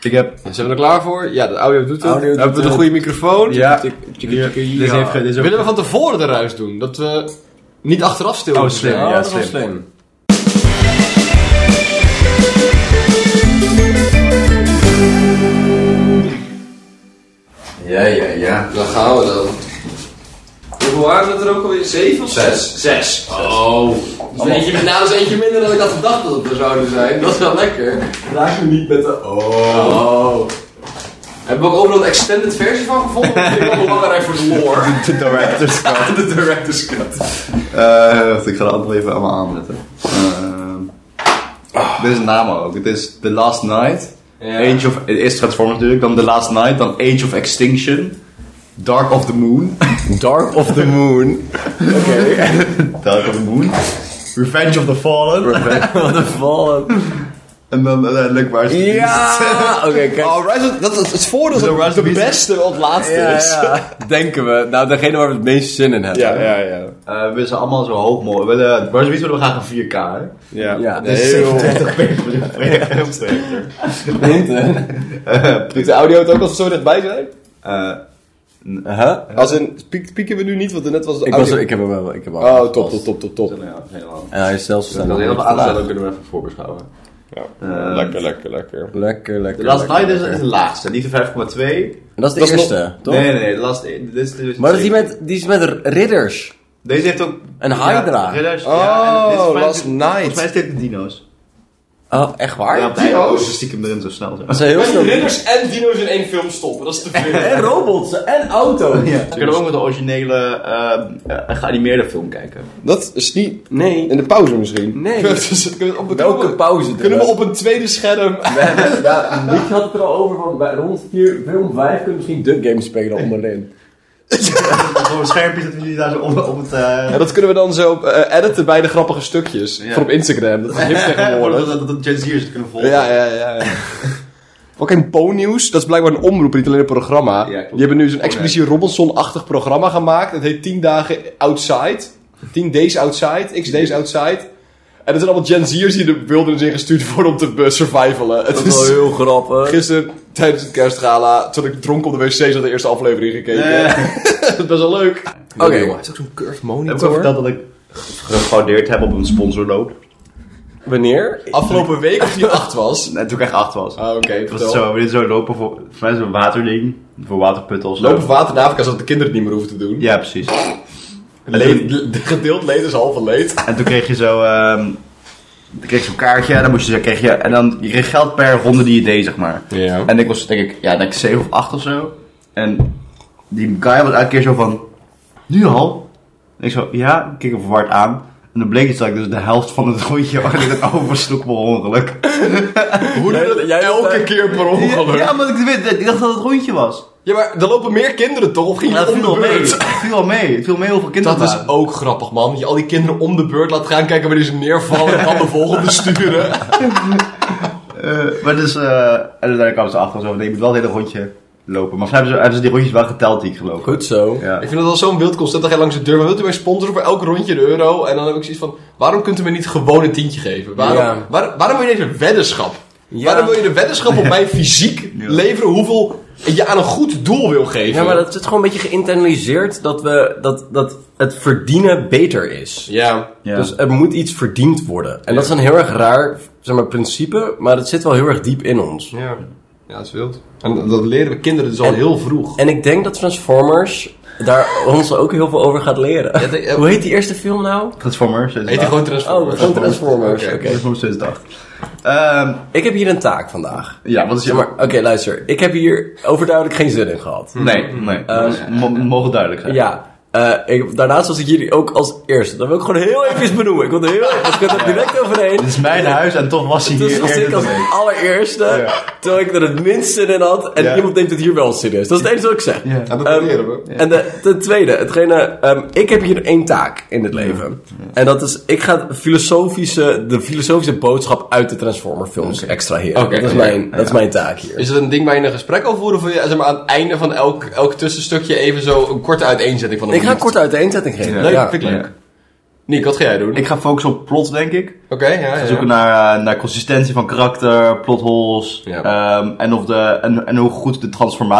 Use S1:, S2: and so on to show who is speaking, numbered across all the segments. S1: Ik heb...
S2: Zijn we er klaar voor? Ja, de audio doet het.
S3: Audio doet
S2: Hebben we de
S3: het.
S2: goede microfoon?
S1: Ja.
S3: Tik, tik, tik,
S1: Hier,
S3: tik, tik,
S1: deze
S3: ja.
S1: heeft ge- deze ook-
S2: Willen we van tevoren de ruis doen? Dat we niet achteraf stil
S1: Oh,
S2: moeten
S1: slim.
S2: zijn.
S3: Ja,
S1: Ja,
S3: dat is wel
S1: slim.
S3: slim. Ja, ja, ja.
S2: Dan gaan we dan.
S4: Hoe waren het er ook alweer? Zeven of
S3: Zes.
S4: Zes.
S2: Oh. Dat is eentje, nou, dat is eentje minder dan ik had gedacht dat het er zouden zijn. Dat is wel lekker.
S3: Raak me niet met de... Oh.
S2: Oh. Hebben we ook overal een extended versie van gevonden? Dat vind ik wel belangrijk voor de lore.
S1: De director's cut.
S2: De director's cut.
S1: Eh, wacht, ik ga de andere even allemaal aanzetten. Ehm, dit is een naam ook. Het is The Last Night. Age of... Het is Transformers natuurlijk. Dan The Last Night. Dan Age of Extinction. Dark of the Moon.
S3: Dark of the Moon. Oké.
S1: Dark of the Moon. Revenge of the Fallen.
S3: Wat een val.
S1: En dan eh, uiteindelijk Rise of the
S3: Ja!
S1: Beast.
S3: Oké, kijk.
S2: Oh, dat is het voordeel
S1: dat het de
S2: beste wel het laatste
S3: Ja, ja. Dus, Denken we. Nou, degene waar we het meeste zin in hebben.
S1: Ja, ja, ja. Eh, we willen ze allemaal zo hoog mogelijk. We willen- Rise of the Beast willen we graag een 4K, hè?
S3: Ja, ja
S1: Dus
S3: heel...
S1: 27 p
S4: Doet de audio het ook als zo dichtbij zijn?
S1: Eh
S3: Huh? Oh,
S4: Als in, piek- pieken we nu niet, want net was de
S3: Ik, was,
S4: audio...
S3: er- ik heb hem wel. Ik heb hem
S4: Oh, top, top, top, top, top.
S1: nou ja, helemaal.
S3: En hij is zelfs staan.
S1: Dat
S3: nog
S1: hele
S3: niet
S1: aanzet
S3: vandaag.
S1: kunnen we even voorbeschouwen.
S4: Ja.
S1: Eh,
S4: lekker, lekker, lekker.
S3: Lekker,
S1: De
S3: lekker.
S1: Last
S3: lekker,
S1: Night is, is
S3: lekker.
S1: de laagste, die is 5,2.
S3: En dat is de
S4: dat is nog-
S3: eerste, toch?
S1: Nee, nee, nee, de last, dit is, dit is
S3: Maar dat is die, met, die is met ridders.
S1: Deze heeft ook...
S3: Een Hydra.
S1: Ja, ridders,
S4: Oh,
S1: ja, en dit is volgens mij-
S4: Last Night.
S1: Volgens mij is dit de dino's.
S3: Oh, echt waar?
S1: Ja, dino's. stiekem erin zo snel.
S3: Dat zijn heel snel.
S2: ridders en dino's in één film stoppen, dat is te veel.
S3: En robots en auto's.
S1: Ja, we kunnen ook met de originele eh, eh, geanimeerde film kijken.
S4: Dat is niet...
S3: Nee.
S4: In de pauze misschien?
S3: Nee.
S4: Kunnen we- dus- kunnen we op een-
S3: Welke pauze?
S4: Kunnen we op een tweede scherm...
S3: We hebben, ja, Nick had het er al over, van bij rond 4, film 5 kunnen we misschien Duck Game spelen onderin.
S1: Zo'n schermpje dat we jullie daar zo op, op het... eh
S4: Ja, dat kunnen we dan zo eh, editen bij de grappige stukjes.
S1: Ja.
S4: Voor op Instagram. Dat is hip
S1: dat,
S4: tegenwoordig.
S1: eh, dat, dat Gen Z'ers het kunnen volgen.
S4: Ja, ja, ja. ja. Fucking Po-nieuws, dat is blijkbaar een omroep, niet alleen een programma.
S1: klopt.
S4: Die hebben nu zo'n
S1: Oh, nee.
S4: Expeditie Robinson-achtig programma gemaakt. Het heet 10 dagen outside. 10 days outside, x days outside. En dat zijn allemaal Gen Z'ers die de wildernis ingestuurd worden om te eh, survivalen. Het
S3: Dat is
S4: is
S3: wel heel grappig.
S4: gisteren tijdens het kerstgala, toen ik dronken op de wc zat, de eerste aflevering gekeken.
S1: Eh,
S4: dat is best wel leuk.
S3: Oké.
S4: is ook zo'n curved
S1: heb ik al
S4: monitor.
S1: verteld dat ik gefraudeerd heb op een sponsorloop?
S3: Wanneer?
S4: Afgelopen week of die acht was.
S1: En toen ik echt acht was.
S4: Ah, oké.
S1: Het was
S4: vertel.
S1: zo, we deden zo lopen voor, voor mij is het een waterding, voor waterputten of zo.
S4: Lopen water in Afrika zodat de kinderen het niet meer hoeven te doen.
S1: Ja, precies.
S4: Leed,
S1: Alleen,
S4: de- de gedeeld leed is halve leed.
S1: en toen kreeg je zo, ehm dan kreeg je zo'n kaartje, en dan moest je, zo- kreeg je, en dan, je kreeg geld per ronde die je deed, zeg maar.
S4: Ja.
S1: En ik was denk ik, ja, denk ik 7 of 8 of zo. En die guy was elke keer zo van, nu al? En ik zo, ja, ik keek hem verward aan. En dan bleek het dat ik dus de helft van het rondje eigenlijk oversloeg per ongeluk.
S4: Hoe doe je dat
S3: Jij- jij
S4: elke
S3: hebt,
S4: keer per ongeluk?
S1: Ja, omdat ik, wist- ik dacht dat het rondje was.
S4: Ja, maar er lopen meer kinderen toch? Of ging
S1: Ja,
S4: je
S1: het
S4: om
S1: viel
S4: de
S1: wel mee.
S4: beurt?
S1: Het viel wel mee. Het viel mee hoeveel kinderen
S4: Dat
S1: er
S4: is
S1: waren.
S4: ook grappig, man. Dat je al die kinderen om de beurt laat gaan kijken wanneer ze neervallen en dan de volgende sturen.
S1: Eh, maar dus, eh, en uiteindelijk kwamen ze achter zo van, nee, je moet wel het hele rondje lopen. Maar volgens mij hebben ze, hebben ze die rondjes wel geteld die ik gelopen.
S3: Goed zo.
S1: Ja.
S4: Ik vind dat wel zo'n wild concept. Dan ga je langs de deur. Maar wilt u mij sponsoren voor elk rondje een euro? En dan heb ik zoiets van, waarom kunt u mij niet gewoon een tientje geven? Waarom,
S3: Ja.
S4: waar- waarom wil je deze weddenschap?
S3: Ja.
S4: Waarom wil je de weddenschap op mij fysiek
S1: Ja.
S4: leveren hoeveel je aan een goed doel wil geven?
S3: Ja, maar dat is gewoon een beetje geïnternaliseerd dat, we, dat, dat het verdienen beter is.
S4: Ja.
S1: Ja.
S3: Dus er moet iets verdiend worden. En dat is een heel erg raar zeg maar, principe, maar dat zit wel heel erg diep in ons.
S4: Ja. ja, dat is wild. En dat- dat leren we kinderen dus al
S3: En-
S4: heel vroeg.
S3: En ik denk dat Transformers daar ons ook heel veel over gaat leren.
S4: Ja, dat-
S3: Hoe heet die eerste film nou?
S1: Transformers.
S4: Heet hij
S1: 2008.
S4: gewoon
S3: Oh,
S4: Transformers?
S3: gewoon Transformers. Oké.
S1: Transformers 2008. Ehm,
S3: Ik heb hier een taak vandaag.
S1: ja, wat is
S3: Zeg
S1: je...
S3: maar, oké, luister. Ik heb hier overduidelijk geen zin in gehad.
S1: Nee, nee. dat is- mo- mogen duidelijk zijn.
S3: Mm. Eh, Ja. eh, ik, daarnaast was ik jullie ook als eerste. Dat wil ik gewoon heel even benoemen. Ik wil er heel even, want ik had er direct overheen.
S1: Het is mijn huis en toch was hij
S3: Dus
S1: hier
S3: was ik
S1: eerder
S3: als
S1: dan ik.
S3: allereerste,
S1: Ja.
S3: terwijl ik er het minst zin in had. En
S1: Ja.
S3: iemand denkt het hier wel zin is. Dat is het enige wat ik zeg.
S1: Ja.
S4: Ja, dat
S3: Ehm,
S4: leren we.
S3: En de, ten tweede, hetgene, ehm, ik heb hier één taak in het leven. En dat is, ik ga de filosofische, de filosofische boodschap uit de Transformer films extraheren.
S4: Oké,
S3: dat, is
S4: ja,
S3: mijn, dat is mijn taak hier.
S4: Is het een ding waar je een gesprek over voert? Of wil je zeg maar, aan het einde van elk, elk tussenstukje even zo een korte uiteenzetting van een
S3: ik ga een
S4: minuut?
S3: korte uiteenzetting geven.
S4: Leuk,
S3: Ja.
S4: vind ik leuk.
S3: Nick, wat ga jij doen?
S1: Ik ga focussen op plot, denk ik.
S4: Oké, ja, ja.
S1: Zoeken naar, eh, naar consistentie van karakter, plot holes.
S3: Ja.
S1: ehm, en, of de, en, en hoe goed de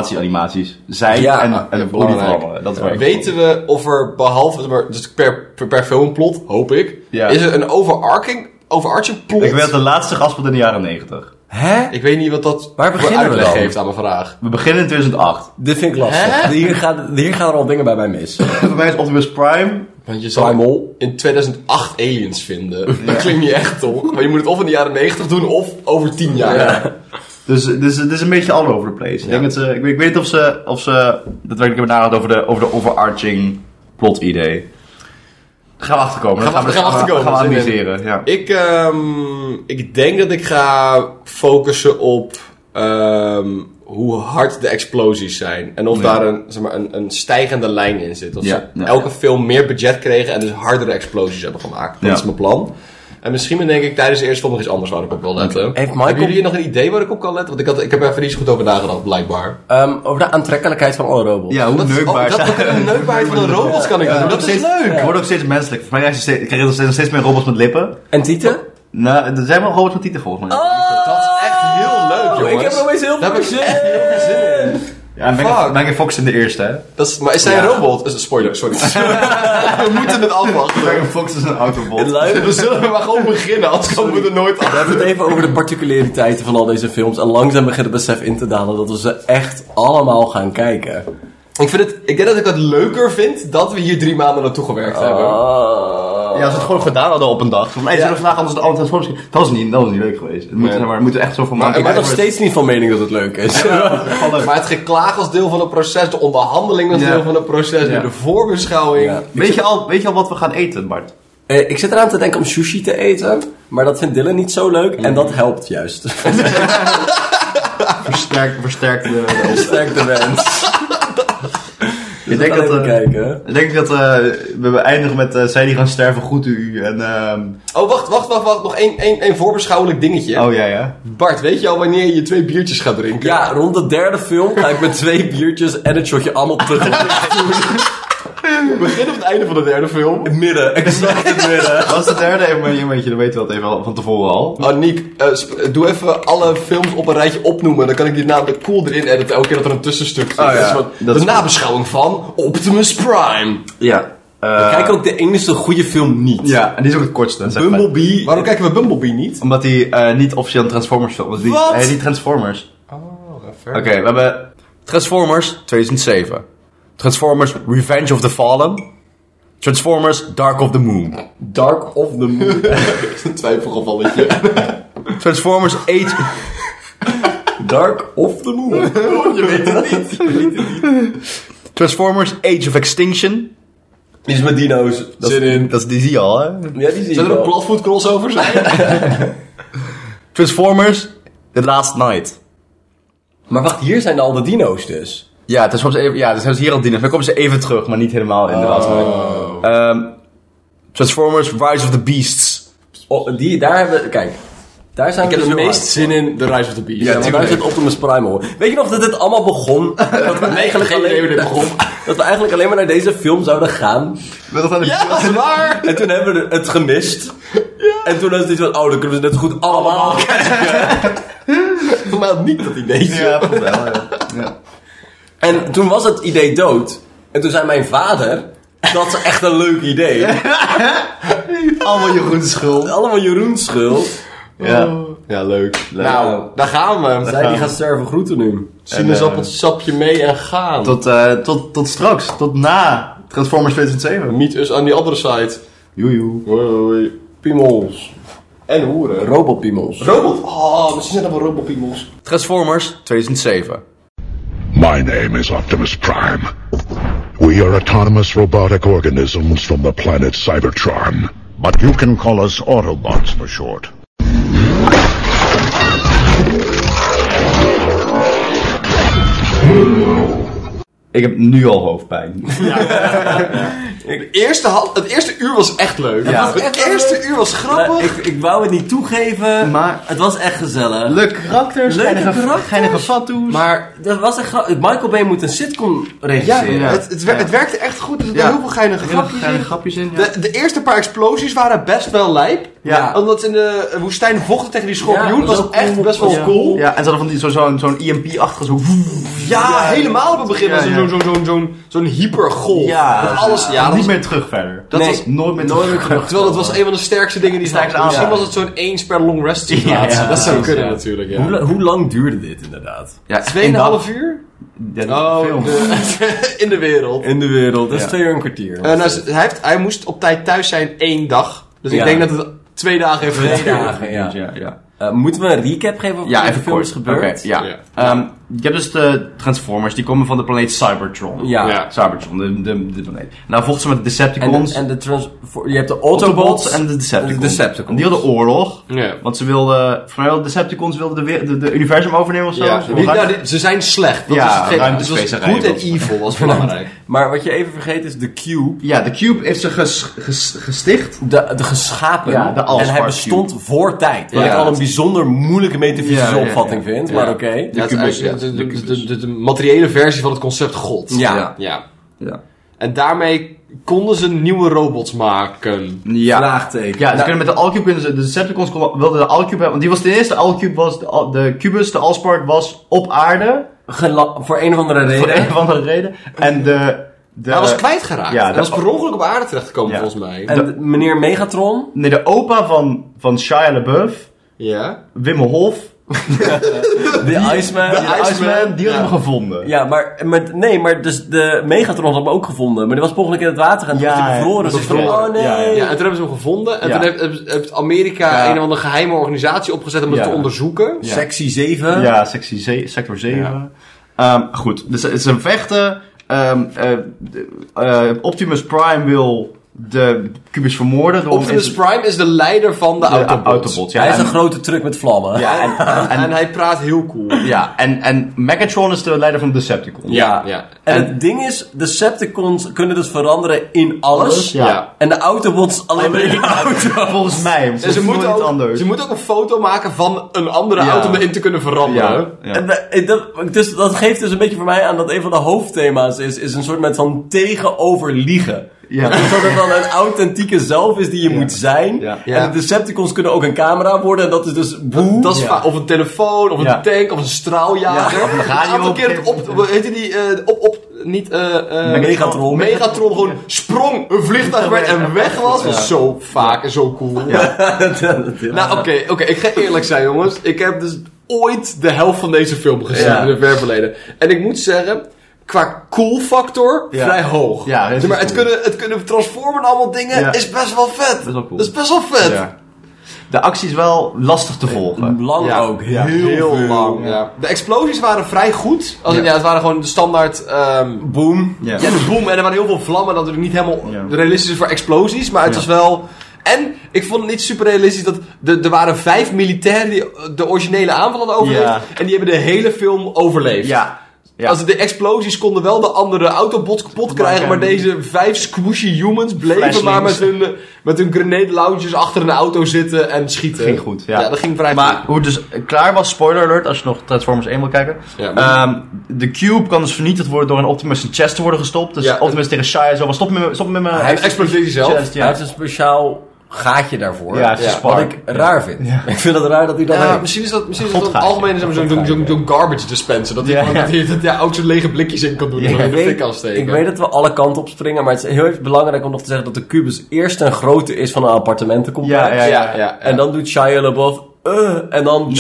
S1: transformatieanimaties zijn.
S3: Ja,
S1: en,
S3: ja,
S1: en hoe die
S4: belangrijk.
S1: veranderen. eh, Dat is waar ik
S4: Weten we of er behalve maar, dus per, per, per filmplot, hoop ik,
S1: Ja.
S4: is er een overarching, overarching plot?
S1: Ik werd de laatste gaspot in de jaren 90.
S3: Hè?
S4: Ik weet niet wat dat
S3: Waar
S4: voor
S3: beginnen we
S4: uitleg
S3: dan?
S4: geeft aan mijn vraag.
S1: We beginnen in 2008.
S3: Dit vind ik lastig. Hier, gaat, hier gaan er al dingen bij mij mis.
S1: Voor mij is Optimus Prime.
S4: Want je zal
S3: Primal.
S4: in 2008 aliens vinden. Dat klinkt niet echt, toch? Maar je moet het of in de jaren 90 doen, of over 10 jaar.
S1: Dus het is dus, dus een beetje all over the place. Ik, denk dat ze, ik, weet- ik weet niet of ze, of ze daadwerkelijk hebben nagedacht over de, over de overarching plot idee. Daar gaan we achterkomen.
S4: Gaan we-
S1: Daar
S4: gaan we achterkomen,
S1: Gaan we
S4: zin in.
S1: analyseren, ja.
S4: Ik, ehm, ik denk dat ik ga focussen op ehm, hoe hard de explosies zijn. En of
S1: Ja.
S4: daar een, zeg maar, een, een stijgende lijn in zit. Dat
S1: Ja,
S4: ze
S1: ja.
S4: elke film meer budget kregen en dus hardere explosies hebben gemaakt. Dat
S1: Ja.
S4: is mijn plan. En misschien denk ik tijdens de eerste film nog iets anders waar ik op wil letten.
S3: Heeft Michael-
S4: Hebben jullie nog een idee waar ik op kan letten? Want ik, had, ik heb er even niet zo goed over nagedacht, blijkbaar.
S3: Ehm, over de aantrekkelijkheid van alle robots.
S1: Ja, hoe
S4: Dat-
S1: neukbaar
S4: oh, dat,
S1: zijn-
S4: de neukbaarheid van de robots kan ik doen. Dat is
S1: steeds,
S4: leuk.
S1: Ik word ook steeds menselijk. Voor mij krijg je steeds- krijg je nog steeds, nog steeds meer robots met lippen.
S3: En Tieten?
S1: Nou, er zijn wel robots met tieten volgens mij.
S4: Dat is echt heel leuk, jongens.
S3: Oh, Ik heb nog eens heel
S4: Daar
S3: veel
S4: heb ik
S3: zin.
S4: echt heel veel zin in.
S1: Ja, en Megan-
S4: Fuck.
S1: Megan Fox in de eerste, hè?
S4: Dat is, maar is zij een robot? Is- Spoiler, sorry. we moeten het afwachten.
S1: Megan Fox is een autobot.
S3: Lui,
S4: We zullen maar gewoon beginnen, anders komen we er nooit
S3: We
S4: af.
S3: hebben het even over de particulariteiten van al deze films. En langzaam begint het besef in te dalen dat we ze echt allemaal gaan kijken.
S4: Ik, vind het, ik denk dat ik het leuker vind dat we hier drie maanden naartoe gewerkt
S1: Oh.
S4: hebben.
S3: Ah.
S1: Ja, als we het gewoon gedaan hadden op een dag. Volgens mij zullen we vandaag anders de andere transformers kijken. Dat was niet, dat was niet leuk geweest. Het moeten,
S4: Nee.
S1: maar, we moeten echt zo van maken.
S3: ik ben nog steeds niet van mening dat het leuk is.
S1: Gewoon leuk.
S4: Maar het geklaag als deel van het proces, de onderhandeling als
S1: Ja.
S4: deel van het proces,
S1: Ja.
S4: de voorbeschouwing.
S3: Ja.
S1: Weet je, al, weet je al wat we gaan eten, Bart?
S3: Eh, ik zit eraan te denken om sushi te eten, maar dat vindt Dylan niet zo leuk en dat helpt juist.
S1: Versterkt, versterkt de...
S3: Sterk de wens.
S1: ik denk dat...
S3: we
S1: eh,
S3: kijken.
S1: ik denk dat eh, we eindigen met eh, zij die gaan sterven, goed u. En, ehm,
S4: Oh, wacht, wacht, wacht, wacht. Nog één, één, één voorbeschouwelijk dingetje.
S1: oh ja, ja.
S4: Bart, weet je al wanneer je twee biertjes gaat drinken?
S3: Ja, rond de derde film ga ik met twee biertjes en een shotje allemaal tegelijk.
S4: Begin op het einde van de derde film.
S3: Midden, exact in het midden.
S1: Dat is de derde even een momentje, dan weten we dat even al- van tevoren al.
S4: Aniek, eh, sp- doe even alle films op een rijtje opnoemen. Dan kan ik die namelijk cool erin editen. Elke keer dat er een tussenstuk zit.
S1: ja,
S4: Dat is wat-
S1: dat
S4: de
S1: is-
S4: nabeschouwing van Optimus Prime.
S1: Ja.
S3: Kijk ook de enige goede film niet.
S1: Ja, en die is ook het kortste. zeg maar.
S3: Bumblebee.
S4: Waarom kijken we Bumblebee niet?
S1: Omdat hij eh, niet officieel een Transformers film is. Die,
S4: Wat?
S1: Hij heet niet Transformers. Oké, we hebben Transformers 2007. Transformers Revenge of the Fallen. Transformers Dark of the Moon.
S3: Dark of the Moon.
S4: Een twijfelgevalletje.
S1: Transformers Age...
S3: Dark of the Moon.
S4: je weet het niet.
S1: Transformers Age of Extinction.
S3: Iets met dino's.
S1: Dat is-
S4: Zin in.
S1: Dat is die zie je al, hè?
S3: Ja, die zie
S4: Zijn
S3: ik
S4: er
S3: wel.
S4: ook platfoot crossovers?
S1: Transformers The Last Night.
S3: Maar wacht, hier zijn al de dino's dus.
S1: Ja, Transformers even, ja, dan zijn ze hier al dienen. Dan komen ze even terug, maar niet helemaal in de Last Night. Ehm, Transformers Rise of the Beasts.
S3: Oh, die, daar hebben we... Kijk. Daar zijn
S4: ik heb
S3: we
S4: het
S3: dus nu
S4: meest
S3: uit.
S4: zin in The Rise of the Beast.
S3: Ja, maar daar zit Optimus Prime hoor. Weet je nog dat dit allemaal begon? Dat we eigenlijk
S4: geen idee hoe
S3: alleen,
S4: dit begon.
S3: dat we eigenlijk alleen maar naar deze film zouden gaan.
S1: Met dat aan de
S4: Ja, dat is waar.
S3: En toen hebben we het gemist. En toen was het iets van, oh, dan kunnen we het net zo goed allemaal kijken.
S4: Voor mij had niet dat ideetje.
S1: Ja, volgens mij wel, ja. ja.
S3: En toen was het idee dood. En toen zei mijn vader, dat is echt een leuk idee.
S1: Allemaal Jeroen Oh. Schul.
S3: Allemaal Jeroen's schuld.
S1: Ja.
S4: Ja, leuk.
S3: Ja.
S4: Nou, daar gaan we.
S3: Zij die gaat sterven, groeten nu. eh,
S4: Sinaasappelsapje mee en gaan.
S1: eh, Tot, eh, tot, tot straks. Tot na Transformers 2007.
S4: Meet us aan die andere site.
S1: Joejoe.
S4: Hoi, hoi. Piemels. En hoeren.
S3: Robotpiemels.
S4: Robot. Oh, misschien zijn dat wel robotpiemels.
S1: Transformers 2007.
S5: My name is Optimus Prime. We are autonomous robotic organisms from the planet Cybertron. But you can call us Autobots for short.
S1: Ik heb nu al hoofdpijn.
S4: De eerste hal- het eerste uur was echt leuk.
S1: Ja.
S4: Het eerste uur was grappig.
S6: Nou, ik, ik wou het niet toegeven,
S1: Maar-
S6: het was echt gezellig.
S1: Leuke karakters,
S6: Leuke
S1: geinige,
S6: karakters.
S1: geinige fatsoes.
S6: Maar dat was echt grappig. Michael Bay moet een sitcom
S4: ja,
S6: regisseren.
S4: Het, het, wer- het werkte echt goed. dus Er zitten
S1: Ja.
S4: heel veel geinige grapjes in.
S1: grapjes in.
S4: De, de eerste paar explosies waren best wel lijp.
S1: Ja.
S4: Omdat in de eh, woestijn vochten tegen die schorpioen.
S6: Ja,
S4: was
S6: dat is ook
S4: echt
S6: cool.
S4: best wel
S6: Ja.
S4: cool. Ja,
S1: Ja, en ze hadden van die zo- zo'n zo'n EMP-achtige zo...
S4: helemaal op het begin
S1: Ja,
S4: was er
S1: ja.
S4: zo'n zo'n zo'n zo'n zo'n hypergolf.
S6: Ja.
S4: Dat alles, ja, dat
S1: niet
S4: was,
S1: meer terug verder.
S4: dat
S6: Nee.
S4: was-
S1: Nooit meer
S6: Nooit meer
S1: terug.
S6: terug.
S4: terwijl dat was een van de sterkste dingen die ze
S1: Sterkste
S4: hadden. Misschien was
S1: aanval.
S4: het zo'n eens per long rest situatie.
S1: Ja,
S4: dat zou
S6: precies,
S4: kunnen
S6: ja.
S4: natuurlijk,
S3: Hoe,
S4: ja.
S3: la- hoe lang duurde dit inderdaad?
S1: Ja,
S4: Tweeënhalf uur?
S1: Ja,
S4: Oh,
S1: film.
S4: de- in de wereld.
S3: In de wereld, dat is
S1: Ja.
S3: twee uur en een kwartier.
S4: Eh, nou, ze- hij, heeft, hij moest op tijd thuis zijn één dag. Dus
S3: Ja.
S4: ik denk dat het twee dagen heeft
S3: Twee
S4: geduurd.
S3: dagen, ja.
S1: ja, ja.
S3: Eh, moeten we een recap geven over
S1: Ja,
S3: wat er
S1: even
S3: in de film
S1: kort.
S3: is gebeurd?
S1: Oké, ja.
S4: Ja.
S1: Ehm, je hebt dus de Transformers, die komen van de planeet Cybertron.
S3: Ja.
S4: Ja.
S1: Cybertron, de, de, de planeet. Nou vochten ze met de
S3: En,
S1: Decepticons,
S3: de- en de trans voor- je hebt de Autobots
S1: en de Decepticons.
S3: en de Decepticons.
S1: En die hadden oorlog.
S4: Ja.
S1: Want ze wilden, vooral de Decepticons wilden de, weer- de, de universum overnemen of zo.
S4: Ja.
S1: Ze
S4: Die-
S1: wilden
S4: nou,
S1: ruimte-
S4: die- ze zijn slecht. Dat
S1: Ja,
S4: is het geen, dus was
S1: ruimtespecerij
S4: good en
S1: was het.
S4: evil was belangrijk.
S3: Maar wat je even vergeet is de Cube.
S1: ja, de Cube heeft ze ges- ges- gesticht.
S3: De, de geschapen.
S1: Ja, de Allspark
S3: en hij bestond voor tijd. Wat
S1: Ja.
S3: ik al een bijzonder moeilijke metafysische
S1: Ja, ja, ja.
S3: opvatting vind. Maar oké.
S4: Ja, het is
S1: kubus,
S4: eigenlijk
S1: ja.
S4: de, de- de- de- de materiële versie van het concept God.
S3: Ja.
S4: ja.
S1: Ja.
S4: En daarmee konden ze nieuwe robots maken.
S1: Ja.
S3: Vraagteken.
S1: Ah, Ja, ze
S3: Nou,
S1: kunnen met de Alcube kunnen ze, de Decepticons konden- wilden de Alcube hebben, want die was de eerste Alcube was, de, Al- de Cubus, de Allspark was op aarde,
S3: gela- voor een of andere
S1: voor
S3: reden.
S1: een of andere reden, en de... de
S4: Hij was kwijtgeraakt.
S1: eh, ja,
S4: hij
S1: dat-
S4: was per ongeluk op aarde terechtgekomen
S1: Ja.
S4: volgens mij.
S3: En de- meneer Megatron.
S1: Nee, de opa van, van Shia LaBeouf,
S4: ja.
S1: Wim Hof,
S3: De Iceman.
S1: de Iceman, die had
S4: ja.
S1: hem gevonden.
S3: Ja, maar, maar nee, maar dus de Megatron had hem ook gevonden. Maar die was per ongeluk in het water en toen
S1: Ja,
S3: was hij bevroren.
S1: dat
S3: Dus ik dacht,
S1: bevroren.
S3: oh nee.
S1: Ja, ja.
S4: ja, en toen hebben ze hem gevonden. En
S1: Ja.
S4: toen heeft, heeft- heeft Amerika
S1: Ja.
S4: een of andere geheime organisatie opgezet om het
S1: Ja.
S4: te onderzoeken. Ja.
S3: Sexy 7.
S1: Ja, sectie ze- sector 7. Ehm, goed, dus ze- ze vechten. Ehm, eh, de- eh, Optimus Prime wil de Cubus vermoorden. door hem in
S4: Optimus
S1: te-
S4: Prime is de leider van de,
S1: de
S4: Autobots.
S1: Autobots. Ja,
S3: Hij is
S1: en-
S3: een grote truck met vlammen.
S1: ja, en, en,
S4: En hij praat heel cool.
S1: ja, en, en Megatron is de leider van de Decepticons.
S3: Ja.
S4: Ja.
S3: En het ding is, Decepticons kunnen dus veranderen in alles.
S1: Ja.
S4: Ja.
S3: En de Autobots alleen maar in de auto.
S1: Volgens mij, want
S4: En
S1: ze
S4: Dus ze
S1: moeten
S4: moeten,
S1: iets
S4: ook,
S1: anders.
S4: ze moeten ook een foto maken van een andere
S1: Ja.
S4: auto om erin te kunnen veranderen.
S1: ja, ja.
S3: En we- eh, dat, dus, dat geeft dus een beetje voor mij aan dat een van de hoofdthema's is, is een soort met van tegenover liegen.
S1: Ja.
S3: Dus dat het dan een authentieke zelf is die je moet zijn.
S1: Ja.
S3: En de Decepticons kunnen ook een camera worden en dat is dus boe.
S4: Dat is va- of een telefoon, of een
S1: Ja.
S4: tank, of een straaljager.
S1: Ja, of een radio
S4: aantal keer het op,
S1: op-
S4: hoe heet die, eh, op, op, niet, eh, eh,
S3: Megatron.
S4: Megatron gewoon sprong, een vliegtuig werd en weg was. was zo vaak en zo cool. Nou, oké, oké, ik ga eerlijk zijn, jongens. Ik heb dus ooit de helft van deze film gezien
S1: Ja.
S4: in het ver verleden. En ik moet zeggen, qua cool factor,
S1: Ja.
S4: vrij hoog.
S1: Ja, dat is
S4: Zeg maar het
S1: cool.
S4: kunnen, het kunnen transformen en allemaal dingen
S1: Ja.
S4: is best wel vet.
S1: is wel cool.
S4: Dat is best wel vet.
S1: Ja. De actie is wel lastig
S4: Eh,
S1: te volgen.
S3: Lang
S4: Ja.
S3: ook.
S1: Ja.
S3: Heel, veel.
S4: lang. Ja. De explosies waren vrij goed. Als in, ja, het waren gewoon de standaard. ehm,
S3: Boom.
S1: Ja.
S4: ja, de boom. En er waren heel veel vlammen. Dat natuurlijk niet helemaal
S1: Ja.
S4: realistisch is voor explosies. Maar het
S1: Ja.
S4: was wel. En ik vond het niet super realistisch dat de- er waren vijf militairen die eh, de originele aanval hadden overleefd.
S1: Ja.
S4: En die hebben de hele film overleefd.
S1: Ja. Ja.
S4: Als de explosies konden wel de andere autobots kapot krijgen, maar
S1: Maar, ehm,
S4: deze vijf squishy humans bleven
S1: Flashlings.
S4: maar met hun, eh, met hun grenade lounges achter een auto zitten en schieten.
S1: Ging goed, ja.
S4: dat ging vrij goed.
S1: Maar hoe het dus klaar was, spoiler alert, als je nog Transformers 1 wil kijken.
S4: Ja, maar-
S1: Ehm, de Cube kan dus vernietigd worden door een Optimus zijn chest te worden gestopt. Dus
S4: Ja,
S1: Optimus tegen Shia zo van stop met me, stop met me
S4: Hij explodeert zelf.
S1: chest.
S3: Hij
S1: Ja,
S3: heeft een speciaal gaatje daarvoor.
S1: ja, het is
S4: Ja.
S1: een
S3: Wat
S1: spark.
S3: ik raar vind. Ik vind het raar dat hij dat
S4: Ja,
S3: heeft.
S4: misschien is dat, misschien is dat
S1: God
S4: een
S1: gaat,
S4: algemeen zo'n zo'n zo'n- zo'n garbage dispenser. Dat hij
S1: Ja,
S4: gewoon-
S1: ja.
S4: dat hij- dat hij ook zo'n lege blikjes in kan doen. en
S3: Ik
S4: in de fik
S3: weet,
S4: kan steken.
S3: ik weet dat we alle kanten op springen, maar het is heel even belangrijk om nog te zeggen dat de kubus eerst een grote is van een appartementencomplex.
S1: Ja, ja,
S4: Ja, ja, ja.
S3: En dan doet Shia LaBeouf... eh, en dan...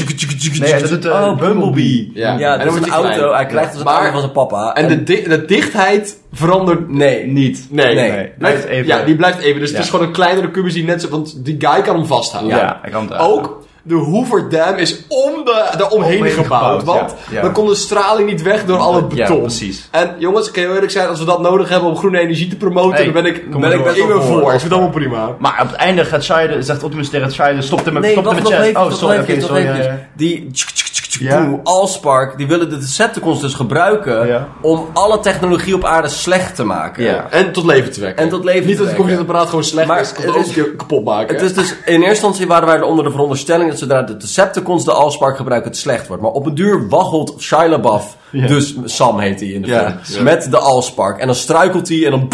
S1: Nee, dat doet, eh,
S3: oh, Bumblebee.
S1: Bumblebee.
S4: Ja.
S3: Ja,
S4: En dan
S3: dat is
S4: wordt
S3: een
S4: hij
S3: auto.
S4: klein.
S3: Hij krijgt dus een
S4: Maar-
S3: auto van zijn papa.
S4: En de, di- de dichtheid verandert...
S3: Nee,
S1: Niet.
S4: Nee.
S3: Nee.
S1: Nee,
S4: Blijft-
S1: blijft even.
S4: Ja, die blijft even. Dus
S1: Ja.
S4: het is gewoon een kleinere kubus die net zo... Want die guy kan hem vasthouden.
S1: Ja, hij kan het
S4: Ook... De Hoover Dam is om de, daaromheen
S1: Omheen
S4: gebouwd.
S1: gebouwd,
S4: want
S1: ja, ja.
S4: dan kon de straling niet weg door al het
S1: Ja,
S4: beton.
S1: precies.
S4: En jongens, ik kan heel eerlijk zijn, als we dat nodig hebben om groene energie te promoten,
S1: Hey,
S4: dan ben ik,
S1: kom
S4: ben
S1: maar
S4: ik
S1: door.
S4: best wel
S1: Kom maar
S4: voor. Ik
S1: door.
S4: vind het allemaal prima.
S1: Maar op het einde gaat Shia, de- zegt Optimus tegen Shia, stop hem met
S3: Nee,
S1: stop hem
S3: wacht
S1: met
S3: nog
S1: chest.
S3: even.
S1: oh,
S3: wacht nog
S1: sorry, oké,
S3: eventjes, nog
S1: sorry. ja,
S3: eventjes.
S1: ja.
S3: Die... tsk, tsk,
S1: Ja.
S3: Allspark, die willen de Decepticons dus gebruiken
S1: Ja.
S3: om alle technologie op aarde slecht te maken.
S1: Ja.
S7: En tot leven te wekken.
S3: En tot leven
S7: Niet
S3: te
S7: dat het
S3: wekken.
S7: computerapparaat gewoon slecht
S3: Maar
S7: is. Ik kan
S3: het
S7: het ook
S3: is-
S7: een keer kapot maken.
S3: Het is dus, in eerste instantie waren wij er onder de veronderstelling dat zodra de Decepticons de Allspark gebruiken, het slecht wordt. Maar op een duur waggelt Shia LaBeouf, dus Sam heet hij in de
S1: Ja,
S3: film, met de Allspark. En dan struikelt hij en dan...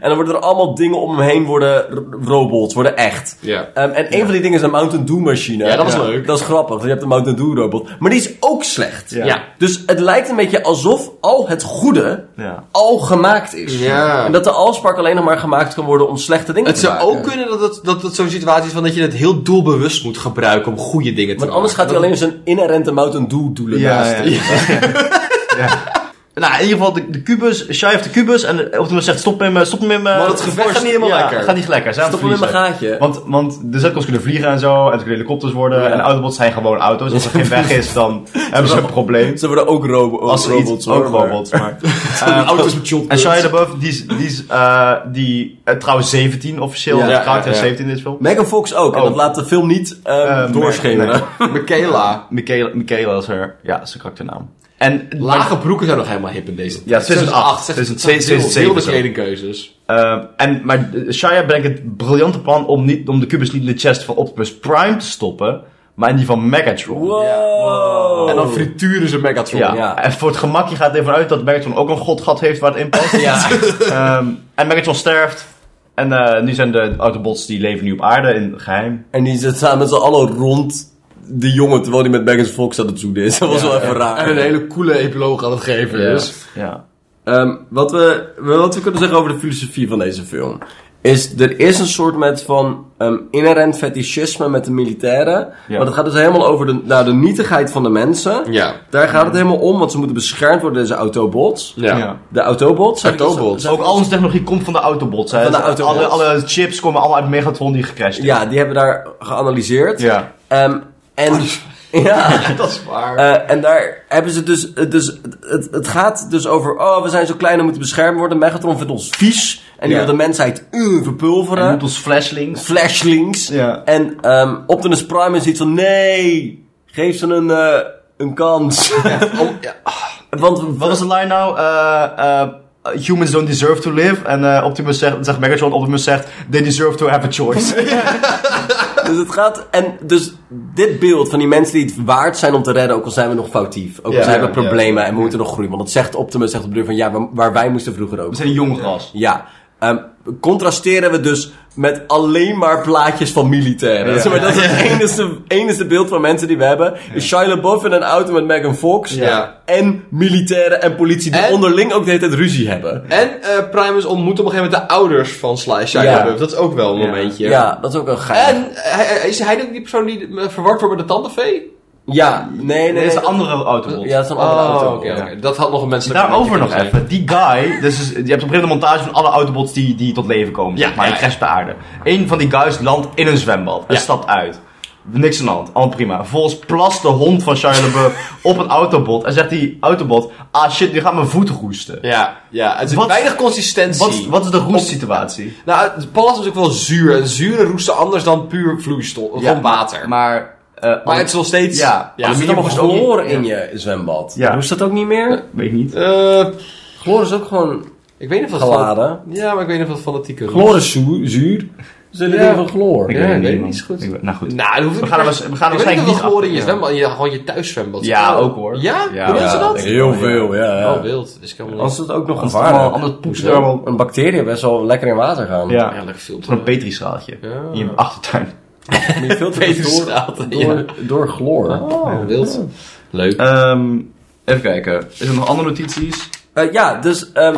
S3: En dan worden er allemaal dingen om hem heen worden r- robots, worden echt.
S7: Ja.
S3: Ehm, en een van die dingen is een Mountain Dew machine.
S7: Ja, dat was leuk.
S3: Dat is grappig, want je hebt een Mountain Dew robot. Maar die is ook slecht.
S1: Ja. Ja.
S3: Dus het lijkt een beetje alsof al het goede
S1: Ja.
S3: al gemaakt is.
S7: Ja.
S3: En dat de Allspark alleen nog maar gemaakt kan worden om slechte dingen
S4: Het
S3: te
S4: zou
S3: maken.
S4: ook kunnen dat het, dat het zo'n situatie is van dat je het heel doelbewust moet gebruiken om goede dingen te
S3: Want
S4: doen.
S3: anders gaat hij alleen zijn inherente Mountain Dew doelen
S1: Ja,
S3: naast.
S1: ja, Nou, in ieder geval de, de kubus, Shai heeft de kubus en de, op de zegt stop hem, eh, stop hem in mijn...
S7: Maar het gevecht
S1: gaat niet helemaal lekker. gaat niet lekker. Zijn aan
S3: Stop
S1: het
S3: hem in mijn
S1: verliezen. Want,
S3: gaatje.
S1: want de Zetkels kunnen vliegen en zo, en het kunnen helikopters worden,
S3: Ja.
S1: en autobots zijn gewoon auto's. Als er geen weg is, dan hebben ze een probleem.
S3: Ze worden ook robo
S1: Als er
S3: robots.
S1: iets, ook
S3: hoor, maar-
S1: robots, maar... eh,
S7: Auto's met shotguns.
S1: en Shia LaBeouf, die is, die is eh, die, eh, trouwens 17 officieel, dus
S3: Ja,
S1: ja,
S3: ja,
S1: trouwt
S7: ja,
S1: en
S7: ja.
S1: 17 in dit film.
S3: Megan Fox ook. En
S1: Oh.
S3: dat laat de film niet eh,
S1: Eh,
S3: doorschemeren.
S1: nee.
S7: Michaela.
S1: Michaela, Michaela is haar, ja, is haar karakternaam. En,
S7: Lage broeken zijn nog helemaal hip in deze
S1: ja, 2008, 2007,
S7: Heel
S1: 2007
S7: de
S1: zo.
S7: kledingkeuzes.
S1: Ehm, en, maar eh, Shia bedenkt het briljante plan om, niet, om de kubus niet in de chest van Optimus Prime te stoppen, maar in die van Megatron.
S3: Wow.
S7: En dan frituren ze Megatron.
S1: Ja.
S3: Ja.
S1: en voor het gemak, je gaat ervan uit dat Megatron ook een godgat heeft waar het in past.
S3: Ja.
S1: Ehm, en Megatron sterft. En eh, nu zijn de Autobots, die leven nu op aarde in geheim.
S3: En die zit samen met z'n allen rond de jongen terwijl hij met Megan Fox aan het zoeken is. Dat was wel even raar.
S7: En een hele coole epiloog aan het geven dus. is.
S3: Ja.
S1: Ja.
S3: Ehm, wat, we, wat we kunnen zeggen over de filosofie van deze film. Is, er is een soort met van ehm, inherent fetischisme met de militairen.
S1: Ja.
S3: Want het gaat dus helemaal over de, nou, de nietigheid van de mensen.
S7: Ja.
S3: Daar gaat het helemaal om, want ze moeten beschermd worden, deze autobots.
S7: Ja.
S1: Ja.
S3: De autobots. zeg ik dat zo?
S7: Autobots.
S1: Ook al onze technologie komt van de Autobots. hè.
S3: Van de Autobots.
S1: Alle, alle chips komen allemaal uit Megatron die gecrashed is.
S3: Ja, die hebben daar geanalyseerd.
S1: Ja. Oh,
S3: Ehm, en, ja.
S7: Dat is waar.
S3: Eh, en daar hebben ze dus... het- dus het- het, het gaat dus over... Oh, we zijn zo klein en moeten beschermd worden. Megatron vindt ons vies. En die
S1: Ja.
S3: wil de mensheid eh, verpulveren.
S1: En noemt ons Flashlings.
S3: flashlinks.
S1: Ja.
S3: En ehm Optimus Prime is iets van... Nee, geef ze een, eh, een kans.
S1: Oh,
S3: Ah. Want
S1: Wat was de line nou? Eh, eh, humans don't deserve to live. En eh, Optimus zegt, zegt Megatron, Optimus zegt, they deserve to have a choice.
S3: dus het gaat... En dus dit beeld van die mensen die het waard zijn om te redden... ook al zijn we nog foutief. Ook al
S1: Ja,
S3: zijn we
S1: ja,
S3: problemen en we moeten nog groeien. Want dat zegt Optimus zegt op de deur van... Ja, waar- waar wij moesten vroeger ook.
S1: We zijn jong gras.
S3: Ja. Ehm, contrasteren we dus met alleen maar plaatjes van militairen. Zeg maar, dat is het enige, enige beeld van mensen die we hebben. Is Shia LaBeouf in een auto met Megan Fox.
S7: Ja.
S3: En militairen en politie die
S4: En-
S3: onderling ook de hele tijd ruzie hebben.
S4: En eh, Primus ontmoet op een gegeven moment de ouders van Sly Shia
S3: Ja.
S4: LaBeouf. Dat is ook wel een momentje.
S3: Ja. dat is ook een geil.
S4: En eh, hij- is hij ook die persoon die eh, verward wordt met de tandenvee?
S3: Ja, nee,
S1: Dit
S3: nee.
S1: is een
S3: dat-
S1: andere Autobot.
S3: Ja, dat is een andere auto.
S4: Oh, oké, oké. Dat had nog een menselijk
S1: Daarover nog
S4: momentje kunnen
S1: even. Die guy, dus is- je hebt op een gegeven moment een montage van alle Autobots die, die tot leven komen.
S4: Ja,
S1: zeg maar
S4: ja,
S1: die
S4: ja.
S1: crasht de aarde. Eén van die guys landt in een zwembad en
S4: Ja.
S1: stapt uit. Niks aan de hand, allemaal prima. Volgens plast de hond van Shia LaBeouf op een Autobot en zegt die Autobot: Ah shit, nu gaat mijn voet roesten.
S4: zijn. Ja, ja. Het is
S1: Wat-
S4: weinig consistentie.
S1: Wat, wat is de roestsituatie?
S4: Nou, het pallas is ook wel zuur. En zure roesten anders dan puur vloeistof.
S1: Ja,
S4: van water. Maar,
S1: Maar, eh,
S4: het is nog steeds...
S1: Ja,
S4: ja
S3: Er zit allemaal chloor in je zwembad.
S1: Ja.
S3: Hoeft dat ook niet meer?
S1: weet ik niet.
S4: Eh,
S3: Chloor is ook gewoon
S4: ik weet niet of dat...
S3: geladen.
S4: Ja, maar ik weet niet of dat fanatieke roest-
S1: Oh,
S3: Chloor is zuur. zuur. Dat is een ding van chloor.
S1: Ik
S4: Ja, ik weet het
S1: man.
S4: niet zo goed.
S1: Ik weet- nou goed.
S4: Nou, dat hoeft
S1: We
S4: niet
S1: gaan er
S4: per-
S1: was- we gaan er
S4: Ik weet
S1: waarschijnlijk
S4: niet of
S1: niet
S4: dat gehoord in je
S1: achter.
S4: zwembad, in je, gewoon je thuiszwembad.
S1: Ja,
S4: Oh.
S1: ook hoor.
S4: Ja?
S1: Ja,
S4: Hoe doen ze
S1: ja,
S4: dat?
S1: denk ik.
S3: Heel veel, ja. ja.
S4: Oh, wild. Dus ik kan wel
S3: Als het ook nog
S1: allemaal-
S3: gevaarlijk
S1: anders poepen ze er allemaal-
S3: Een bacterie best wel lekker in water gaan.
S1: Ja,
S4: Ja,
S1: gewoon
S4: lekker filter.
S1: een petrischaaltje.
S4: Ja.
S1: In je achtertuin.
S3: Maar je filtert het door,
S4: Petersstraat.
S3: door,
S4: Ja.
S3: door chloor.
S4: Oh, wild. Leuk.
S1: Ehm, even kijken. Is er nog andere notities?
S3: Eh, ja, dus ehm,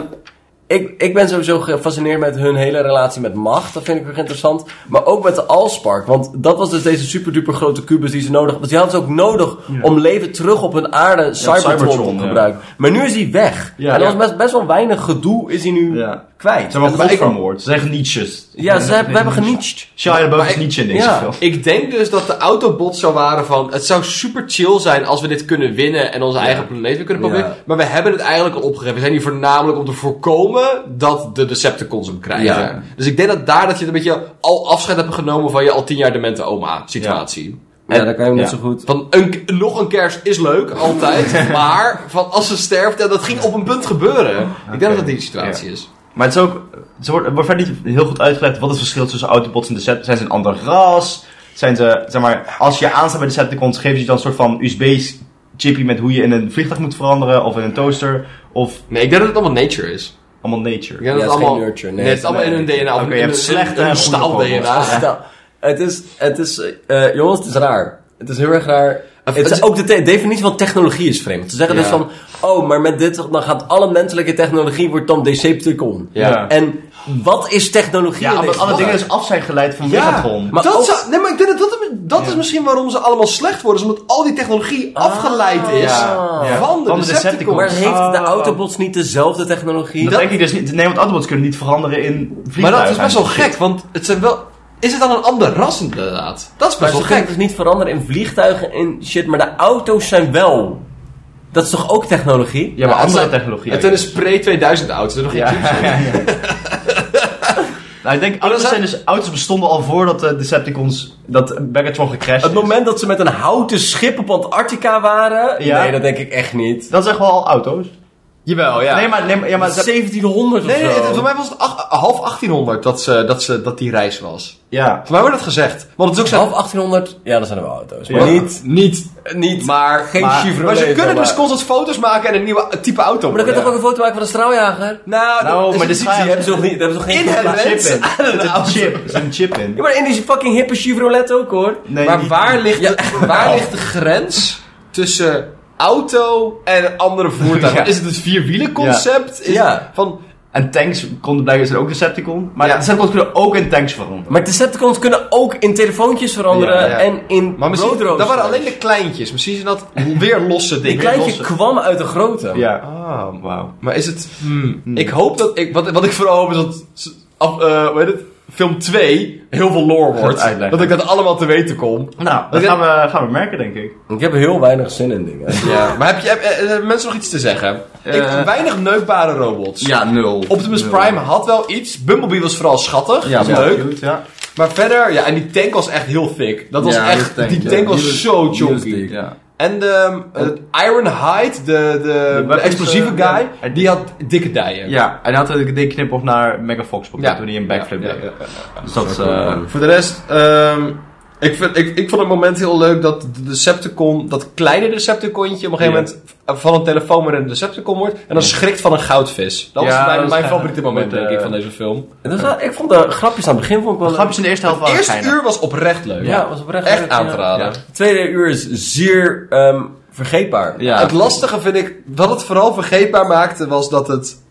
S3: ik, ik ben sowieso gefascineerd met hun hele relatie met macht. Dat vind ik erg interessant. Maar ook met de Allspark. Want dat was dus deze superduper grote kubus die ze nodig hadden. Want die hadden ze ook nodig om leven terug op hun aarde Cybertron,
S1: Cybertron,
S3: te
S1: ja.
S3: gebruiken. Maar nu is die weg.
S1: Ja,
S3: en er
S1: ja.
S3: was best, best wel weinig gedoe is hij nu
S1: Ja.
S3: kwijt.
S1: Ze hebben
S3: En dat
S1: God
S3: is-
S1: vermoord. Ze zeggen Nietzsche's.
S3: Ja, ze hebben, we hebben genietst.
S1: Shia LaBeouf is Nietzsche in deze
S3: Ja.
S1: film.
S4: Ik denk dus dat de autobots zou waren van... Het zou super chill zijn als we dit kunnen winnen en onze eigen planeet weer kunnen proberen.
S3: Ja.
S4: Maar we hebben het eigenlijk al opgegeven. We zijn hier voornamelijk om te voorkomen dat de Decepticons hem krijgen.
S3: Ja.
S4: Dus ik denk dat daar dat je het een beetje al afscheid hebt genomen van je al tien jaar demente oma situatie.
S3: Ja, dan kan je hem net
S1: Ja.
S3: zo goed.
S4: Van een, nog een kers is leuk, altijd. maar van als ze sterft, ja, dat ging op een punt gebeuren. Ik denk dat dat die situatie is.
S1: Maar het is ook, het wordt, het wordt verder niet heel goed uitgelegd wat het verschil is tussen Autobots en de Decepticons. Zijn ze een ander ras? Zijn ze, zeg maar, als je aanstaat bij de Decepticons, geven ze je dan een soort van USB-chippie met hoe je in een vliegtuig moet veranderen, of in een toaster, of
S4: Nee, ik denk dat het allemaal nature is.
S1: allemaal
S4: Ik
S1: nature.
S4: denk
S3: Ja, het
S4: dat het
S3: is geen
S4: allemaal,
S3: nurture, nee.
S4: nee, het is allemaal in hun DNA. of
S1: Oké,
S4: in
S1: je hebt
S4: een-
S1: slechte
S4: een
S1: en
S4: staal
S1: goede
S4: DNA.
S3: Stel, Dus het is, het is eh, jongens, het is raar. Het is heel erg raar. Het
S4: het
S3: is
S4: is-
S3: ook de te- definitie van technologie is vreemd. Ze zeggen dus van, oh, maar met dit dan gaat alle menselijke technologie wordt dan Decepticon.
S1: Ja.
S3: En wat is technologie?
S1: Ja,
S3: in
S1: omdat
S3: deze
S1: alle dingen
S3: gevallen?
S1: dus af zijn geleid van
S4: Ja,
S1: Megatron.
S3: Maar
S4: dat
S3: ook-
S4: zou- nee, maar ik denk dat dat, dat is misschien waarom ze allemaal slecht worden. Is omdat al die technologie afgeleid is
S1: Ja.
S4: van de
S1: Van de
S4: Decepticons.
S1: Decepticons.
S3: Maar heeft
S1: Ah.
S3: de Autobots niet dezelfde technologie?
S1: dat, denk ik dus niet. Nee, want Autobots kunnen niet veranderen in vliegtuigen.
S4: Maar dat is best wel
S1: en
S4: gek,
S1: shit.
S4: want het zijn wel... Is het dan een ander ras inderdaad? Dat
S3: maar ze
S4: is best wel
S3: kunnen
S4: gek.
S3: dus niet veranderen in vliegtuigen en shit, maar de auto's zijn wel. Dat is toch ook technologie?
S1: Ja, maar
S4: het
S1: andere
S4: zijn-
S1: technologie.
S4: Het zijn een spray 2000 auto's, er nog geen
S1: Ja,
S4: chips.
S1: ja, ja. nou, ik denk, auto's,
S4: zijn-
S1: zijn dus, auto's bestonden al voordat de Decepticons, dat Megatron gecrashed
S3: Het
S1: is.
S3: moment dat ze met een houten schip op Antarctica waren?
S1: Ja.
S3: Nee, dat denk ik echt niet.
S1: Dat zijn gewoon auto's.
S4: Jawel, ja.
S1: Nee, maar, nee, maar, ja, maar ze-
S3: 1700
S4: Nee, nee,
S3: of zo.
S4: het- voor mij was het ach- half 1800 dat, ze, dat, ze, dat die reis was.
S1: ja.
S4: Voor mij wordt dat gezegd. Want het is ook zo...
S3: Half 1800, ja, dat zijn er wel auto's. Maar
S1: Ja.
S3: niet,
S4: niet,
S3: niet,
S4: maar... Geen
S3: maar-
S4: Chevrolet. Maar
S3: maar
S4: ze kunnen
S3: maar-
S4: dus constant foto's maken en een nieuwe type auto
S3: Maar dan kun je
S4: worden.
S3: toch ook een foto maken van een straaljager?
S4: Nou,
S1: Nou,
S4: dat-
S1: maar
S4: is-
S1: dit is-
S3: Die hebben ze nog niet, daar hebben ze nog geen
S4: Inherent.
S3: foto
S1: Chip
S3: laten
S1: in. Er zit een
S3: zien.
S1: chip. Er zit een chip in.
S3: Ja, maar in die fucking hippe Chevrolet ook hoor.
S1: Nee,
S4: maar
S1: niet-
S4: waar ligt,
S3: Ja.
S4: de, waar ligt de grens tussen auto en een andere voertuig?
S1: Ja.
S4: Is het het vierwielenconcept? Is
S3: Ja.
S4: het van...
S1: En tanks konden blijkbaar zijn ook Decepticon. Maar
S4: Ja.
S1: Decepticons kunnen ook in tanks veranderen.
S3: Maar Decepticons kunnen ook in telefoontjes veranderen
S1: Ja,
S4: ja.
S3: en in
S4: Maar misschien,
S3: roadroosters.
S4: dat waren alleen de kleintjes. Misschien zijn dat weer losse
S3: Die
S4: dingen.
S3: kleintje
S1: losse.
S3: kwam uit de grote.
S1: Ja.
S4: Ah,
S1: Wauw.
S4: maar is het... Hmm. Ik hoop dat... Ik, wat, wat ik vooral hoop is dat... s- Af, eh, hoe heet het? Film 2 heel veel lore wordt.
S1: uitleggen.
S4: Dat ik dat allemaal te weten kom.
S1: Nou, dat
S4: Oké.
S1: gaan we, gaan we merken, denk ik.
S3: Ik heb heel weinig zin in dingen.
S4: Ja. Maar heb je, heb, eh, hebben mensen nog iets te zeggen?
S1: Eh.
S4: ik, weinig neukbare robots.
S1: nul.
S4: Optimus Prime had wel iets. Bumblebee was vooral schattig.
S1: Ja,
S4: Ja, leuk.
S1: Cute, ja.
S4: Maar verder, ja, en die tank was echt heel thick. Dat was
S1: Ja,
S4: echt,
S1: die tank,
S4: die
S1: ja.
S4: tank was
S1: Die was-
S4: zo
S1: Ja.
S4: chunky. En de, Ironhide, de, de, de
S1: weapons,
S4: explosieve
S1: eh,
S4: guy,
S1: ja.
S4: die had dikke dijen.
S1: Ja, en hij had een dikke knip op naar Mega Fox
S4: Ja.
S1: toen hij een backflip
S4: Ja,
S1: deed.
S4: ja, ja.
S1: Dus dat is... eh,
S4: Voor de rest, ehm, ik, vind, ik, ik vond het moment heel leuk dat de Decepticon, dat kleine Decepticontje, op een gegeven
S1: Ja.
S4: moment eh, van een telefoon weer een Decepticon wordt. En dan schrikt van een goudvis. Dat
S1: Ja,
S4: was mijn,
S1: dat is
S4: mijn
S1: gaaf.
S4: favoriete moment,
S1: Met,
S4: denk
S1: eh,
S4: ik, van deze film.
S3: Dat is wel- ik vond de grapjes aan het begin vond ik wel leuk.
S1: grapjes in de eerste helft waren
S4: Het eerste
S1: geinig.
S4: uur was oprecht leuk.
S3: Ja, was oprecht
S4: Echt
S3: leuk,
S4: aan
S3: ja.
S4: te raden.
S3: Ja. Het tweede uur is zeer ehm, vergeetbaar.
S1: Ja.
S4: Het lastige vind ik, wat het vooral vergeetbaar maakte, was dat het.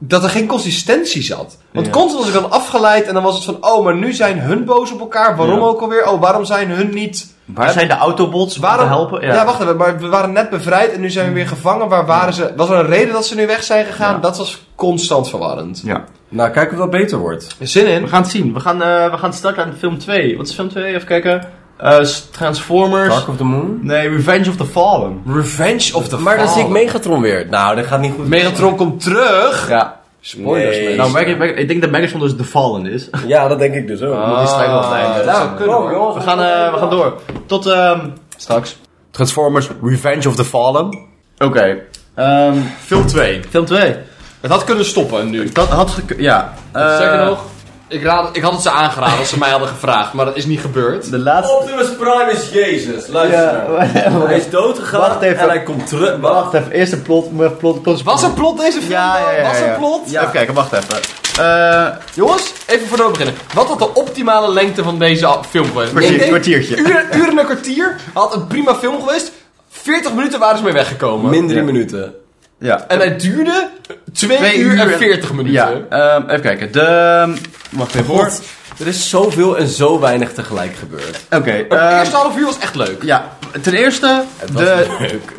S4: Dat er geen consistentie zat. Want
S1: Ja.
S4: constant was ik dan afgeleid en dan was het van... Oh, maar nu zijn hun boos op elkaar. Waarom
S1: Ja.
S4: ook alweer? Oh, waarom zijn hun niet...
S1: Waar zijn de Autobots om
S4: Waarom...
S1: te helpen? Hmm.
S4: Ja. wacht even. Maar we waren net bevrijd en nu zijn we weer gevangen. Waar waren ze... Was er een reden dat ze nu weg zijn gegaan?
S1: Ja.
S4: Dat was constant verwarrend.
S1: Ja.
S3: Nou, kijk of dat beter wordt.
S4: Zin in?
S1: We gaan het zien. We gaan, eh, we gaan starten aan film 2. Wat is film 2? Even kijken. Eh, s- Transformers.
S3: Dark of the Moon. Oh.
S1: Nee, Revenge of the Fallen.
S4: Revenge of the
S3: Maar dan zie ik
S4: Fallen.
S3: Megatron weer. Nou, dat gaat niet goed.
S4: Megatron komt terug.
S1: Ja.
S3: Spoilers, man.
S1: Nou, Meg- Meg- ik denk dat Megatron dus de Fallen is. Ah.
S3: Ja, dat denk ik dus ook.
S1: Die strijd wel zijn.
S4: nou, kunnen
S3: Kom,
S4: hoor.
S3: jongens,
S1: We gaan, eh, we gaan door. Tot ehm, straks.
S8: Transformers Revenge of the Fallen.
S1: Oké. Ehm,
S4: Film 2.
S1: film 2.
S4: Het had kunnen stoppen nu.
S1: Dat had gekund. Ja. Eh,
S4: Sterker nog, ik, raad, ik had het ze aangeraden als ze mij hadden gevraagd, maar dat is niet gebeurd.
S1: De laatste.
S3: Optimus Prime is Jezus. Luister. Hij is doodgegaan
S1: Wacht even.
S3: en hij komt terug. Wacht.
S1: Wacht even, eerst een plot. maar plot, plot
S4: Was er plot deze film?
S1: Ja, ja,
S4: dan?
S1: ja, ja.
S4: Was er plot?
S1: Ja. Even kijken, wacht even. Eh
S4: Jongens, even voordat we beginnen. Wat had de optimale lengte van deze a- film geweest?
S1: Kwartier-
S4: Ik denk,
S1: kwartiertje.
S4: Uur, uur en een kwartier had een prima film geweest. 40 minuten waren ze mee weggekomen.
S3: Min drie
S1: Ja.
S3: minuten.
S1: ja.
S4: En hij duurde 2 uur, en 40
S1: Ja,
S4: minuten.
S1: ehm, even kijken. De... Wacht even hoor.
S3: God, er is zoveel en zo weinig tegelijk gebeurd.
S1: Oké.
S4: Het
S1: ehm,
S4: eerste half uur was echt leuk.
S1: Ja, ten eerste, de,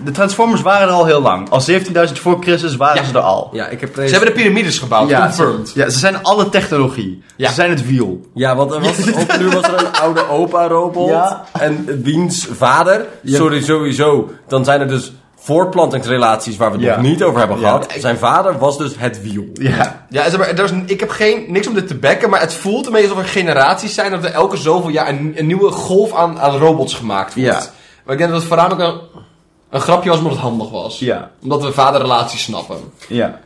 S1: de Transformers waren er al heel lang. Al 17.000 voor Christus waren
S4: Ja.
S1: ze er al.
S3: Ja, ik heb
S4: Ze hebben de piramides gebouwd,
S1: Ja,
S4: confirmed.
S1: ze, ja, ze zijn alle technologie.
S4: Ja.
S1: Ze zijn het wiel.
S3: Ja, want er was, op nu was er een oude opa-robot.
S1: Ja.
S3: En diens vader. Sorry, sowieso. Dan zijn er dus voortplantingsrelaties waar we het
S1: Ja.
S3: nog niet over hebben
S1: Ja.
S3: gehad. Zijn vader was dus het wiel.
S1: Ja.
S4: Ja, zeg maar, er is, ik heb geen, niks om dit te bekken, maar het voelt een beetje alsof er generaties zijn dat er elke zoveel jaar een, een nieuwe golf aan, aan robots gemaakt wordt.
S1: Ja.
S4: Maar ik denk dat het voornamelijk een, een grapje was omdat het handig was.
S1: Ja.
S4: Omdat we vaderrelaties snappen.
S1: Ja.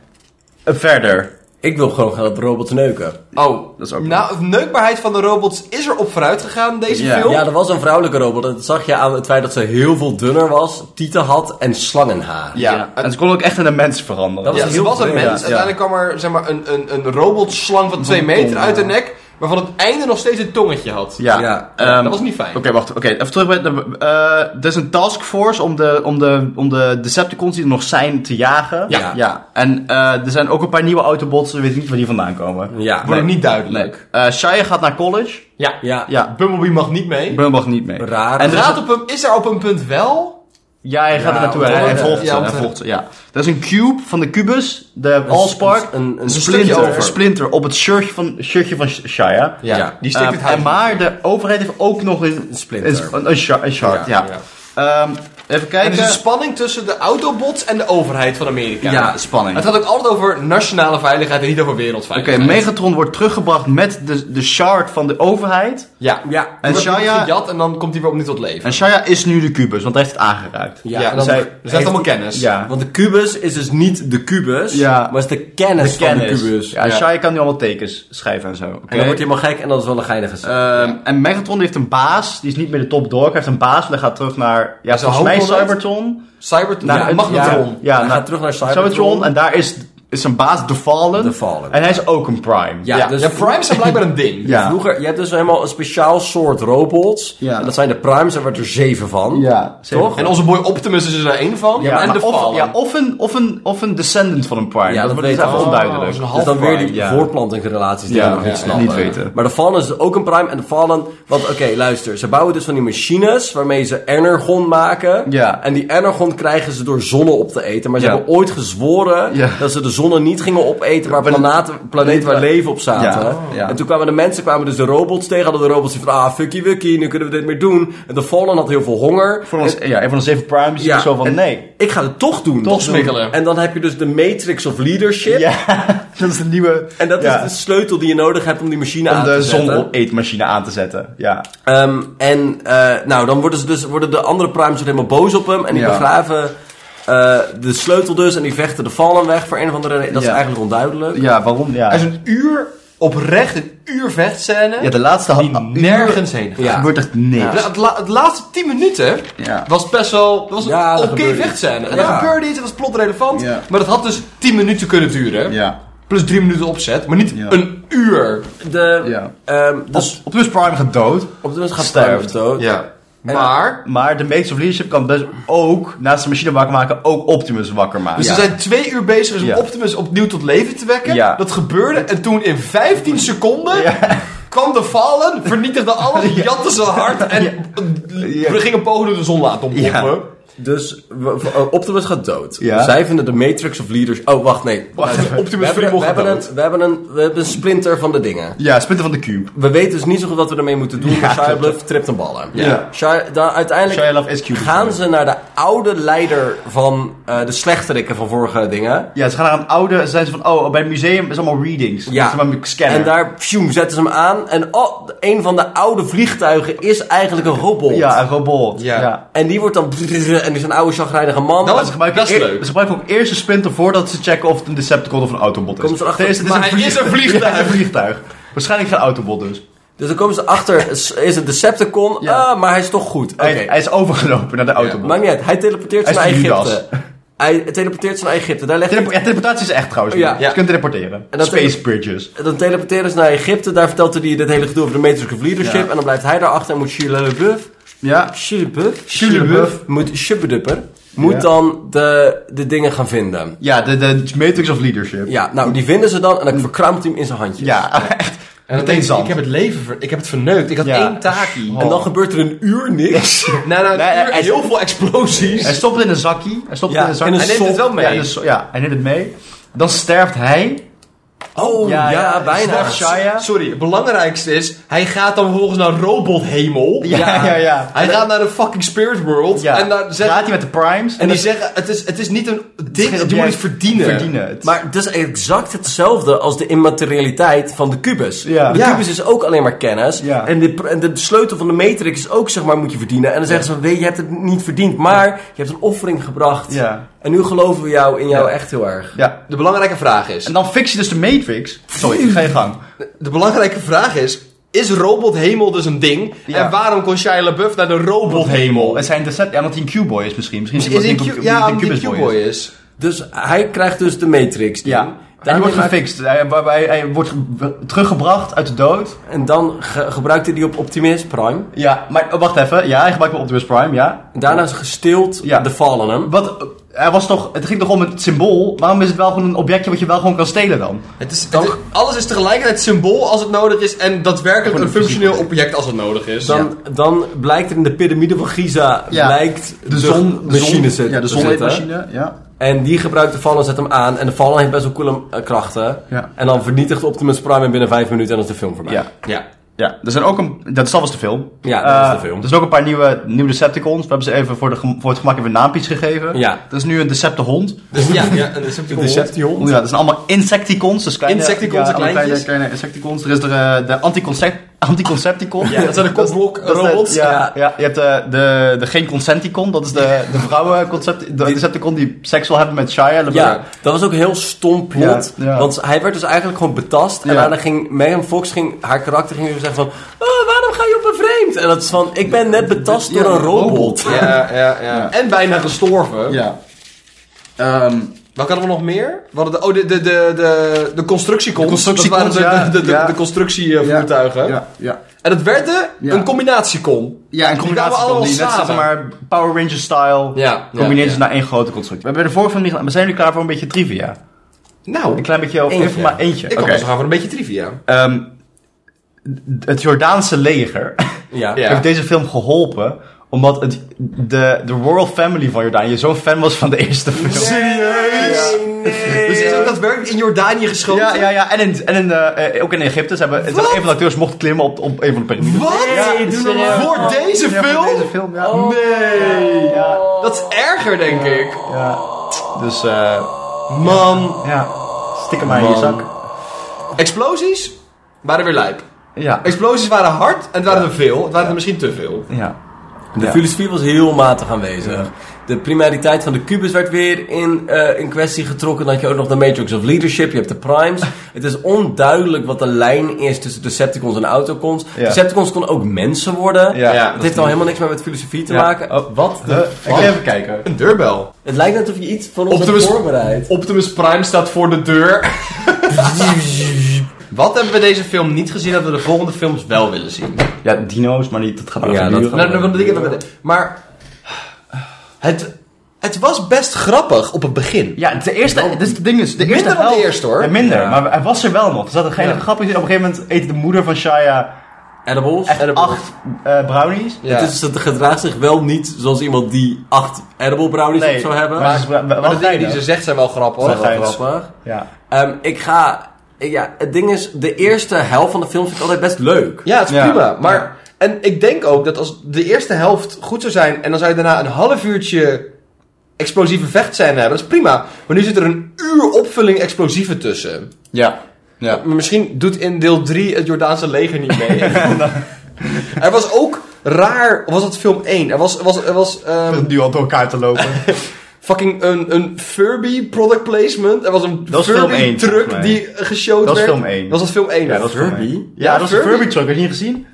S1: En verder.
S3: Ik wil gewoon gaan dat robots neuken.
S4: Oh,
S1: Dat is ook
S4: nou, de neukbaarheid van de robots is er op vooruit gegaan in deze
S1: Ja.
S4: film.
S3: Ja, er was een vrouwelijke robot. en Dat zag je aan het feit dat ze heel veel dunner was, tieten had en slangenhaar.
S1: Ja. En ze kon ook echt in een mens veranderen.
S3: Dat
S4: Ja,
S3: was
S4: ze
S3: heel
S4: was een
S3: vreemd,
S4: mens.
S3: ja.
S4: Uiteindelijk kwam er zeg maar, een, een, een robotslang van 2 meter uit de nek, waarvan het einde nog steeds een tongetje had.
S1: Ja.
S3: Ja,
S1: ehm,
S4: dat was niet fijn.
S1: Oké, wacht. Oké, even terug bij... de- eh, er is een taskforce om de, om, de, om de Decepticons die er nog zijn te jagen.
S3: Ja.
S1: ja. En eh, er zijn ook een paar nieuwe Autobots. We weten niet waar die vandaan komen.
S3: Ja.
S4: Wordt ook niet
S1: Nee.
S4: duidelijk.
S1: Eh, Shia gaat naar college.
S4: Ja.
S3: Ja.
S1: Ja.
S4: Bumblebee mag niet mee.
S1: Bumble niet mee.
S3: Raar.
S1: En er is,
S4: Raad op hem, is er op een punt wel?
S1: ja, hij gaat
S3: Ja,
S1: er naartoe.
S3: want
S1: Hij,
S3: dan-
S1: hij volgt
S4: ja,
S1: ze.
S4: want-
S1: hij volgt ze, ja. Er is een cube van de Cubus, de Allspark.
S3: een- een- een
S1: splinter,
S4: stukje over.
S1: een splinter op het shirtje van, shirtje van Sh- Shia.
S4: Ja,
S3: Ja.
S4: die steekt het
S1: Eh,
S4: huis.
S1: en maar de overheid heeft ook nog een,
S3: splinter.
S1: Een, sp- een, sha- een shard, ja. Ehm, even
S4: er
S1: kijken.
S4: is een spanning tussen de Autobots en de overheid van Amerika.
S1: ja, spanning.
S4: Het
S1: Oké,
S4: gaat ook altijd over nationale veiligheid en niet over wereldveiligheid.
S1: Megatron wordt teruggebracht met de, de shard van de overheid.
S4: Ja.
S3: Ja.
S1: En
S4: En
S1: Shia-
S4: gejat en dan komt hij weer opnieuw tot leven.
S1: En Shia is nu de Cubus, want hij heeft het aangeraakt.
S4: ja, en dan,
S1: zij-
S4: dus hij heeft allemaal kennis.
S1: Ja.
S3: Want de kubus is dus niet de kubus,
S1: Ja.
S3: maar is de kennis,
S1: De kennis.
S3: van de kubus.
S1: Ja, Shia kan nu allemaal tekens schrijven en zo. Oké.
S3: En dan wordt hij helemaal gek en dat is wel een geinige scène.
S1: Ehm, En Megatron heeft een baas, die is niet meer de top dog, hij heeft een baas, want hij gaat terug naar, ja, volgens mij
S4: hoofdrol uit?
S1: Cybertron.
S4: Cybertron,
S1: Naar-
S4: ja, Magnetron.
S1: Nou, Ja,
S3: hij
S1: naar-
S3: gaat terug naar Cybertron.
S1: Cybertron, en daar is, is zijn baas The Fallen.
S3: The Fallen.
S1: En hij is ook een Prime.
S3: Ja,
S4: Ja,
S3: dus
S4: ja, primes zijn blijkbaar een ding.
S1: Ja.
S3: vroeger, je hebt dus helemaal een speciaal soort robots.
S1: Ja.
S3: En dat zijn de primes, daar werd er zeven van.
S1: Ja, zeven.
S3: toch?
S4: En onze boy Optimus is er één van.
S1: Ja,
S4: en
S1: maar
S4: de
S1: of,
S4: Fallen.
S1: ja, of, een, of, een, of een descendant van een Prime.
S3: Ja, dat
S1: wordt is
S3: weten
S1: even
S3: we.
S1: onduidelijk.
S4: Oh, zo'n half
S3: Dus dan weer
S4: prime.
S3: die
S1: Ja.
S3: voortplantingsrelaties die
S1: Ja,
S3: we nog
S1: ja,
S3: niet
S1: ja,
S3: snappen.
S1: niet weten.
S3: Maar de Fallen is ook een prime. En de Fallen... Want oké, luister. Ze bouwen dus van die machines waarmee ze energon maken.
S1: Ja.
S3: En die energon krijgen ze door zonne op te eten. Maar ze
S1: Ja.
S3: hebben ooit gezworen
S1: Ja.
S3: dat ze de zonne niet gingen opeten. Maar planeten, planeten waar leven op zaten.
S1: Ja, ja.
S3: En toen kwamen de mensen, kwamen dus de robots tegen. Hadden de robots die van, ah, fucky wucky, nu kunnen we dit meer doen. En de Fallen had heel veel honger.
S1: Voor ons, ja, een van de zeven Primes is
S3: Ja.
S1: zo van,
S3: En-
S1: nee.
S3: Ik ga het toch doen. Dus-
S1: Toch
S4: smikkelen.
S3: En dan heb je dus de matrix of leadership.
S1: Ja, dat is een nieuwe...
S3: En dat
S1: ja,
S3: is de sleutel die je nodig hebt om die machine
S1: Om
S3: aan
S1: de
S3: te zetten.
S1: zon-eetmachine aan te zetten. Ja.
S3: Ehm, en eh, nou, dan worden, ze dus, worden de andere primes er helemaal boos op hem. En die
S1: Ja.
S3: begraven eh, de sleutel dus. En die vechten de vallen weg voor een of andere reden. Dat
S1: Ja.
S3: is eigenlijk onduidelijk.
S1: ja, waarom?
S4: Hij
S1: Ja.
S4: is een uur, oprecht een uur vechtscène.
S1: ja, de laatste
S4: die
S1: had,
S4: nergens heen gaat.
S3: Ja.
S1: gebeurt echt niks.
S4: Ja, Het, la- het laatste 10 minuten
S1: Ja.
S4: was best wel. Dat was
S3: Ja, er
S4: een oké
S3: gebeurde
S4: vechtscène. En
S3: Ja.
S4: er gebeurde iets, het was plot relevant.
S1: Ja.
S4: Maar dat had dus 10 minuten kunnen duren.
S1: Ja.
S4: Plus 3 minuten opzet, maar niet
S1: Ja.
S4: een uur.
S3: De,
S1: Ja.
S3: ehm, dus
S1: Optimus Prime gaat dood.
S3: op de mensen gaat
S1: Sterft.
S3: Prime dood.
S4: Maar.
S1: Maar de Mates of Leadership kan dus ook, naast de machine wakker maken, ook Optimus wakker maken.
S4: Dus
S1: ja.
S4: ze zijn twee uur bezig om
S1: Ja.
S4: Optimus opnieuw tot leven te wekken.
S1: Ja.
S4: Dat gebeurde en toen in 15 seconden kwam de Fallen, vernietigde alles, jatte zijn hart en
S1: Ja.
S4: we gingen pogingen door de zon laten ontploffen.
S1: Ja.
S3: Dus we- we- eh, Optimus gaat dood.
S1: Ja.
S3: Zij vinden de Matrix of Leaders... Oh, wacht, nee. we,
S4: Optimus
S3: hebben,
S4: Prime
S3: we,
S4: gaat
S3: hebben
S4: dood.
S3: een, we, hebben een, we hebben een splinter van de dingen.
S1: Ja, splinter van de Cube.
S3: We weten dus niet zo goed wat we ermee moeten doen.
S1: Ja,
S3: maar Shia
S1: klopt.
S3: Bluff tript een ballen.
S1: Ja.
S3: Shia- dan uiteindelijk
S1: Shia Love is cute.
S3: gaan ze naar de oude leider van eh, de slechterikken van vorige dingen.
S1: Ja, ze gaan naar een oude, ze zijn ze van, oh, bij het museum is allemaal readings.
S3: Ja.
S1: Ze hebben een scanner.
S3: En daar pjoem, zetten ze hem aan. En oh, een van de oude vliegtuigen is eigenlijk een robot.
S1: Ja, een robot. Ja.
S3: En die wordt dan... En die is een oude chagrijnige man.
S4: Dat
S1: Ze
S4: is-
S1: gebruiken
S4: dat is
S1: eer-
S4: Oh, leuk.
S1: Ze gebruiken ook eerst een splinter voordat ze checken of het een Decepticon of een Autobot is.
S3: Komen ze erachter-
S1: Nee, het
S4: maar hij is een vliegtuig.
S1: Ja, een vliegtuig. Waarschijnlijk geen Autobot dus.
S3: Dus dan komen ze achter, is is het Decepticon.
S1: Ja.
S3: Ah, maar hij is toch goed. Oké.
S1: Hij, hij is overgelopen naar de Autobot.
S3: Maakt niet uit. Hij teleporteert ze
S1: Hij
S3: naar
S1: is de
S3: Egypte.
S1: Judas.
S3: Hij teleporteert ze naar Egypte. Daar legt hij
S1: Telepo- ja, teleportatie is echt trouwens.
S3: Ja.
S1: Ja. Ze kunnen teleporteren.
S3: En dat-
S1: Space bridges.
S3: En Dan teleporteren ze naar Egypte. Daar vertelt hij dit hele gedoe over de Matrix of Leadership. En dan blijft hij daarachter en moet Shia LaBeouf...
S1: Ja.
S3: Shia LaBeouf?
S1: Shia LaBeouf.
S3: Moet, Shia LaBeouf moet
S1: Ja.
S3: dan de, de dingen gaan vinden.
S1: Ja, de, de Matrix of Leadership.
S3: Ja, nou, die vinden ze dan en dan verkrampt hij hem in zijn handjes.
S1: Ja, echt.
S4: En dan
S1: Meteen
S4: denk ik,
S1: zand.
S4: ik heb het leven, ver- ik heb het verneukt. Ik had
S1: Ja.
S4: één taakie.
S3: En
S1: Oh.
S3: dan gebeurt er een uur niks.
S4: Nou, nou,
S1: Nee,
S4: hier
S1: hij-
S4: heel veel explosies.
S1: Hij stopt het in een zakje. Hij stopt het
S3: Ja,
S1: in een zakje.
S3: en een
S1: hij neemt
S3: sok.
S1: het wel mee.
S4: Ja,
S1: Ja,
S4: in een
S1: hij neemt het mee. Dan sterft hij.
S4: Oh,
S1: Ja, ja,
S4: bijna.
S1: Wacht, Shia?
S4: Sorry, het belangrijkste is, hij gaat dan vervolgens naar robothemel.
S1: Ja, ja, ja.
S4: Hij gaat naar de fucking Spirit World.
S1: Ja.
S4: En daar zegt...
S1: Praat hij met de primes?
S4: En die zeggen, het is, het is niet een ding,
S1: geen
S4: je moet
S1: object.
S4: het verdienen.
S1: verdienen het.
S3: Maar dat is exact hetzelfde als de immaterialiteit van de kubus.
S1: Ja.
S3: De
S1: Ja.
S3: kubus is ook alleen maar kennis.
S1: Ja.
S3: En, de, pr- en de sleutel van de matrix is ook, zeg maar, moet je verdienen. En dan zeggen ze van, weet je, je hebt het niet verdiend, maar je hebt een offering gebracht.
S1: Ja.
S3: En nu geloven we jou in jou echt heel erg.
S1: Ja.
S4: De belangrijke vraag is,
S1: En dan fix je dus de Matrix. Sorry, ga je gang.
S4: de belangrijke vraag is, is robothemel dus een ding?
S1: Ja.
S4: En waarom kon Shia LaBeouf naar de robothemel?
S1: Het zijn de set... Ja, omdat hij een Q-boy is misschien. Misschien
S4: Is
S1: hij
S4: een
S1: een
S4: Q- ja, omdat hij
S1: Cubus
S4: Q-boy is.
S3: Dus hij krijgt dus de matrix.
S1: Ja. En die
S3: Daarmee
S1: wordt
S3: maakt-
S1: gefixt. Hij, hij, hij wordt ge- teruggebracht uit de dood.
S3: En dan ge- gebruikt hij die op Optimus Prime.
S1: Ja, maar oh, wacht even. Ja, hij gebruikt wel Optimus Prime, ja.
S3: En daarna is gestild
S1: Ja.
S3: de Fallen hem.
S1: Wat, eh, hij was toch, het ging toch om het symbool? Waarom is het wel gewoon een objectje wat je wel gewoon kan stelen dan?
S4: Het is, het is- alles is tegelijkertijd symbool als het nodig is en daadwerkelijk een functioneel object als het nodig is.
S3: Dus Dan, dan blijkt er in de piramide van Giza
S1: Ja.
S3: blijkt de,
S1: machine
S3: zonmachine zit-
S1: Ja, de
S3: te zitten.
S1: zonmachine, ja.
S3: En die gebruikt de Fallen, zet hem aan. En de Fallen heeft best wel coole eh, krachten.
S1: Ja.
S3: En dan vernietigt Optimus Prime hem binnen vijf minuten en dan is de film voorbij.
S1: Ja.
S4: ja.
S1: Ja, er zijn ook een... Dat is alvast de film.
S3: Ja, dat is de
S1: Eh,
S3: film.
S1: Er zijn ook een paar nieuwe, nieuwe Decepticons. We hebben ze even voor, de, gem- voor het gemak even naampjes gegeven.
S3: Ja.
S1: Dat is nu een Decepticon.
S4: Dus ja, ja, een Decepticon.
S1: Oh ja, dat zijn allemaal insecticons. Dus kleine,
S4: Insecticons,
S1: ja,
S4: de
S1: allemaal kleine,
S4: kleintjes.
S1: kleine insecticons. Er is er, eh, de anticoncept, anticoncepticon. Ja,
S4: dat zijn de kopblokrobots.
S1: Ja, ja. je hebt de, de, de geen consenticon. Dat is de, de vrouwenconcept, de Decepticon die seks wil hebben met Shia. LaBeouf.
S3: Ja, dat was ook een heel stom plot.
S1: Ja, ja.
S3: Want hij werd dus eigenlijk gewoon betast. En
S1: Ja.
S3: daarna ging Megan Fox, ging, haar karakter ging weer zeggen van... "Oh, waarom ga je op een vreemd? En dat is van, ik ben net betast door een robot.
S4: Ja, ja, ja. En bijna gestorven.
S1: Ja. Ehm,
S4: Welke hadden we nog meer? We hadden de, oh, de, de, de, de, de constructiecons.
S1: De constructiecons,
S4: Dat waren de,
S1: ja,
S4: de, de, de,
S1: ja.
S4: de constructievoertuigen.
S1: ja, ja.
S4: En dat werd de,
S1: Ja.
S4: een combinatiecon.
S1: Ja, en combinatie
S4: allemaal
S1: van die net
S4: samen.
S1: zeg maar Power Ranger style
S4: Ja,
S1: combineert
S4: ja,
S1: ze naar één grote constructie. We hebben de vorige film niet gedaan, maar zijn jullie klaar voor een beetje trivia?
S4: Nou,
S1: Een
S4: ik
S1: klein beetje over
S4: Eentje.
S1: eentje. maar eentje.
S4: kan
S1: Oké.
S4: ons gaan voor een beetje trivia.
S1: Ehm, d- het Jordaanse leger
S3: Ja.
S4: Ja.
S1: heeft deze film geholpen omdat het, de, de royal family van Jordanië zo'n fan was van de eerste film.
S4: Serieus? Dus is ook daadwerkelijk in Jordanië geschoten?
S1: Ja, ja, ja. En, in, en in, eh, eh, ook in Egypte. Ze hebben, ze hebben een van de acteurs mocht klimmen op, op een van de piramides.
S4: Wat?
S3: Nee, doe normaal.
S4: Voor deze
S1: Ja, voor
S4: film? Oh.
S1: Deze film, ja.
S4: Nee.
S1: Ja.
S4: Dat is erger, denk ik.
S1: Dus, eh
S4: Man.
S1: ja. Stik hem maar in je zak.
S4: Explosies waren weer lijp.
S1: Ja.
S4: Explosies waren hard en het waren er veel. Het waren er misschien te veel.
S1: Ja.
S3: De
S1: Ja.
S3: filosofie was heel matig aanwezig. De primariteit van de kubus werd weer in, eh, in kwestie getrokken. Dan had je ook nog de Matrix of Leadership, je hebt de Primes. het is onduidelijk wat de lijn is tussen Decepticons en Autocons.
S1: Ja.
S3: Decepticons kon ook mensen worden.
S1: Ja. Ja,
S3: het heeft al helemaal niks meer met filosofie te
S1: Ja.
S3: maken.
S1: Oh,
S3: wat? de
S1: Eh, ik ga even kijken.
S4: Een deurbel.
S3: Het lijkt net of je iets van ons hebt
S4: Optimus-
S3: voorbereid.
S4: Optimus Prime staat voor de deur. Wat hebben we deze film niet gezien dat we de volgende films wel willen zien?
S1: Ja, dino's, maar niet. Dat gaat
S3: Ja,
S1: over
S3: dat
S1: duren.
S3: gaat-
S4: Nou, nou, want ik heb het- maar het, het was best grappig op het begin.
S1: Ja, de eerste, dit is het ding is, de eerste
S4: Minder dan de
S1: helft-
S4: eerste, hoor.
S1: Ja, minder, maar hij was er wel nog. Er zat een geile grap in. Op een gegeven moment eet de moeder van Shia
S3: Edibles.
S1: echt
S3: Edibles.
S1: acht eh, brownies.
S4: Ja.
S3: Het, is, het gedraagt zich wel niet zoals iemand die acht edible brownies op zou hebben.
S1: maar ze- wel
S4: Maar de dingen die
S1: geinig.
S4: ze zegt zijn wel grappig.
S1: Wel
S4: hoor.
S1: geinig.
S3: Grappig.
S1: Ja.
S3: Ehm, ik ga... ik- Ja, het ding is, de eerste helft van de film vind ik altijd best leuk.
S4: Ja, het is
S1: Ja.
S4: prima. Maar, En ik denk ook dat als de eerste helft goed zou zijn... en dan zou je daarna een half uurtje explosieve vechtscène hebben... dat is prima. Maar nu zit er een uur opvulling explosieven tussen.
S1: Ja. Ja.
S4: Maar misschien doet in deel 3 het Jordaanse leger niet mee. er was ook raar... Was dat film 1? Er was... Er was, er was ehm,
S1: Nu al door elkaar te lopen.
S4: fucking een, een Furby product placement. Er was een
S1: Dat is film
S4: Furby
S1: één, volgens
S4: truck
S1: mij.
S4: die geshowd werd.
S1: Dat is film één.
S4: Dat was film 1.
S1: ja, dat is Furby. Ja, dat is een
S4: Furby.
S1: Furby truck. Heb je niet gezien?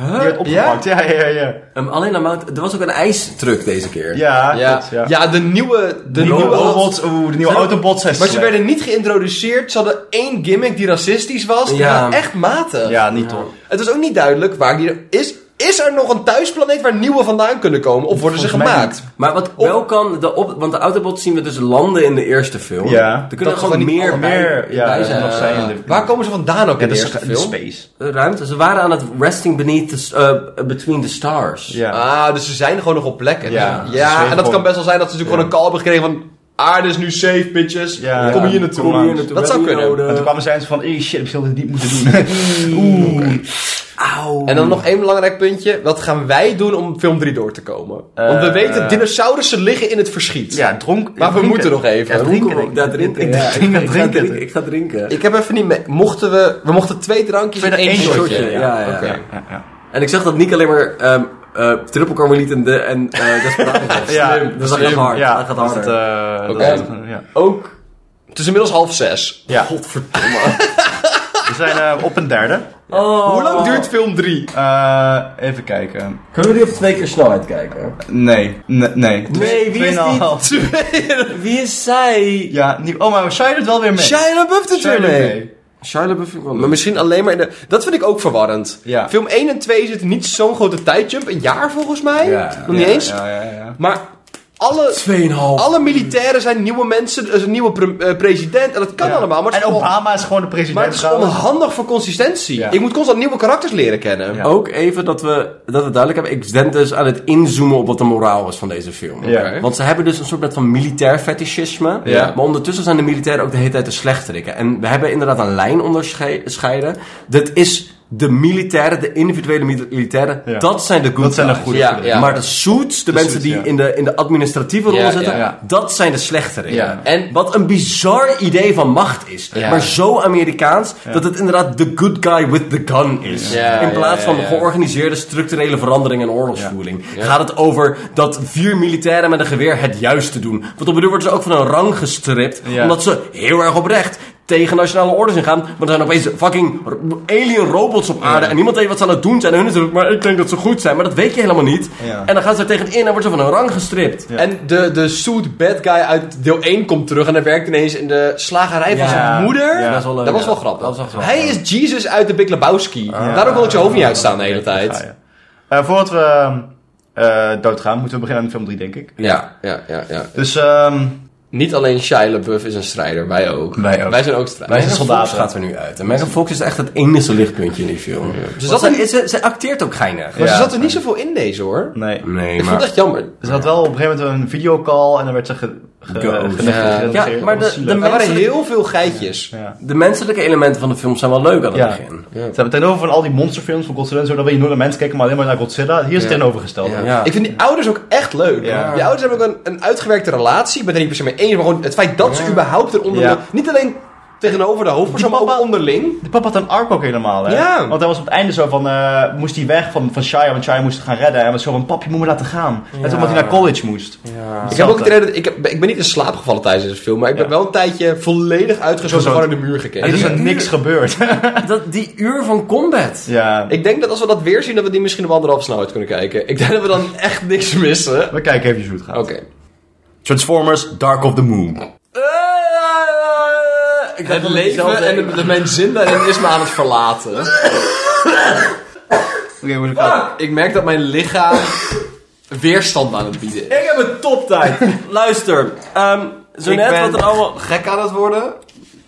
S1: Huh? Die werd opgepakt. Ja, ja, ja. Ja,
S3: Ehm, alleen aan Mount... Er was ook een ijstruck deze keer.
S1: ja,
S4: Ja,
S1: klopt,
S4: ja.
S1: ja.
S4: de nieuwe... De
S1: De nieuwe
S4: nieuwe
S1: robots, oeh, de nieuwe
S3: Zijn er-
S1: autobots zijn
S4: Maar ze
S1: slecht.
S4: werden niet geïntroduceerd. Ze hadden één gimmick die racistisch was.
S3: Ja.
S4: Ja. echt matig.
S1: Ja, niet toch.
S4: Het was ook niet duidelijk waar die... Is, is er nog een thuisplaneet waar nieuwe vandaan kunnen komen? Of worden ze
S1: Volgens mij
S4: gemaakt?
S3: Maar wat wel kan... De op, want de Autobots zien we dus landen in de eerste film.
S1: Ja.
S3: Er kunnen
S4: is
S3: gewoon
S4: gewoon niet
S3: meer, bij,
S1: Meer, ja,
S3: bij
S1: er
S3: zijn.
S1: zijn nog zijn in de...
S4: Waar komen ze vandaan ook
S1: Ja,
S4: in de
S1: dat is
S4: eerste
S1: de
S4: film?
S1: space.
S3: Eh, Ruimte. Ze waren aan het resting beneath the, s- eh, between the stars. Ehm,
S1: Ja.
S4: Ah, dus ze zijn gewoon nog op plekken.
S1: Ja,
S4: Dus-
S1: ze
S4: ja en dat
S1: zweven
S4: kan
S1: gewoon-
S4: best wel zijn dat ze natuurlijk gewoon een call hebben gekregen van...
S7: Aarde is nu safe, bitches.
S1: Ja,
S7: kom
S1: ja,
S7: hier naartoe.
S1: kom
S7: Kom hier
S1: langs.
S7: naartoe. Dat zou kunnen.
S1: En toen kwamen zij van, eh shit, ik zou dit niet moeten doen.
S4: En dan nog één belangrijk puntje. Wat gaan wij doen om film 3 door te komen? Want we
S1: Eh,
S4: weten, dinosaurussen liggen in het verschiet.
S1: ja, dronk.
S4: Maar we
S1: drinken.
S4: moeten nog even.
S1: Ja, drinken. denk ik.
S3: Ja, drinken.
S1: Ik
S3: ja.
S1: denk dat
S3: Ik ga
S1: drinken.
S3: drinken. Ik ga drinken.
S4: Ik heb even niet mee. Mochten we... We mochten twee drankjes en
S1: Verder
S4: één
S1: één
S4: shotje.
S1: shotje,
S3: Ja, ja, ja.
S4: Oké.
S1: Ja, ja.
S3: En ik zag dat Nick alleen maar ehm eh triple carmeliet en, de, en eh Desperado was.
S1: Ja,
S3: Slim. Dus dat gaat hard.
S1: Ja,
S3: dat gaat
S1: dat is
S3: harder.
S1: het, eh, dat
S4: Oké.
S1: is het, ja.
S4: Ook... Het is inmiddels half zes.
S1: Ja,
S3: Godverdomme.
S1: we zijn eh, op een derde.
S3: Oh.
S4: Hoe lang duurt film 3?
S1: Eh, even kijken.
S3: Kunnen we die op twee keer snelheid kijken?
S1: Nee, nee, nee.
S3: Nee, wie is
S1: Tweeënhalf.
S3: Wie is zij?
S1: Ja, niet, oh, maar Shai doet wel weer mee.
S4: Shia LaBeouf doet
S1: Shia
S4: weer
S1: doet
S4: mee.
S3: Shia LaBeouf vind ik wel leuk.
S4: Maar misschien alleen maar in de... Dat vind ik ook verwarrend.
S1: Ja.
S4: Film 1 en 2 zitten niet zo'n grote tijdjump. Een jaar volgens mij.
S3: Ja.
S4: Nog niet
S1: Ja,
S4: eens.
S1: Ja, ja, ja.
S4: Maar alle...
S3: Tweeënhalf.
S4: Alle militairen zijn nieuwe mensen, er is een nieuwe pre- eh, president en dat kan allemaal. Maar het
S1: En
S4: is, gewoon,
S1: Obama is gewoon de president.
S4: maar het is
S1: trouwens.
S4: onhandig voor consistentie.
S1: Ja.
S4: Ik moet constant nieuwe karakters leren kennen.
S1: Ja.
S3: Ook even dat we, dat we duidelijk hebben. Ik ben dus aan het inzoomen op wat de moraal was van deze film.
S1: Ja.
S4: Oké.
S3: Want ze hebben dus een soort met van militair fetischisme.
S1: Ja.
S3: Maar ondertussen zijn de militairen ook de hele tijd de slechterikken. En we hebben inderdaad een lijn onderscheiden. Dat is de militairen, de individuele militairen.
S1: Ja.
S3: Dat zijn de good
S1: Dat zijn de
S3: guys.
S1: goede
S4: Ja,
S1: goede.
S4: ja.
S3: Maar de suits, de, mensen
S1: suits,
S3: die
S1: ja.
S3: in, de, in de administratieve rol
S4: Ja,
S3: zitten,
S4: ja,
S1: ja.
S3: dat zijn de slechterikken.
S4: Ja. En-
S3: Wat een bizar idee van macht is.
S4: Ja.
S3: Maar zo Amerikaans dat het inderdaad de good guy with the gun is.
S4: Ja,
S3: in plaats
S4: ja,
S3: van
S4: ja, ja.
S3: georganiseerde structurele verandering en oorlogsvoering. Gaat het over dat vier militairen met een geweer het juiste doen. Want op bedoel worden ze ook van een rang gestript.
S1: Ja.
S3: Omdat ze heel erg oprecht tegen nationale orders ingaan. Maar er zijn opeens fucking r- alien robots op aarde. En niemand weet wat ze aan het doen zijn. En hun is het, maar ik denk dat ze goed zijn. Maar dat weet je helemaal niet.
S1: Ja.
S3: En dan gaan ze er tegenin en worden ze van hun rang gestript.
S1: Ja.
S4: En de, de suit bad guy uit deel 1 komt terug en hij werkt ineens in de slagerij van
S3: Ja.
S4: zijn moeder.
S1: Ja.
S3: Dat is wel leuk,
S4: Dat was
S3: ja.
S4: wel grappig.
S3: Dat was wel
S4: hij is Jesus uit de Big Lebowski. Daarom wil ik zijn hoofd niet uitstaan de hele
S1: Ah. Ja,
S4: tijd.
S1: ja. Eh, voordat we eh, doodgaan, moeten we beginnen aan film 3, denk ik.
S4: Ja, ja, ja, ja.
S1: Dus ehm
S4: Niet alleen Shia LaBeouf is een strijder, wij ook.
S1: Wij ook.
S4: zijn ook strijders.
S1: wij zijn
S3: Megan Fox
S1: soldaten.
S3: gaat er nu uit. En Megan Fox is echt het enige lichtpuntje in die film. Ze,
S4: zat
S3: zat ze, ze, ze acteert ook geinig.
S4: Maar
S1: Ja.
S4: ze zat er niet zoveel in deze hoor.
S1: Nee.
S3: Nee,
S4: Ik vond het echt jammer.
S1: Ze had wel op een gegeven moment een videocall en dan werd ze ge, ge,
S3: Ghost.
S1: genegd-
S4: Ja.
S1: gereduceerd.
S3: Ja, maar de-
S1: Zielig.
S3: de-
S4: Er waren
S3: Menselijk-
S4: heel veel geitjes.
S1: Ja.
S3: De menselijke elementen van de film zijn wel leuk aan het
S1: Ja.
S3: begin.
S1: Ze hebben tegenover van al die monsterfilms van Godzilla en zo, dan wil je nooit naar mensen kijken, maar alleen maar naar Godzilla. Hier is het tegenovergesteld.
S4: Ja.
S3: Ja.
S4: Ik vind die ouders ook echt leuk.
S1: Ja.
S4: Die ouders hebben ook een, een uitgewerkte relatie. Ik ben het er niet per se mee eens, maar gewoon het feit dat ze überhaupt eronder...
S1: Ja.
S4: Niet alleen tegenover de hoofdpersoon,
S1: Die
S4: maar ook
S1: papa-
S4: onderling.
S1: De papa had een arc ook helemaal, hè?
S4: Ja.
S1: Want hij was op het einde zo van, eh, moest hij weg van, van Shia, want Shia moest gaan redden. En was zo van, pap, je moet me laten gaan. Net omdat hij naar college moest.
S4: Ik heb ook het idee dat... Ik, heb- ik ben niet in slaap gevallen tijdens deze film, maar ik ben
S1: Ja.
S4: wel een tijdje volledig uitgezogen
S1: Gezocht.
S4: van in de muur
S1: En
S4: gekeken.
S1: er is er
S3: Die-
S1: niks gebeurd.
S3: Dat, die uur van combat.
S1: ja.
S4: Ik denk dat als we dat weer zien, dat we die misschien op anderhalf snelheid kunnen kijken. Ik denk dat we dan echt niks missen. Oké.
S1: We kijken even hoe het gaat. Transformers Dark of the Moon.
S3: Ik dacht
S4: Het
S3: dat zelf-
S4: leven en de, de- mijn zin daarin is me aan het verlaten.
S1: Oké, hoe het gaat.
S4: Ik merk dat mijn lichaam weerstand aan het bieden is.
S3: Ik heb een toptijd. Luister. ehm, zo net
S4: ben-
S3: wat er allemaal...
S4: Gek aan het worden.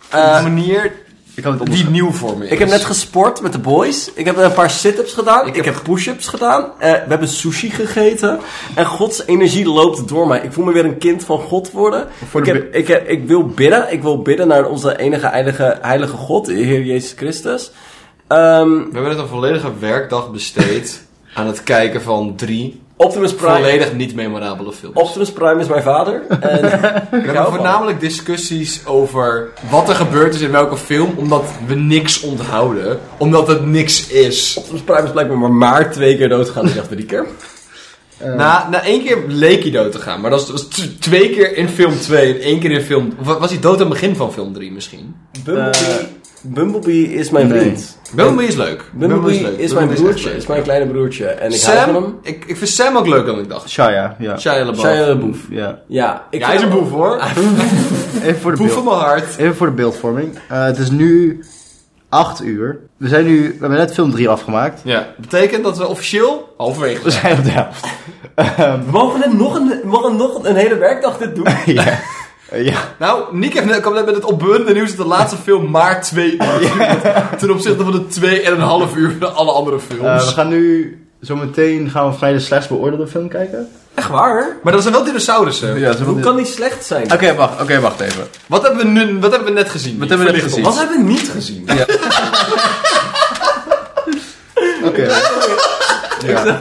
S3: eh,
S4: manier
S1: Ik kan het oplossen.
S4: die nieuw voor me is.
S3: ik heb net gesport met de boys. Ik heb een paar sit-ups gedaan. Ik, heb push-ups gedaan. Eh, we hebben sushi gegeten. En Gods energie loopt door mij. Ik voel me weer een kind van God worden.
S1: Voor
S3: ik,
S1: de
S3: heb, ik, heb- ik wil bidden. Ik wil bidden naar onze enige heilige, heilige God, de Heer Jezus Christus. Ehm,
S4: We hebben net een volledige werkdag besteed aan het kijken van drie
S3: Optimus Prime.
S4: volledig niet memorabele films.
S3: Optimus Prime is mijn vader. En
S4: we hebben voornamelijk discussies over wat er gebeurd is in welke film, omdat we niks onthouden. Omdat het niks is.
S3: Optimus Prime is dus blijkbaar maar, maar twee keer doodgegaan. Ik dacht drie keer.
S4: Na, na één keer leek hij dood te gaan, maar dat was, was t- twee keer in film 2 en één keer in film... Of was hij dood aan het begin van film 3 misschien?
S3: Bumblebee, Eh, Bumblebee is mijn vriend.
S4: Bumblebee is leuk.
S3: Bumblebee is,
S4: leuk.
S3: mijn
S4: Bumblebee
S3: broertje.
S4: echt
S3: Is,
S4: leuk.
S3: mijn kleine broertje. En ik hou van
S4: Sam,
S3: hem.
S4: ik, ik vind Sam ook leuker dan ik dacht.
S1: Shia, ja.
S4: Shia LaBeouf.
S3: Shia LaBeouf.
S1: ja.
S3: Ja, ik
S4: Ja, hij is een
S3: vind hem-
S4: boef hoor.
S1: Even voor de
S4: Boef van
S1: beeld.
S4: mijn hart.
S1: Even voor de beeldvorming. Eh, het is nu 8 uur. We zijn nu, we hebben net film 3 afgemaakt.
S4: Ja. Betekent dat we officieel halverwege
S1: We zijn op de helft.
S3: Mogen we nog een, mogen we nog een hele werkdag dit doen?
S1: ja. Eh, ja.
S4: Nou, Nick heeft net, kwam net met het opbeurende nieuws dat de laatste film maar twee uur duurt. Ten opzichte van de twee en een half uur van alle andere films.
S1: Eh, we gaan nu, zometeen gaan we vrij de slechts beoordeelde film kijken.
S3: Echt waar?
S4: Maar dat zijn wel dinosaurussen.
S1: Ja, ze
S3: Hoe
S1: hebben-
S3: kan die slecht zijn?
S4: Oké, wacht, oké, wacht even. Wat hebben, we nu, wat hebben we net gezien? Wat hebben we net gezien?
S3: Wat hebben we niet gezien?
S1: Oké.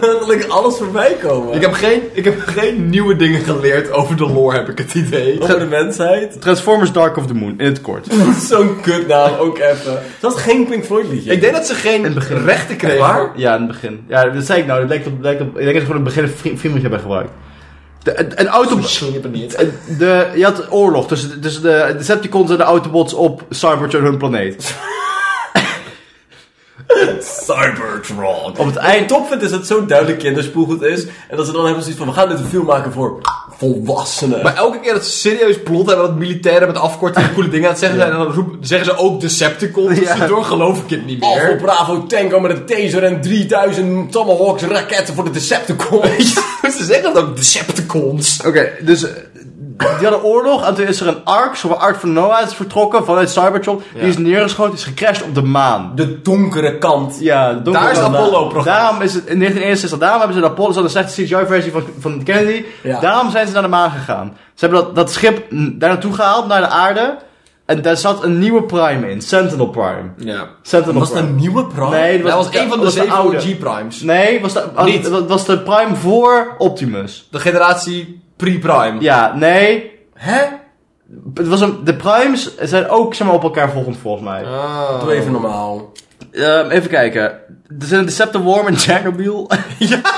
S3: Dat ik alles voorbij komen.
S4: Ik heb, geen, ik heb geen nieuwe dingen geleerd over de lore, heb ik het idee.
S3: Over de mensheid.
S1: Transformers Dark of the Moon, in het kort.
S3: Zo'n kutnaam ook even. Dat is geen Pink Floyd liedje.
S4: Ik denk dat ze
S1: het
S4: geen
S1: begin.
S4: rechten kregen.
S3: Waar?
S1: Ja, in het begin. Ja, dat zei ik nou. Dat lijkt op, lijkt op, ik denk dat ze gewoon in het begin een fri- friemeltje hebben gebruikt. De, een, een auto... De, je had oorlog tussen, tussen de Decepticons en de Autobots op Cybertron hun planeet.
S3: Cybertron. Op het eind top vindt is dat het zo duidelijk kinderspoelgoed is. En dat ze dan hebben zoiets van, we gaan dit een film maken voor volwassenen.
S4: Maar elke keer dat ze serieus plot hebben, dat militairen met afkorting coole dingen aan het zeggen zijn, en dan roepen- zeggen ze ook Decepticons. Dus daardoor geloof ik het niet
S3: Alfa
S4: meer.
S3: Bravo Tango met een taser en 3000 Tomahawks raketten voor de Decepticons.
S4: ze zeggen dat ook Decepticons.
S1: Oké, dus... eh, Die hadden oorlog en toen is er een ARC, zo'n Ark van Noah, is vertrokken vanuit Cybertron. Die is neergeschoten, is gecrashed op de maan.
S3: De donkere kant.
S1: Ja, donker
S4: Daar is
S1: dan-
S4: Apollo-programma.
S1: Daarom is het in 1961, daarom hebben ze de Apollo, ze hadden een slechte CGI-versie van, van Kennedy.
S3: Ja.
S1: Daarom zijn ze naar de maan gegaan. Ze hebben dat, dat schip mm, daar naartoe gehaald, naar de aarde. En daar zat een nieuwe Prime in, Sentinel Prime.
S4: Ja.
S1: Sentinel
S3: Was dat
S1: Prime.
S3: een nieuwe prank?
S1: Nee, dat
S4: Dat
S1: was,
S4: was een van de
S1: dat was
S4: zeven
S1: oude.
S4: OG-primes.
S1: Nee, was de,
S4: Niet.
S1: dat was de Prime voor Optimus.
S4: De generatie pre-prime.
S1: Ja, nee.
S4: Hè?
S1: Het was een, de Primes zijn ook zeg maar, op elkaar volgend volgens mij.
S3: Doe even normaal.
S1: Ehm, even kijken. Er zijn een Decepticon en Chernobyl.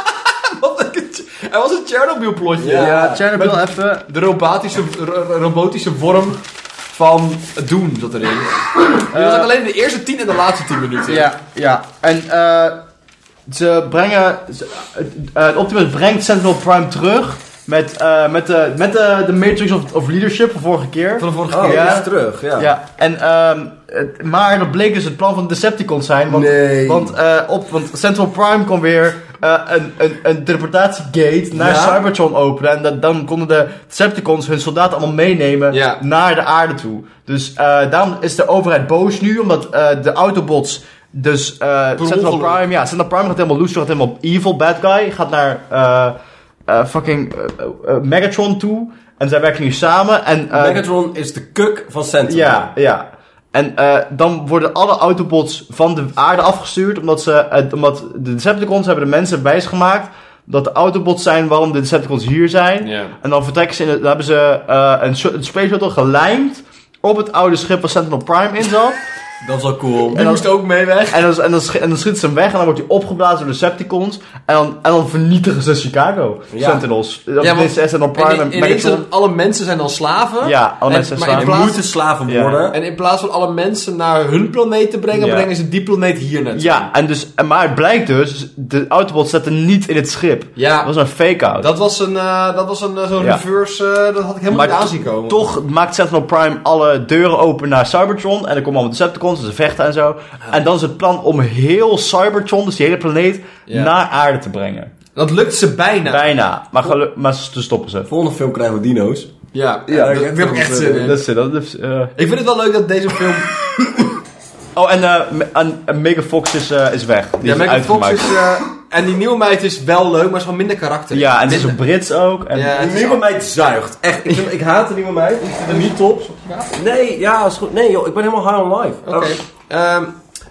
S4: Wat een- Er was een Chernobyl-plotje.
S3: Ja.
S1: ja, Chernobyl even.
S4: De robotische, ro- ro- robotische vorm van Doom zat erin. Die was ook alleen in de eerste 10 en de laatste 10 minuten.
S1: Ja, ja. En eh, ze brengen... Ze, eh, eh, Optimus brengt Sentinel Prime terug. Met, eh, met, de, met de, de Matrix of, of Leadership van vorige keer.
S4: Van de vorige
S1: Oh,
S4: keer.
S1: ja.
S4: Ja.
S1: is
S3: terug,
S1: ja, en, ehm, het- maar dat bleek dus het plan van de Decepticons zijn. Want,
S3: Nee.
S1: want, eh, op, want Central Prime kon weer eh, een, een, een teleportatiegate naar
S3: Ja.
S1: Cybertron openen. En dat, dan konden de Decepticons hun soldaten allemaal meenemen
S4: Ja.
S1: naar de aarde toe. Dus eh, daarom is de overheid boos nu, omdat eh, de Autobots... Dus eh Central
S4: ongeluk.
S1: Prime, ja, Central Prime gaat helemaal loose, gaat helemaal evil, bad guy, gaat naar eh, eh, fucking eh, eh, Megatron toe. En zij werken nu samen. En, eh,
S3: Megatron is de kuk van Sentinel.
S1: ja, ja. En eh, dan worden alle Autobots van de aarde afgestuurd, omdat, ze, eh, omdat de Decepticons hebben de mensen wijsgemaakt dat de Autobots zijn waarom de Decepticons hier zijn. En dan vertrekken ze, in, het- dan hebben ze eh, een, so- een space shuttle gelijmd op het oude schip waar Sentinel Prime in zat.
S3: Dat is wel cool.
S1: En
S4: Die
S1: dan-
S4: moest ook mee weg.
S1: en, dan, en, dan, schi- en dan schieten ze hem weg en dan wordt hij opgeblazen door de Decepticons. En dan, en dan vernietigen ze Chicago,
S3: Ja.
S1: Sentinels. Ja,
S4: want-
S1: want, Sentinel Prime en,
S4: En in- ineens
S1: Megatron.
S4: zijn alle mensen zijn dan slaven.
S1: Ja, oh, alle
S4: En-
S1: mensen
S4: maar
S1: zijn slaven.
S4: in plaats-
S3: Moeten slaven
S1: Ja.
S3: worden.
S4: En in plaats van alle mensen naar hun planeet te brengen,
S1: Ja.
S4: brengen ze die planeet hier naartoe.
S1: Ja, en dus, en maar het blijkt dus, de Autobots zetten niet in het schip.
S4: Ja.
S1: Dat was een fake-out.
S4: Dat was een, eh, dat was een eh, zo'n
S1: Ja.
S4: reverse, eh, dat had ik helemaal
S1: Maar
S4: niet aanzien komen.
S1: Toch maakt Sentinel Prime alle deuren open naar Cybertron. En er komen allemaal Decepticons en ze vechten en zo. En dan is het plan om heel Cybertron, dus die hele planeet,
S4: Ja.
S1: naar aarde te brengen.
S4: Dat lukt ze bijna.
S1: Bijna. Maar, gelu- maar ze stoppen ze.
S3: Volgende film krijgen we dino's.
S4: Ja,
S3: Ja,
S4: ja, dat-
S3: ik-
S4: daar heb ik echt zin in.
S1: Dat is het. Dat is, eh.
S4: Ik vind het wel leuk dat deze film...
S1: Oh, en, eh, me- en, en Mega Fox is, eh, is weg. Die
S4: ja,
S1: is
S4: Megan Fox
S1: uitgemaakt.
S4: is... eh, en die nieuwe meid is wel leuk, maar is gewoon minder karakter.
S1: Ja, en het is ook Brits ook. En,
S4: Ja, het is-
S3: Nieuwe meid zuigt. Echt, ik, vind- ik haat de nieuwe meid. Ik vind hem niet top. Nee, ja, is goed. Nee joh, ik ben helemaal high on life. Oh.
S4: Oké. Ehm,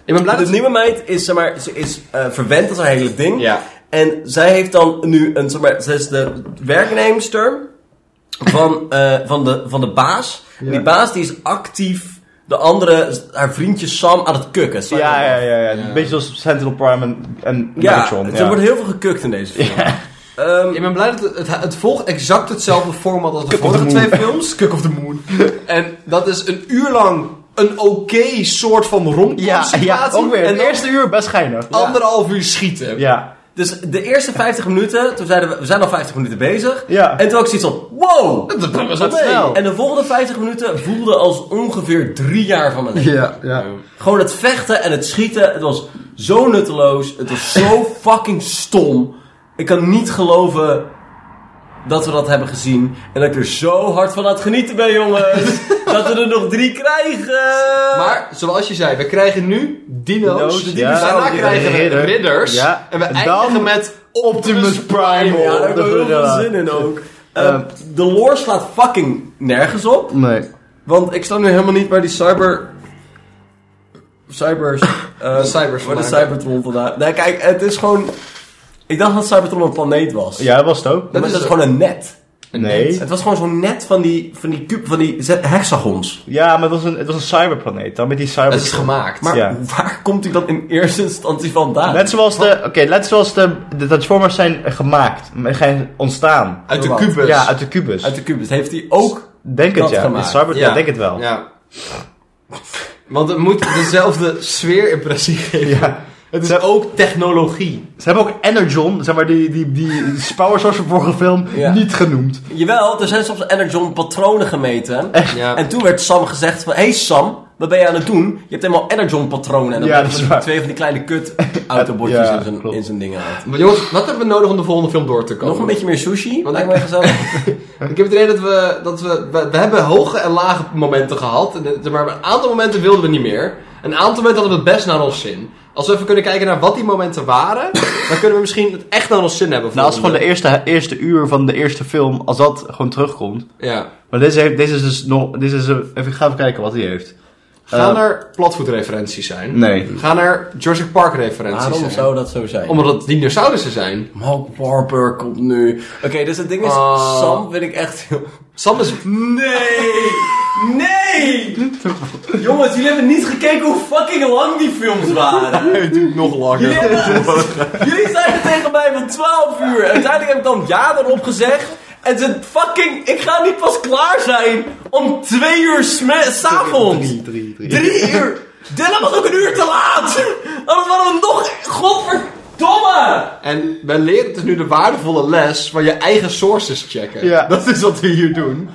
S4: ik ben blij
S3: De
S4: dat...
S3: nieuwe meid is, zeg maar, ze is eh, verwend, dat is haar hele ding.
S4: Ja.
S3: En zij heeft dan nu een, zeg maar, ze is de werknemster van, eh, van, de, van de baas. En die baas die is actief de andere, haar vriendje Sam aan het kukken. Sam-
S1: ja, ja, ja, ja. Een beetje zoals Sentinel Prime en, en
S3: Ja,
S1: Megatron.
S3: er wordt heel veel gekukt in deze film. Ehm,
S4: Ik ben blij dat het, het, het volgt exact hetzelfde format als de vorige twee films. Cook of the Moon. en dat is een uur lang een oké soort van romcom
S1: Ja, ja,
S4: situatie.
S1: ook weer.
S4: En
S1: Het
S4: dan
S1: eerste uur best geinig.
S4: anderhalf uur schieten.
S1: Ja.
S3: Dus de eerste 50 minuten, toen zeiden we, we zijn al 50 minuten bezig.
S1: Ja.
S3: En toen had ik zoiets van, wow!
S4: Dat was
S1: Dat snel.
S3: En de volgende 50 minuten voelde als ongeveer drie jaar van mijn leven.
S1: Ja, ja.
S3: Gewoon het vechten en het schieten, het was zo nutteloos. Het was zo fucking stom. Ik kan niet geloven dat we dat hebben gezien. En dat ik er zo hard van aan het genieten ben, jongens. dat we er nog drie krijgen.
S4: Maar zoals je zei, we krijgen nu dino's.
S1: Dino's, ja.
S4: de dinosauren, daarna krijgen we
S1: Ridder.
S4: ridders.
S1: Ja.
S4: En we
S1: En
S4: eindigen
S1: dan
S4: met Optimus Prime.
S3: ja, daar heb ik
S1: dat
S3: heel
S1: wil ik
S3: veel
S1: wel.
S3: zin in ook. Eh, de lore slaat fucking nergens op.
S1: Nee.
S3: Want ik snap nu helemaal niet waar die cyber... Cybers... eh,
S4: cybers
S3: Waar de
S4: vandaan.
S3: Cybertron vandaan... Nee, kijk, het is gewoon... Ik dacht dat Cybertron een planeet was.
S1: Ja, dat was het ook.
S3: Dat is het gewoon een net.
S1: Nee.
S3: Het was gewoon zo'n net van die, van die cube, van die ze- hexagons.
S1: Ja, maar het was een, het was een cyberplaneet. Dan met die
S4: Dat is
S1: cyber...
S4: gemaakt.
S3: Maar
S1: Ja.
S3: waar komt hij dan in eerste instantie vandaan?
S1: Net zoals de... Oké, net zoals de, de Transformers zijn gemaakt. Zijn ontstaan.
S4: uit de
S3: Wat?
S4: kubus.
S1: Ja, uit de kubus.
S3: Uit de kubus. Heeft hij ook...
S1: Denk het
S3: dat
S1: ja.
S3: gemaakt.
S1: Cyber...
S4: Ja.
S1: Ja. denk het wel.
S4: Ja. Want het moet dezelfde sfeerimpressie geven.
S1: Ja.
S4: Het is ook technologie.
S1: Ze hebben ook Energon, zeg maar die, die, die Power Source van vorige film,
S3: Ja.
S1: niet genoemd.
S3: Jawel, er zijn soms Energon patronen gemeten.
S4: Ja.
S3: En toen werd Sam gezegd van... Hé hey Sam, wat ben je aan het doen? Je hebt helemaal Energon patronen. En dan
S1: Ja,
S3: werd
S1: dat is
S3: hij
S1: waar.
S3: twee van die kleine kut autobotjes
S1: Ja,
S3: in zijn-
S1: klopt.
S3: in zijn dingen had.
S4: Maar jongens, wat hebben we nodig om de volgende film door te komen?
S3: Nog een beetje meer sushi?
S4: Want
S3: lijkt
S4: ik-
S3: mij gezellig.
S4: Ik heb het idee dat we, dat we, we, we hebben hoge en lage momenten gehad. En de- Maar een aantal momenten wilden we niet meer. Een aantal momenten hadden we het best naar ons zin. Als we even kunnen kijken naar wat die momenten waren, dan kunnen we misschien het echt naar ons zin hebben.
S1: Nou, als gewoon de
S4: volgende.
S1: eerste, eerste uur van de eerste film, als dat gewoon terugkomt.
S4: Ja.
S1: Maar deze, heeft, deze is dus nog... Deze is, een- even, ik ga even kijken wat hij heeft.
S4: Gaan
S1: Eh,
S4: er platvoetreferenties zijn?
S1: Nee.
S4: Gaan er Jurassic Park referenties
S3: Waarom
S4: zijn?
S3: zou dat zo zijn?
S4: Omdat het dinosaurussen zijn.
S3: Mark Warburg komt nu. Oké, dus het ding is,
S4: Oh.
S3: Sam vind ik echt heel...
S4: Sam is...
S3: Nee! Nee! Jongens, jullie hebben niet gekeken hoe fucking lang die films waren.
S4: Het duurt nog
S3: Jullie,
S4: langer.
S3: hebben, jullie zeiden tegen mij van 12 uur. En uiteindelijk heb ik dan ja erop gezegd. En ze fucking, ik ga niet pas klaar zijn om 2 uur sme- s'avonds.
S1: Drie, drie, drie.
S3: Drie uur! Dylan was ook een uur te laat! Anders waren we nog... Godverdomme!
S4: En wij leren dus nu de waardevolle les van je eigen sources checken.
S1: Ja.
S4: Dat is wat we hier doen.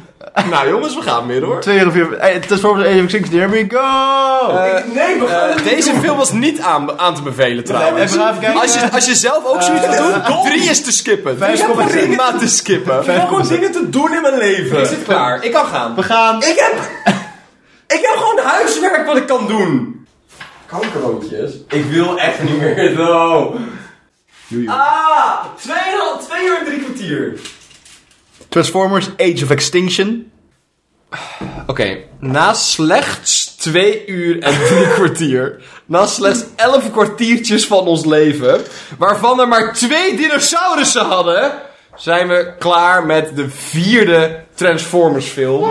S4: nou jongens, we gaan weer hoor.
S1: Twee uur of vier... Eh, Transformers Age of Extinction, here we go!
S4: Eh,
S3: Nee, we gaan het
S7: Deze film was niet aan, aan te bevelen trouwens.
S1: even even kijken.
S7: Als je, als je zelf ook zoiets
S1: Eh,
S7: wil doen, drie is te skippen. Drie
S1: heb gewoon
S7: is prima te skippen.
S3: Ik heb gewoon dingen te doen in mijn leven.
S4: Is het klaar? eh, Ik kan gaan.
S1: we gaan...
S3: Ik heb... Ik heb gewoon huiswerk wat ik kan doen. Kankerroodjes? Ik wil echt niet meer zo. Ah! Twee, twee uur en drie kwartier.
S1: Transformers Age of Extinction.
S4: Oké, na slechts twee uur en drie kwartier, na slechts elf kwartiertjes van ons leven, waarvan er maar twee dinosaurussen hadden, zijn we klaar met de vierde Transformers film.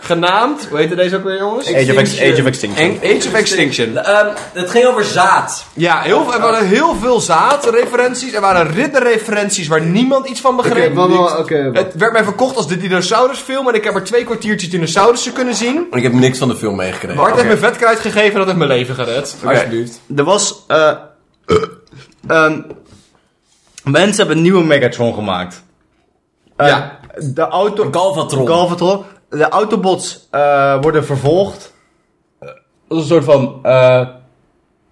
S4: Genaamd, hoe heette deze ook weer jongens?
S1: Age of, Ex- Age of Extinction.
S4: Eng- Age of Extinction.
S3: Ehm, het ging over zaad.
S4: Ja, heel, er waren heel veel zaadreferenties. Er waren ridderreferenties waar niemand iets van begreep. Het werd mij verkocht als de dinosaurusfilm. En ik heb er twee kwartiertjes dinosaurussen kunnen zien.
S3: Ik heb niks van de film meegekregen.
S4: Bart heeft me vetkruid gegeven. Dat heeft mijn leven gered. Alsjeblieft.
S1: Er was... eh, ehm, mensen hebben een nieuwe Megatron gemaakt. Eh,
S4: Ja.
S1: De auto...
S3: Galvatron.
S1: Galvatron. De Autobots eh, worden vervolgd. Eh, Dat is een soort van... eh,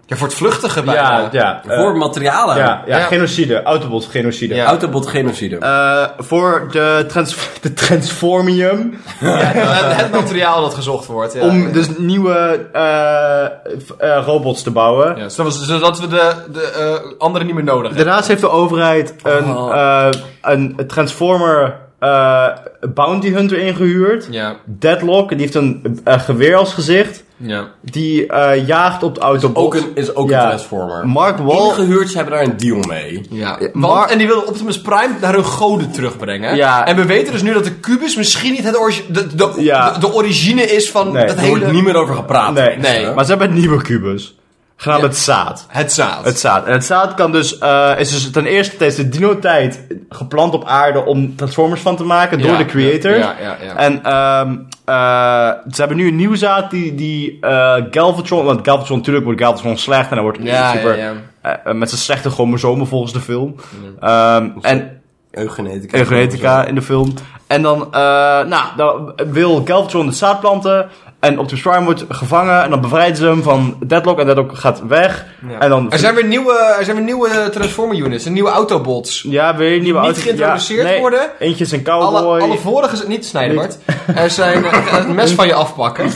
S4: Ja, voor het vluchtige bijna.
S1: ja, ja, eh,
S3: voor materialen.
S1: ja, ja,
S4: Ja.
S1: genocide. Autobots genocide.
S4: Ja.
S3: Autobot genocide.
S1: Eh, voor de, trans de Transformium.
S4: Het, het materiaal dat gezocht wordt. Ja.
S1: om dus nieuwe eh, v- eh, robots te bouwen.
S4: Ja, zodat, we- zodat we de, de eh, anderen niet meer nodig hebben.
S1: Daarnaast heeft de overheid een,
S3: Oh.
S1: eh, een Transformer eh, Bounty Hunter ingehuurd.
S4: Ja,
S1: Deadlock, die heeft een eh, geweer als gezicht.
S4: ja.
S1: Die eh, jaagt op de autobot.
S3: Dus ook een, is ook
S1: Ja.
S3: een Transformer.
S1: Mark Wall.
S3: Ingehuurd, ze hebben daar een deal mee.
S4: Ja, want,
S1: maar-
S4: en die wilden Optimus Prime naar hun goden terugbrengen.
S1: Ja.
S4: En we weten dus nu dat de kubus misschien niet het origi- de, de,
S1: Ja.
S4: de, de origine is van
S1: Nee.
S4: dat
S1: Er
S3: Er wordt
S4: hele...
S3: niet meer over gepraat.
S1: Nee.
S4: Nee.
S1: maar ze hebben een nieuwe kubus. Genaamd het zaad.
S4: Het zaad.
S1: Het zaad. En het zaad kan dus, eh, is dus ten eerste tijdens de dino-tijd geplant op aarde om Transformers van te maken door
S4: Ja,
S1: de creator.
S4: Ja, ja, ja.
S1: En ehm, eh, ze hebben nu een nieuw zaad die, die eh, Galvatron, want Galvatron natuurlijk wordt Galvatron slecht en hij wordt
S4: Ja,
S1: super,
S4: ja, Mm.
S1: eh, met zijn slechte chromosomen volgens de film. Ehm, en
S3: Eugenetica.
S1: eugenetica in de film. En dan, eh, nou, dan wil Galvatron het zaad planten. En Optimus Prime wordt gevangen en dan bevrijden ze hem van Deadlock en Deadlock gaat weg. En dan
S4: Er zijn weer nieuwe, er zijn weer nieuwe eh, Transformer units en nieuwe Autobots.
S1: ja, weer een nieuwe
S4: niet
S1: auto-
S4: geïntroduceerd
S1: ja, nee,
S4: worden.
S1: Eentje is een
S4: Alle,
S1: cowboy.
S4: alle vorige... z- Niet snijden, Bart. Er zijn... eh, ik ga het mes van je afpakken.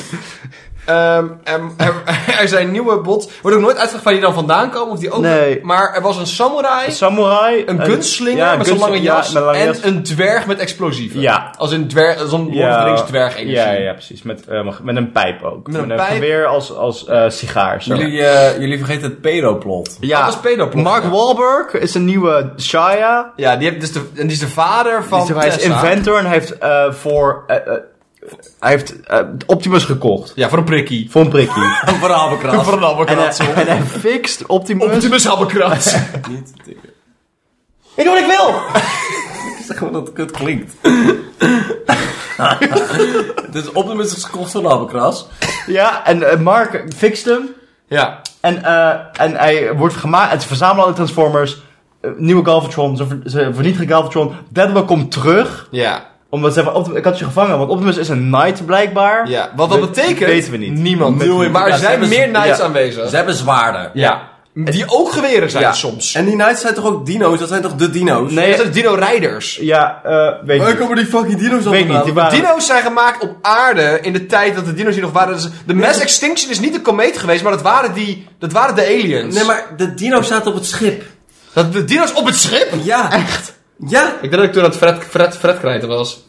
S4: Ehm, er, er- er zijn nieuwe bots. Wordt ook nooit uitgelegd waar die dan vandaan komen. Of die ook,
S1: Nee.
S4: Maar er was een samurai,
S1: Een samurai.
S4: een
S1: en-
S4: gunslinger
S1: Eh, ja,
S4: met zo'n lange
S1: gunslinger, ja,
S4: jas,
S1: met een lange
S4: en
S1: jas.
S4: een dwerg met explosieven.
S1: Ja.
S4: Als een dwerg, zo'n Lord of the Rings dwerg energie.
S1: ja, ja, precies. Met, eh, met een pijp ook.
S4: Met een pijp.
S1: geweer als, als eh, sigaar. zo.
S3: Jullie, eh, jullie vergeten het pedoplot.
S1: Ja,
S4: Dat is pedoplot.
S1: Mark Wahlberg is een nieuwe Shia.
S4: Ja, die, heeft dus de, en die is de vader van
S1: Hij is
S4: Tessa.
S1: inventor en hij heeft eh, voor... eh, eh, hij heeft eh, Optimus gekocht.
S4: Ja, voor een prikkie.
S1: Voor een prikkie.
S3: Een verhaalbekraas.
S4: Voor een
S1: en, hij,
S4: abbekrats.
S1: en hij fixt Optimus.
S4: Optimus Abbekrats.
S3: Ik doe wat ik wil! zeg maar dat het kut klinkt. dus Optimus is gekocht van Abekras.
S1: Ja, en eh, Mark fixt hem.
S4: ja.
S1: En, eh, en hij wordt gemaakt... Het verzamelen alle Transformers. eh, nieuwe Galvatron. Ze, ver- ze vernietigen Galvatron. Deadlock komt terug.
S4: Ja.
S1: Omdat ze van Optimus... Ik had je gevangen. Want Optimus is een knight blijkbaar.
S4: Ja, wat dat
S1: We-
S4: betekent...
S1: weten we niet.
S4: Niemand.
S1: Nul idee.
S4: maar
S3: Ja,
S4: er
S3: ze
S4: zijn
S3: hebben-
S4: meer knights
S1: ja.
S4: aanwezig.
S3: Ze hebben zwaarden.
S4: ja. Die ook geweren zijn
S3: Ja.
S4: soms.
S3: En die knights zijn toch ook dino's? Dat zijn toch de dino's?
S1: Nee,
S4: dat zijn dino-rijders.
S1: Ja, eh weet
S3: Waar
S1: ik niet.
S3: komen die fucking dino's
S1: Weet ik niet. Die waren...
S4: Dino's zijn gemaakt op aarde in de tijd dat de dino's hier nog waren. Dus de mass extinction is niet een komeet geweest, maar dat waren, die, dat waren de aliens.
S3: Nee, maar de dino's zaten op het schip.
S4: Dat de dino's op het schip?
S3: Ja. Echt? Ja.
S4: Ik denk dat ik toen aan het Fred, Fred, Fred krijten was.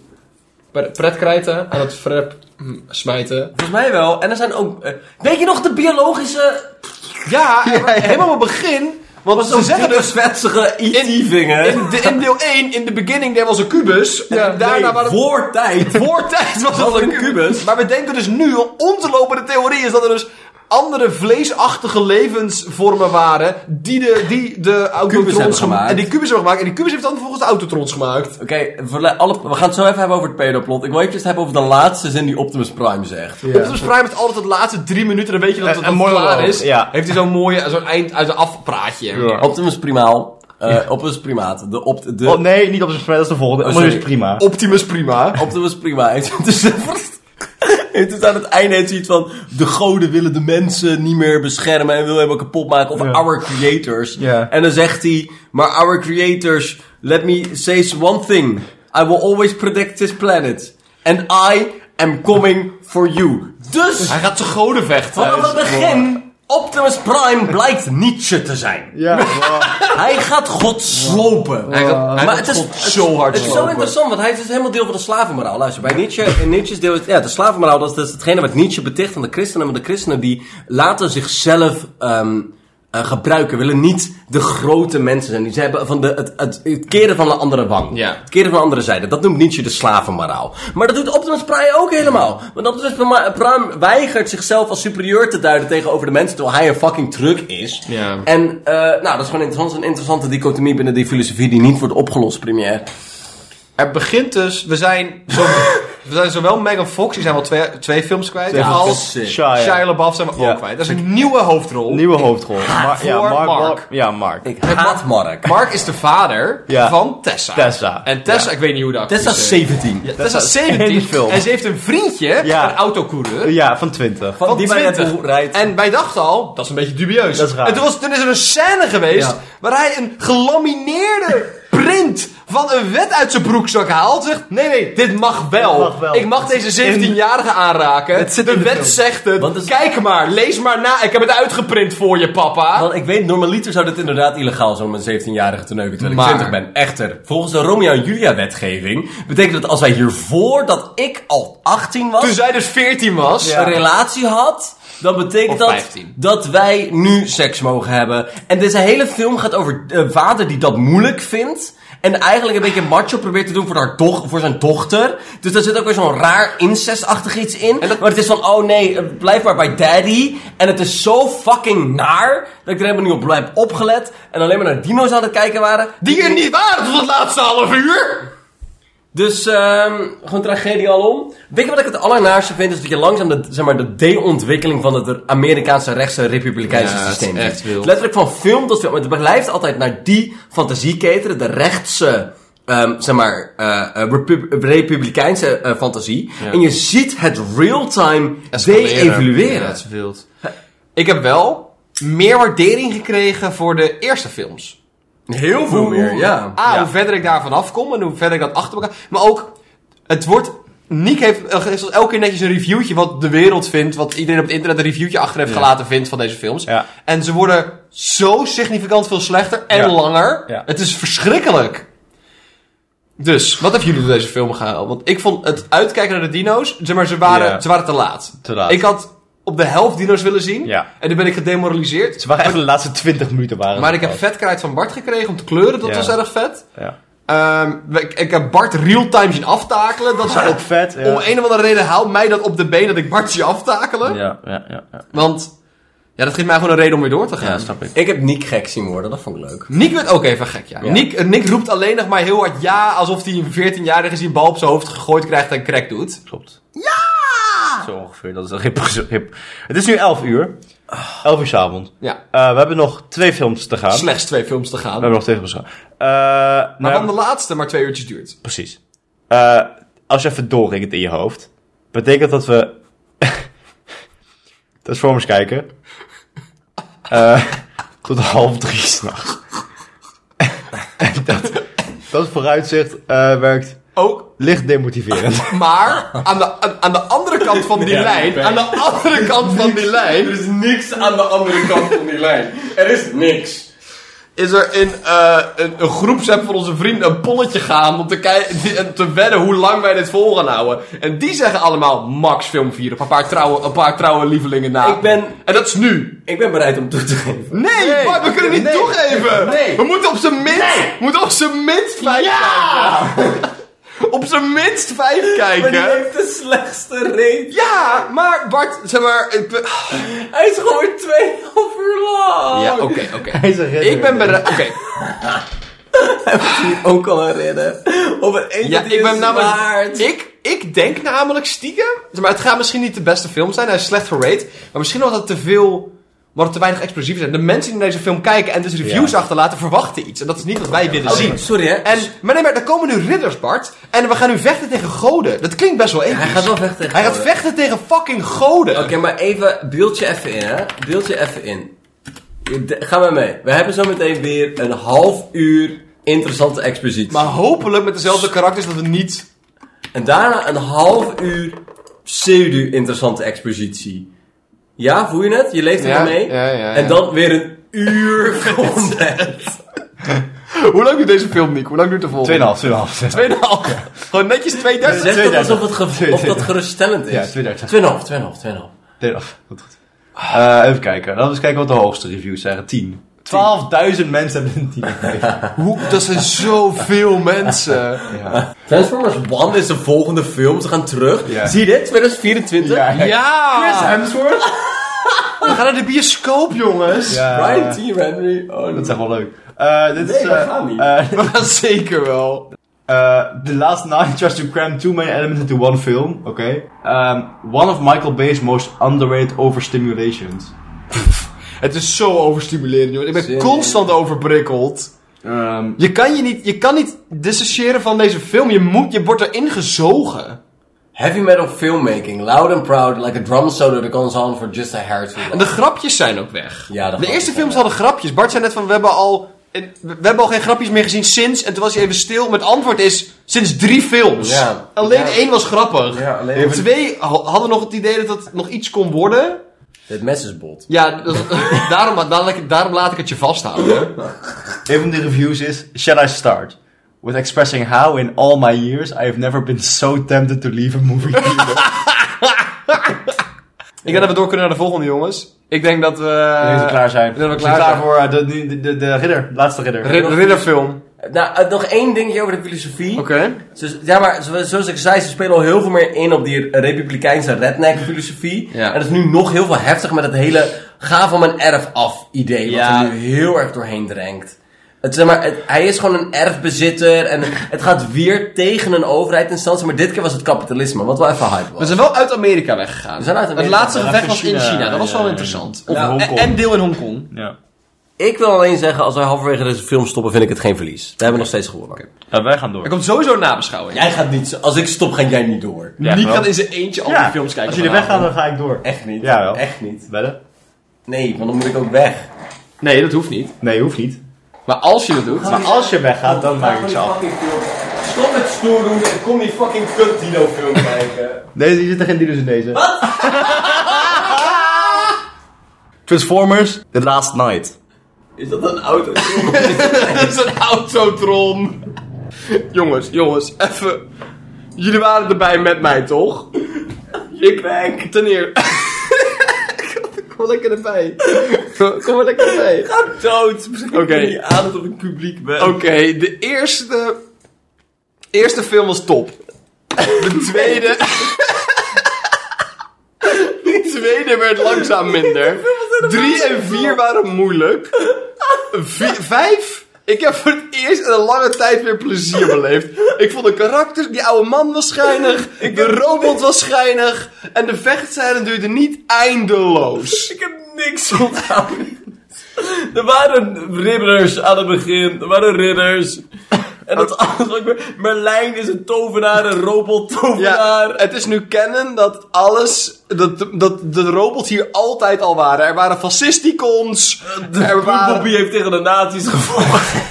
S4: Pre- Pret krijten, aan het Fred hm, smijten.
S3: Volgens mij wel. En er zijn ook... eh, weet je nog de biologische...
S4: Ja, en- helemaal op het begin. Want ze
S3: Zo'n
S4: zeggen
S3: dikke,
S4: dus
S3: zwetsige IT-vinger.
S4: in, de, in deel 1, in the beginning, there was a cubus. en daarna waren het...
S3: voor tijd.
S4: Voor tijd
S3: Was
S4: was het een
S3: een
S4: kubus.
S3: kubus.
S4: Maar we denken dus nu, onze lopende theorie is dat er dus andere vleesachtige levensvormen waren die de, die de
S3: hebben
S4: autotrons
S3: gemaakt.
S4: En die kubus hebben gemaakt. En die kubus heeft dan vervolgens de autotrons gemaakt.
S3: Oké, verle- alle- we gaan het zo even hebben over het pedoplot. Ik wil even het hebben over de laatste zin die Optimus Prime zegt.
S4: Optimus Prime heeft altijd de laatste drie minuten, dan weet je dat het
S1: Een- een
S4: dat klaar
S1: monoloog,
S4: is.
S1: ja.
S4: Heeft hij zo'n mooie, zo'n eind uit de afpraatje.
S3: Optimus Primaal. eh, Optimus Primaat. De, opt, de,
S1: Oh, nee, niet op zijn dat is de volgende.
S3: Oh,
S1: maar nu
S3: sorry.
S1: is prima.
S4: Optimus prima.
S3: Optimus Prima heeft dus, heeft dus aan het einde heeft zoiets van... De goden willen de mensen niet meer beschermen en willen hem kapot maken. Of our creators.
S1: Ja.
S3: En dan zegt hij... Maar our creators, let me say one thing. I will always protect this planet. And I am coming for you. Dus,
S4: Hij gaat te goden vechten.
S3: vanaf het begin... Optimus Prime blijkt Nietzsche te zijn.
S1: Ja,
S3: Hij gaat God slopen.
S4: Hij gaat- hij
S3: maar
S4: gaat
S3: het is
S4: God zo hard
S3: Het is zo
S4: slopen.
S3: interessant, want hij is dus helemaal deel van de slavenmoraal. Luister, bij Nietzsche, in Nietzsche's deel is, ja, de slavenmoraal, dat is, dat is hetgene wat Nietzsche beticht aan de christenen. Maar de christenen die laten zichzelf ehm, eh, gebruiken, willen niet de grote mensen zijn. Die ze hebben van de, het, het, het keren van de andere wang.
S4: Ja.
S3: Het keren van de andere zijde. Dat noemt Nietzsche de slavenmoraal. Maar dat doet Optimus Prime ook helemaal. Want Optimus Prime weigert zichzelf als superieur te duiden tegenover de mensen, terwijl hij een fucking truck is.
S4: Ja.
S3: En eh, nou, dat is gewoon interessant. een interessante dichotomie binnen die filosofie die niet wordt opgelost, premier.
S4: Er begint dus, we zijn, zo, we zijn zowel Megan Fox, die zijn wel twee, twee films kwijt, als
S3: sick.
S1: Shia.
S4: Shia LaBeouf zijn we ook
S1: Ja.
S4: kwijt. Dat is een nieuwe hoofdrol.
S1: Nieuwe hoofdrol. Maar, ja,
S4: Ah, voor
S1: Mark.
S4: Mark.
S1: Wahl- Ja, Mark.
S3: Ik haat Mark.
S4: Mark is de vader
S1: Ja.
S4: van Tessa.
S1: Tessa.
S4: En Tessa, ik weet niet hoe dat
S3: Tessa is 17.
S4: Ja, Tessa is
S1: Tessa is in de
S4: 17.
S1: film.
S4: En ze heeft een vriendje,
S1: Ja.
S4: een autocoureur.
S1: Ja, van 20.
S3: Van die bij Red
S4: 20.
S3: Bull rijdt.
S4: En wij dachten al, dat is een beetje dubieus.
S1: Dat is raar.
S4: En toen, was, toen is er een scène geweest
S3: Ja.
S4: waar hij een gelamineerde print van een wet uit zijn broekzak haalt. Zegt, nee, nee, dit mag wel.
S1: Dit mag wel.
S4: Ik mag deze 17-jarige aanraken. de wet zegt het.
S3: Want het is-
S4: Kijk maar, lees maar na. Ik heb het uitgeprint voor je, papa.
S3: Want ik weet, normaliter zou dit inderdaad illegaal zijn om een 17-jarige te neuken terwijl ik
S4: Maar-
S3: 20 ben. Echter, volgens de Romeo en Julia wetgeving betekent dat als wij hiervoor dat ik al 18 was,
S4: Toen zij dus 14 was.
S3: een relatie had, dan betekent
S4: Of
S3: dat
S4: 15.
S3: dat wij nu seks mogen hebben. En deze hele film gaat over een vader die dat moeilijk vindt. En eigenlijk een beetje macho probeert te doen voor, haar doch, voor zijn dochter. Dus daar zit ook weer zo'n raar incestachtig iets in. Maar het is van, oh nee, eh, blijf maar bij daddy. En het is zo fucking naar dat ik er helemaal niet op blijf opgelet. En alleen maar naar dino's aan het kijken waren.
S4: Die er niet waren tot het laatste half uur.
S3: Dus ehm gewoon tragedie alom. Weet je wat ik het allernaarste vind? Is dat je langzaam de, zeg maar, de deontwikkeling van het Amerikaanse rechtse republikeinse
S4: Ja, het is
S3: systeem
S4: echt
S3: ziet.
S4: wild.
S3: Letterlijk van film tot film. Het blijft altijd naar die fantasie cateren. De rechtse ehm, zeg maar, eh, eh, repub- republikeinse eh, fantasie. En je ziet het real-time
S4: Ja,
S3: de-evalueren.
S4: dat is wild. Ik heb wel meer waardering gekregen voor de eerste films.
S3: Heel veel meer, ja.
S4: Ah, hoe verder ik daarvan afkom en hoe verder ik dat achter elkaar... Maar ook, het wordt... Nick heeft eh, geeft ons elke keer netjes een reviewtje wat de wereld vindt. Wat iedereen op het internet een reviewtje achter heeft gelaten vindt van deze films.
S7: Ja.
S4: En ze worden zo significant veel slechter en
S7: Ja.
S4: langer.
S7: Ja.
S4: Het is verschrikkelijk. Dus, wat hebben jullie door deze film gehaald? Want ik vond het uitkijken naar de dino's, zeg maar, ze waren,
S7: Ja.
S4: ze waren te laat.
S7: Te laat.
S4: Ik had op de helft dino's willen zien.
S7: Ja.
S4: En toen ben ik gedemoraliseerd.
S7: Ze waren echt de laatste 20 minuten waren.
S4: Maar
S7: ze
S4: ik heb
S7: fout.
S4: vetkrijt van Bart gekregen om te kleuren. Dat
S7: Ja.
S4: was erg vet.
S7: Ja.
S4: Ehm, ik, ik heb Bart real-time zien aftakelen. Dat is
S7: Ook vet. Ja.
S4: Om een of andere reden haalt mij dat op de been dat ik Bart zie aftakelen.
S7: Ja, ja, ja, ja.
S4: Want ja, dat geeft mij gewoon een reden om weer door te gaan.
S7: snap ik.
S3: Ik heb Nick gek zien worden, dat vond ik leuk.
S4: Nick werd ook even gek, ja. Nick, eh, Nick roept alleen nog maar heel hard ja, alsof hij een 14-jarige die een bal op zijn hoofd gegooid krijgt en crack doet.
S7: Klopt. Ja! Zo ongeveer, dat is een hip, hip. Het is nu 11 uur. 11 uur 's avond.
S4: Ja,
S7: Eh, we hebben nog twee films te gaan.
S4: slechts twee films te gaan.
S7: We hebben nog twee films te gaan. Eh, nou,
S4: Waarvan de laatste maar twee uurtjes duurt.
S7: Precies. Eh, als je even doorrekent in je hoofd, betekent dat we Transformers kijken Eh, tot half drie s'nachts. en dat, dat vooruitzicht eh, werkt
S4: Ook,
S7: licht demotiverend.
S4: maar aan de, aan, aan de andere kant van die lijn, aan de andere kant van die lijn,
S2: Er is niks aan de andere kant van die lijn. Er is niks.
S4: is er in eh, een, een groepsapp van onze vrienden een polletje gaan om te, kei- die- en te wedden hoe lang wij dit vol gaan houden. En die zeggen allemaal max film 4 op een paar trouwe, een paar trouwe lievelingen na.
S3: Ik ben-
S4: En dat is nu.
S3: Ik ben bereid om toe te geven.
S4: Nee, maar we kunnen niet toegeven. We moeten op zijn minst, we moeten op zijn minst vijf kijken. op zijn minst vijf
S3: Maar die
S4: kijken.
S3: heeft de slechtste reet.
S4: Ja, maar Bart, zeg maar... Ik ben...
S3: Hij is gewoon 2,5 uur lang.
S4: Ja, oké, oké. Oh. Ik ben bereid... Oké.
S3: Die ook al een redden. Op een eentje
S4: Ja,
S3: die
S4: ik ben
S3: is
S4: namelijk.
S3: waard.
S4: Ik, ik denk namelijk stiekem. zeg Maar het gaat misschien niet de beste film zijn. Hij is slecht gerate. Maar misschien omdat het te veel. Omdat het te weinig explosief zijn. De mensen die naar deze film kijken en dus reviews achterlaten verwachten iets. En dat is niet wat wij willen zien.
S3: Sorry hè.
S4: En, maar nee, maar er komen nu ridders, Bart. En we gaan nu vechten tegen goden. Dat klinkt best wel episch.
S3: hij gaat wel vechten tegen
S4: Hij gaat
S3: goden.
S4: vechten tegen fucking goden.
S3: Oké, maar even, beeld je even in, hè? Beeld je even in. Je- de- Ga maar mee. We hebben zo meteen weer een half uur interessante expositie.
S4: Maar hopelijk met dezelfde karakters dat we niet...
S3: En daarna een half uur pseudo-interessante expositie. Ja, voel je het? Je leeft er
S4: Ja,
S3: mee?
S4: ja, ja, ja.
S3: En dan weer een uur content.
S4: Hoe lang duurt deze film, Nick? Hoe lang duurt de volgende?
S1: 2,5, 2,5.
S4: 2,5. Gewoon netjes 2,30.
S3: Zeg dat alsof het ge- of dat geruststellend
S1: Ja,
S3: is.
S1: 2,30.
S3: 2,5, 2,5, 2,5.
S1: 2,5. oh, Goed, goed. Eh, even kijken. Laten we eens kijken wat de hoogste reviews zijn. 10. 12.000 mensen hebben een 10 gegeven.
S4: Hoe, dat zijn zoveel mensen.
S3: Transformers 1 is de volgende film. Ze gaan terug.
S1: Ja.
S3: Zie je dit? 2024.
S4: Ja!
S1: Hemsworth?
S4: We gaan naar de bioscoop, jongens.
S3: Brian T. Henry. Oh,
S1: Dat is echt wel leuk. Eh, dit is,
S3: Nee, dat
S1: eh,
S3: gaat niet.
S1: eh,
S4: We gaan zeker wel.
S1: Uh, the last nine tries to cram too many elements into one film. Okay. Um, one of Michael Bay's most underrated overstimulations.
S4: Het is zo overstimulerend, jongens. Ik ben
S3: Serieus?
S4: constant overprikkeld.
S1: Um,
S4: Je kan je niet, je kan niet dissociëren van deze film. Je, moet, je wordt erin gezogen.
S3: Heavy metal filmmaking, loud and proud, like a drum solo that goes on for just a hair too
S4: En
S3: long.
S4: de grapjes zijn ook weg.
S3: Ja, de
S4: de
S3: grapjes
S4: eerste
S3: zijn
S4: films hadden grapjes. Bart zei net van, we hebben al... We hebben al geen grapjes meer gezien sinds. En toen was hij even stil. Maar het antwoord is, sinds drie films.
S3: Ja.
S4: Alleen
S3: Ja.
S4: één was grappig.
S3: Ja, alleen-
S4: Even- Twee ha- hadden nog het idee dat het nog iets kon worden.
S3: Het mes is bot.
S4: Ja, dat- daarom, daarom, daarom laat ik het je vasthouden.
S1: een van de reviews is: Shall I start? With expressing how, in all my years, I have never been so tempted to leave a movie theater.
S4: Ik denk dat we door kunnen naar de volgende, jongens. Ik denk dat we...
S1: Eh, Nu we klaar zijn.
S4: dat we
S1: Zijn
S4: klaar zijn.
S1: voor eh, de, nu- de, de, de ridder, laatste ridder.
S4: Ri- Ridderfilm.
S3: Nou, eh, nog één dingetje over de filosofie.
S4: Oké.
S3: Ze- ja, maar zo- zoals ik zei, ze spelen al heel veel meer in op die republikeinse redneck-filosofie.
S4: Ja.
S3: En dat is nu nog heel veel heftig met het hele ga van mijn erf af idee.
S4: Ja.
S3: Wat er nu heel erg doorheen drenkt. Het, zeg maar, het- hij is gewoon een erfbezitter en het gaat weer tegen een overheidinstantie. Maar dit keer was het kapitalisme, wat wel even hype was.
S4: We zijn wel uit Amerika weggegaan.
S3: We zijn uit Amerika.
S4: Het laatste
S1: Ja,
S4: gevecht
S1: van
S4: was in
S1: China,
S4: China. Dat was
S1: ja,
S4: wel
S1: ja,
S4: interessant.
S1: ja.
S4: Of-
S1: Ja,
S4: en-
S1: Hongkong.
S4: En deel in Hongkong.
S1: Ja.
S3: Ik wil alleen zeggen, als wij halverwege deze film stoppen, vind ik het geen verlies. We hebben nog steeds gewonnen.
S9: Ja, wij gaan door.
S4: Er komt sowieso een nabeschouwing.
S3: Jij gaat niet, zo- als ik stop, ga jij niet door.
S9: Ja,
S4: Niek
S9: wel.
S4: gaat in zijn eentje al die films kijken.
S1: als jullie
S4: vanavond.
S1: weggaan, dan ga ik door.
S3: Echt niet.
S1: Ja, wel.
S3: Echt niet.
S1: Bellen?
S3: Nee, want dan moet ik ook weg.
S4: Nee, dat hoeft niet.
S1: Nee, hoeft niet.
S4: Maar als je dat doet...
S1: Maar als je weggaat, dan maak ik ze af.
S3: Stop met stoer doen en kom die fucking kut Dino film kijken.
S1: Deze, hier zitten geen dino's in deze. Wat? Transformers, The Last Night.
S3: Is dat een auto?
S4: Het is een autotron. jongens, jongens, even. Jullie waren erbij met mij, toch? Ik ben. Ten eerste. Kom maar lekker erbij. Kom maar lekker erbij.
S3: Ga dood. Misschien
S4: Oké.
S3: okay. niet aan dat ik publiek ben.
S4: Oké, de eerste. Eerste film was top. De tweede. De tweede werd langzaam minder. Drie en vier waren moeilijk. Vi- vijf. Ik heb voor het eerst in een lange tijd weer plezier beleefd. Ik vond de karakter, die oude man was schijnig. De robot was schijnig. En de vechtscène duurde niet eindeloos.
S3: Ik heb niks onthouden. Er waren ridders aan het begin. Er waren ridders. En dat is alles wat ik weet. Merlijn is een tovenaar, een robot-tovenaar.
S4: Ja, het is nu kennen dat alles, dat, dat de robots hier altijd al waren. Er waren fascisticons, er waren...
S3: Bobby heeft tegen de nazi's gevochten.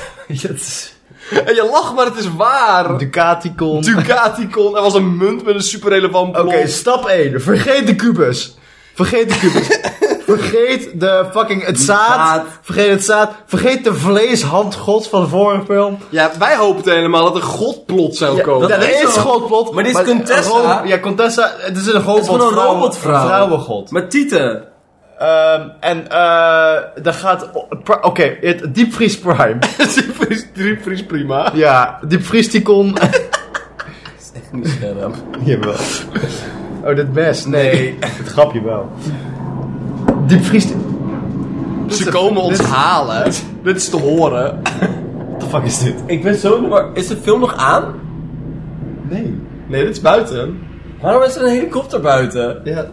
S4: En je lacht, maar het is waar.
S1: Ducaticon.
S4: Ducaticon, er was een munt met een superrelevant
S1: Oké,
S4: blok.
S1: stap 1. Vergeet de kubus. Vergeet de kubus. vergeet de fucking het zaad. Vergeet het zaad. Vergeet de vleeshandgod van de vorige film.
S4: Ja, wij hoopten helemaal dat er godplot zou komen.
S1: ja, dat
S3: is
S1: is
S3: wel-
S1: godplot.
S3: maar dit is Contessa.
S1: een ro- Ja, Contessa. Het is een robot.
S3: gewoon een
S1: vrouw-
S3: robotvrouw.
S1: een Vrouwengod.
S3: Met Tieten.
S1: Ehm, en eh daar gaat... o- pri- Oké, het diepvries prime.
S4: Diepvries prima.
S1: ja, diepvriesticon.
S3: Niet scherp.
S1: Jawel. Oh, dit best. Nee. Het grapje wel. Diepvries...
S4: Ze komen ons
S1: dit-
S4: halen. Dit is te horen.
S1: What the fuck is dit?
S3: Ik ben zo... Maar is de film nog aan?
S1: Nee.
S4: Nee, dit is buiten.
S3: Waarom is er een helikopter buiten?
S1: Ja.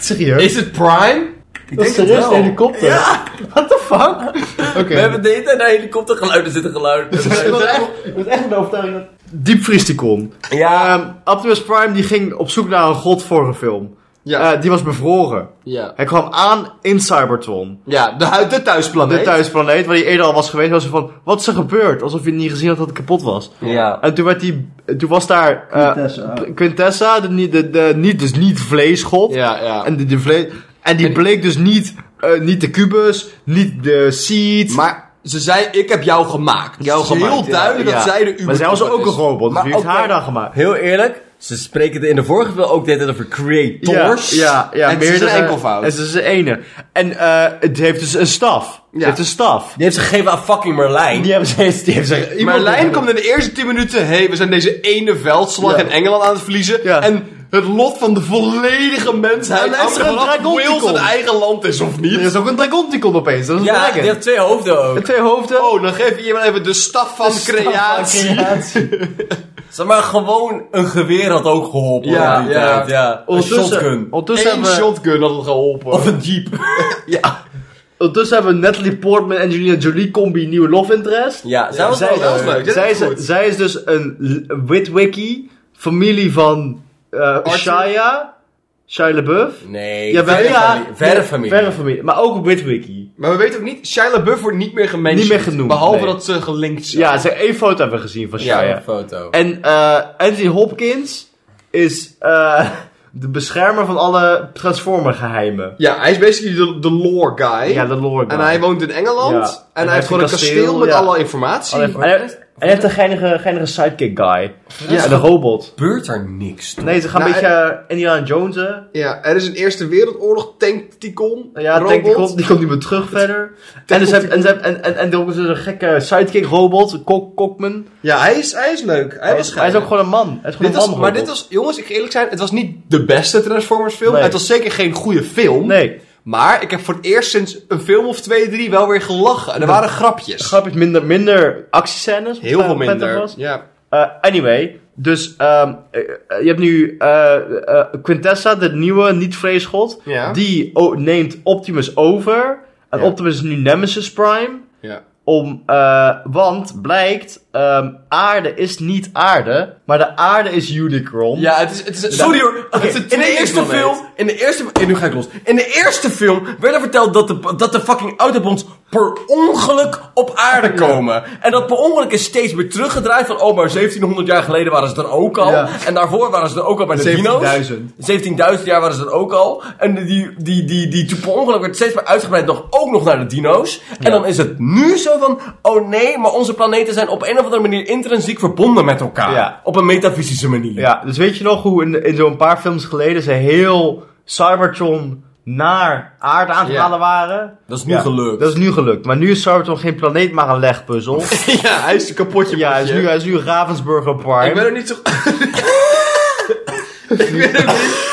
S1: Serieus?
S4: Is het Prime?
S3: Ik
S1: Dat is de rest helikopter. Ja. What the fuck? Oké.
S3: We hebben de hele tijd naar helikoptergeluiden zitten
S1: Ik was
S3: geluiden.
S1: echt- ik was echt in de overtuiging dat... Diepvriesticon.
S3: ja,
S1: Ehm, Optimus Prime die ging op zoek naar een god vorige film.
S4: Ja.
S1: Eh, die was bevroren.
S4: Ja.
S1: Hij kwam aan in Cybertron.
S4: Ja, de, hu- de thuisplaneet.
S1: De thuisplaneet waar hij eerder al was geweest. Was hij van, wat is er gebeurd? Alsof hij niet gezien had dat het kapot was.
S3: ja.
S1: En toen, werd die, toen was daar eh, P- Quintessa, de, niet- de, de, niet, dus niet vleesgod.
S4: Ja, ja.
S1: En, de, de vle- en die bleek dus niet, eh, niet de kubus, niet de seed.
S4: Maar ze zei, ik heb jou gemaakt.
S1: Jou
S4: Het is
S1: gemaakt,
S4: heel duidelijk
S1: ja.
S4: dat zij de Uber
S1: maar zij was ook een
S4: is.
S1: robot, dus
S3: Maar
S1: wie heeft
S3: oké.
S1: haar dan gemaakt?
S3: Heel eerlijk, ze spreken het in de vorige film ook dit over creators.
S1: Ja, ja, ja
S4: En ze is
S1: meerdere-
S4: een enkelvoud.
S1: En ze is een ene. En eh, het heeft dus een staf. Het heeft een staf.
S3: Die heeft ze gegeven aan fucking Merlijn.
S1: Die hebben ze, die hebben ze iemand-
S4: Merlijn komt in de eerste 10 minuten. hey, we zijn deze ene veldslag
S1: Ja.
S4: in Engeland aan het verliezen.
S1: Ja.
S4: En het lot van de volledige mensheid.
S1: En hij is er een
S4: afhangt
S1: dragon die
S4: Wales
S1: komt.
S4: een eigen land is of
S1: Er
S4: niet.
S1: is ook een dragonticon opeens, dat is een
S3: Ja, die
S1: dragon.
S3: heeft twee hoofden ook.
S1: Twee hoofden.
S4: Oh, dan geef je iemand even de staf van creatie.
S3: Zeg maar, gewoon een geweer had ook geholpen.
S4: Ja,
S3: in die
S4: ja.
S3: tijd, ja. Een shotgun.
S1: ondertussen
S4: Eén
S1: hebben we-
S4: shotgun had het geholpen.
S3: Of een jeep.
S1: Ondertussen hebben we Natalie Portman en Angelina Jolie combi nieuwe love interest.
S3: Ja, zij was
S1: zij,
S3: wel leuk.
S4: is leuk, dit
S1: zij,
S4: is
S1: is,
S4: goed.
S1: zij is dus een l- witwicky, familie van eh Shia, Shia LaBeouf.
S3: Nee,
S1: Ja, wel-
S3: verre,
S1: ja,
S3: familie, verre familie.
S1: Verre familie, maar ook een witwicky.
S4: Maar we weten ook niet, Shia LaBeouf wordt niet meer gemenschapt.
S1: Niet meer genoemd,
S4: Behalve
S1: nee.
S4: dat ze gelinkt zijn.
S1: Ja, ze één foto hebben we gezien van Shia.
S3: Ja, een foto.
S1: En eh, Anthony Hopkins is eh, de beschermer van alle Transformer geheimen.
S4: Ja, hij is basically de, de lore guy.
S1: Ja, de lore guy.
S4: En hij woont in Engeland.
S1: Ja.
S4: En, hij heeft gewoon een kasteel, met
S1: ja.
S4: alle informatie.
S1: En hij, en hij heeft een geinige, geinige sidekick guy. Ja, de robot.
S3: Gebeurt er niks.
S1: Nee, ze gaan
S4: Nou,
S1: een beetje eh, Indiana Jones. hè?
S4: Ja, er is een Eerste Wereldoorlog Tankticon.
S1: Nou Ja,
S4: robot.
S1: denk die, komt, die komt niet meer terug verder. En, dus heb, en, ze hebben- en, en, en er is dus een gekke sidekick robot, Kok, Kokman.
S4: Ja, hij is, hij is leuk. Hij,
S1: Hij
S4: was
S1: is, hij is ook gewoon een man. Hij is gewoon
S4: dit
S1: een
S4: was,
S1: man
S4: Maar dit was, jongens, ik ga eerlijk zijn, het was niet de beste Transformers film.
S1: Nee.
S4: Het was zeker geen goede film.
S1: Nee,
S4: Maar ik heb voor het eerst sinds een film of twee, drie wel weer gelachen. En er waren grapjes.
S1: grap is minder, minder actiescènes. wat
S4: Heel veel
S1: vet er
S4: minder.
S1: was.
S4: Ja.
S1: Eh, anyway, dus ehm, eh, eh, je hebt nu eh, eh, Quintessa, de nieuwe niet-vreesgod.
S4: Ja.
S1: Die o- neemt Optimus over. En Optimus is nu Nemesis Prime.
S4: Ja.
S1: Om, eh, want blijkt, ehm, aarde is niet aarde, maar de aarde is Unicron.
S10: Ja, het is... Het is
S3: Sorry hoor. Oké,
S10: is een
S3: in de eerste
S10: tweeënplaneet.
S3: film, in de eerste, eh, nu ga ik los. In de eerste film werd er verteld dat de, dat de fucking Autobons per ongeluk op aarde komen. En dat per ongeluk is steeds weer teruggedraaid van, oh maar 1700 jaar geleden waren ze er ook al.
S1: Ja.
S3: En daarvoor waren ze er ook al bij de
S1: 17.000.
S3: dino's. 17.000 jaar waren ze er ook al. En die, die, die, die, die toen per ongeluk werd steeds maar uitgebreid nog, ook nog naar de dino's. En dan is het nu zo van, oh nee, maar onze planeten zijn op een of andere manier intrinsiek verbonden met elkaar.
S1: Ja.
S3: Op een metafysische manier.
S1: Ja, dus weet je nog hoe in, in zo'n paar films geleden ze heel Cybertron naar aarde aan het halen waren?
S3: Dat is nu
S1: Ja,
S3: gelukt.
S1: Dat is nu gelukt. Maar nu is Cybertron geen planeet, maar een legpuzzel.
S4: Ja, hij is een kapotje.
S1: ja, hij is, nu, hij is nu Ravensburger Prime.
S4: Ik ben er niet zo... ik weet ook niet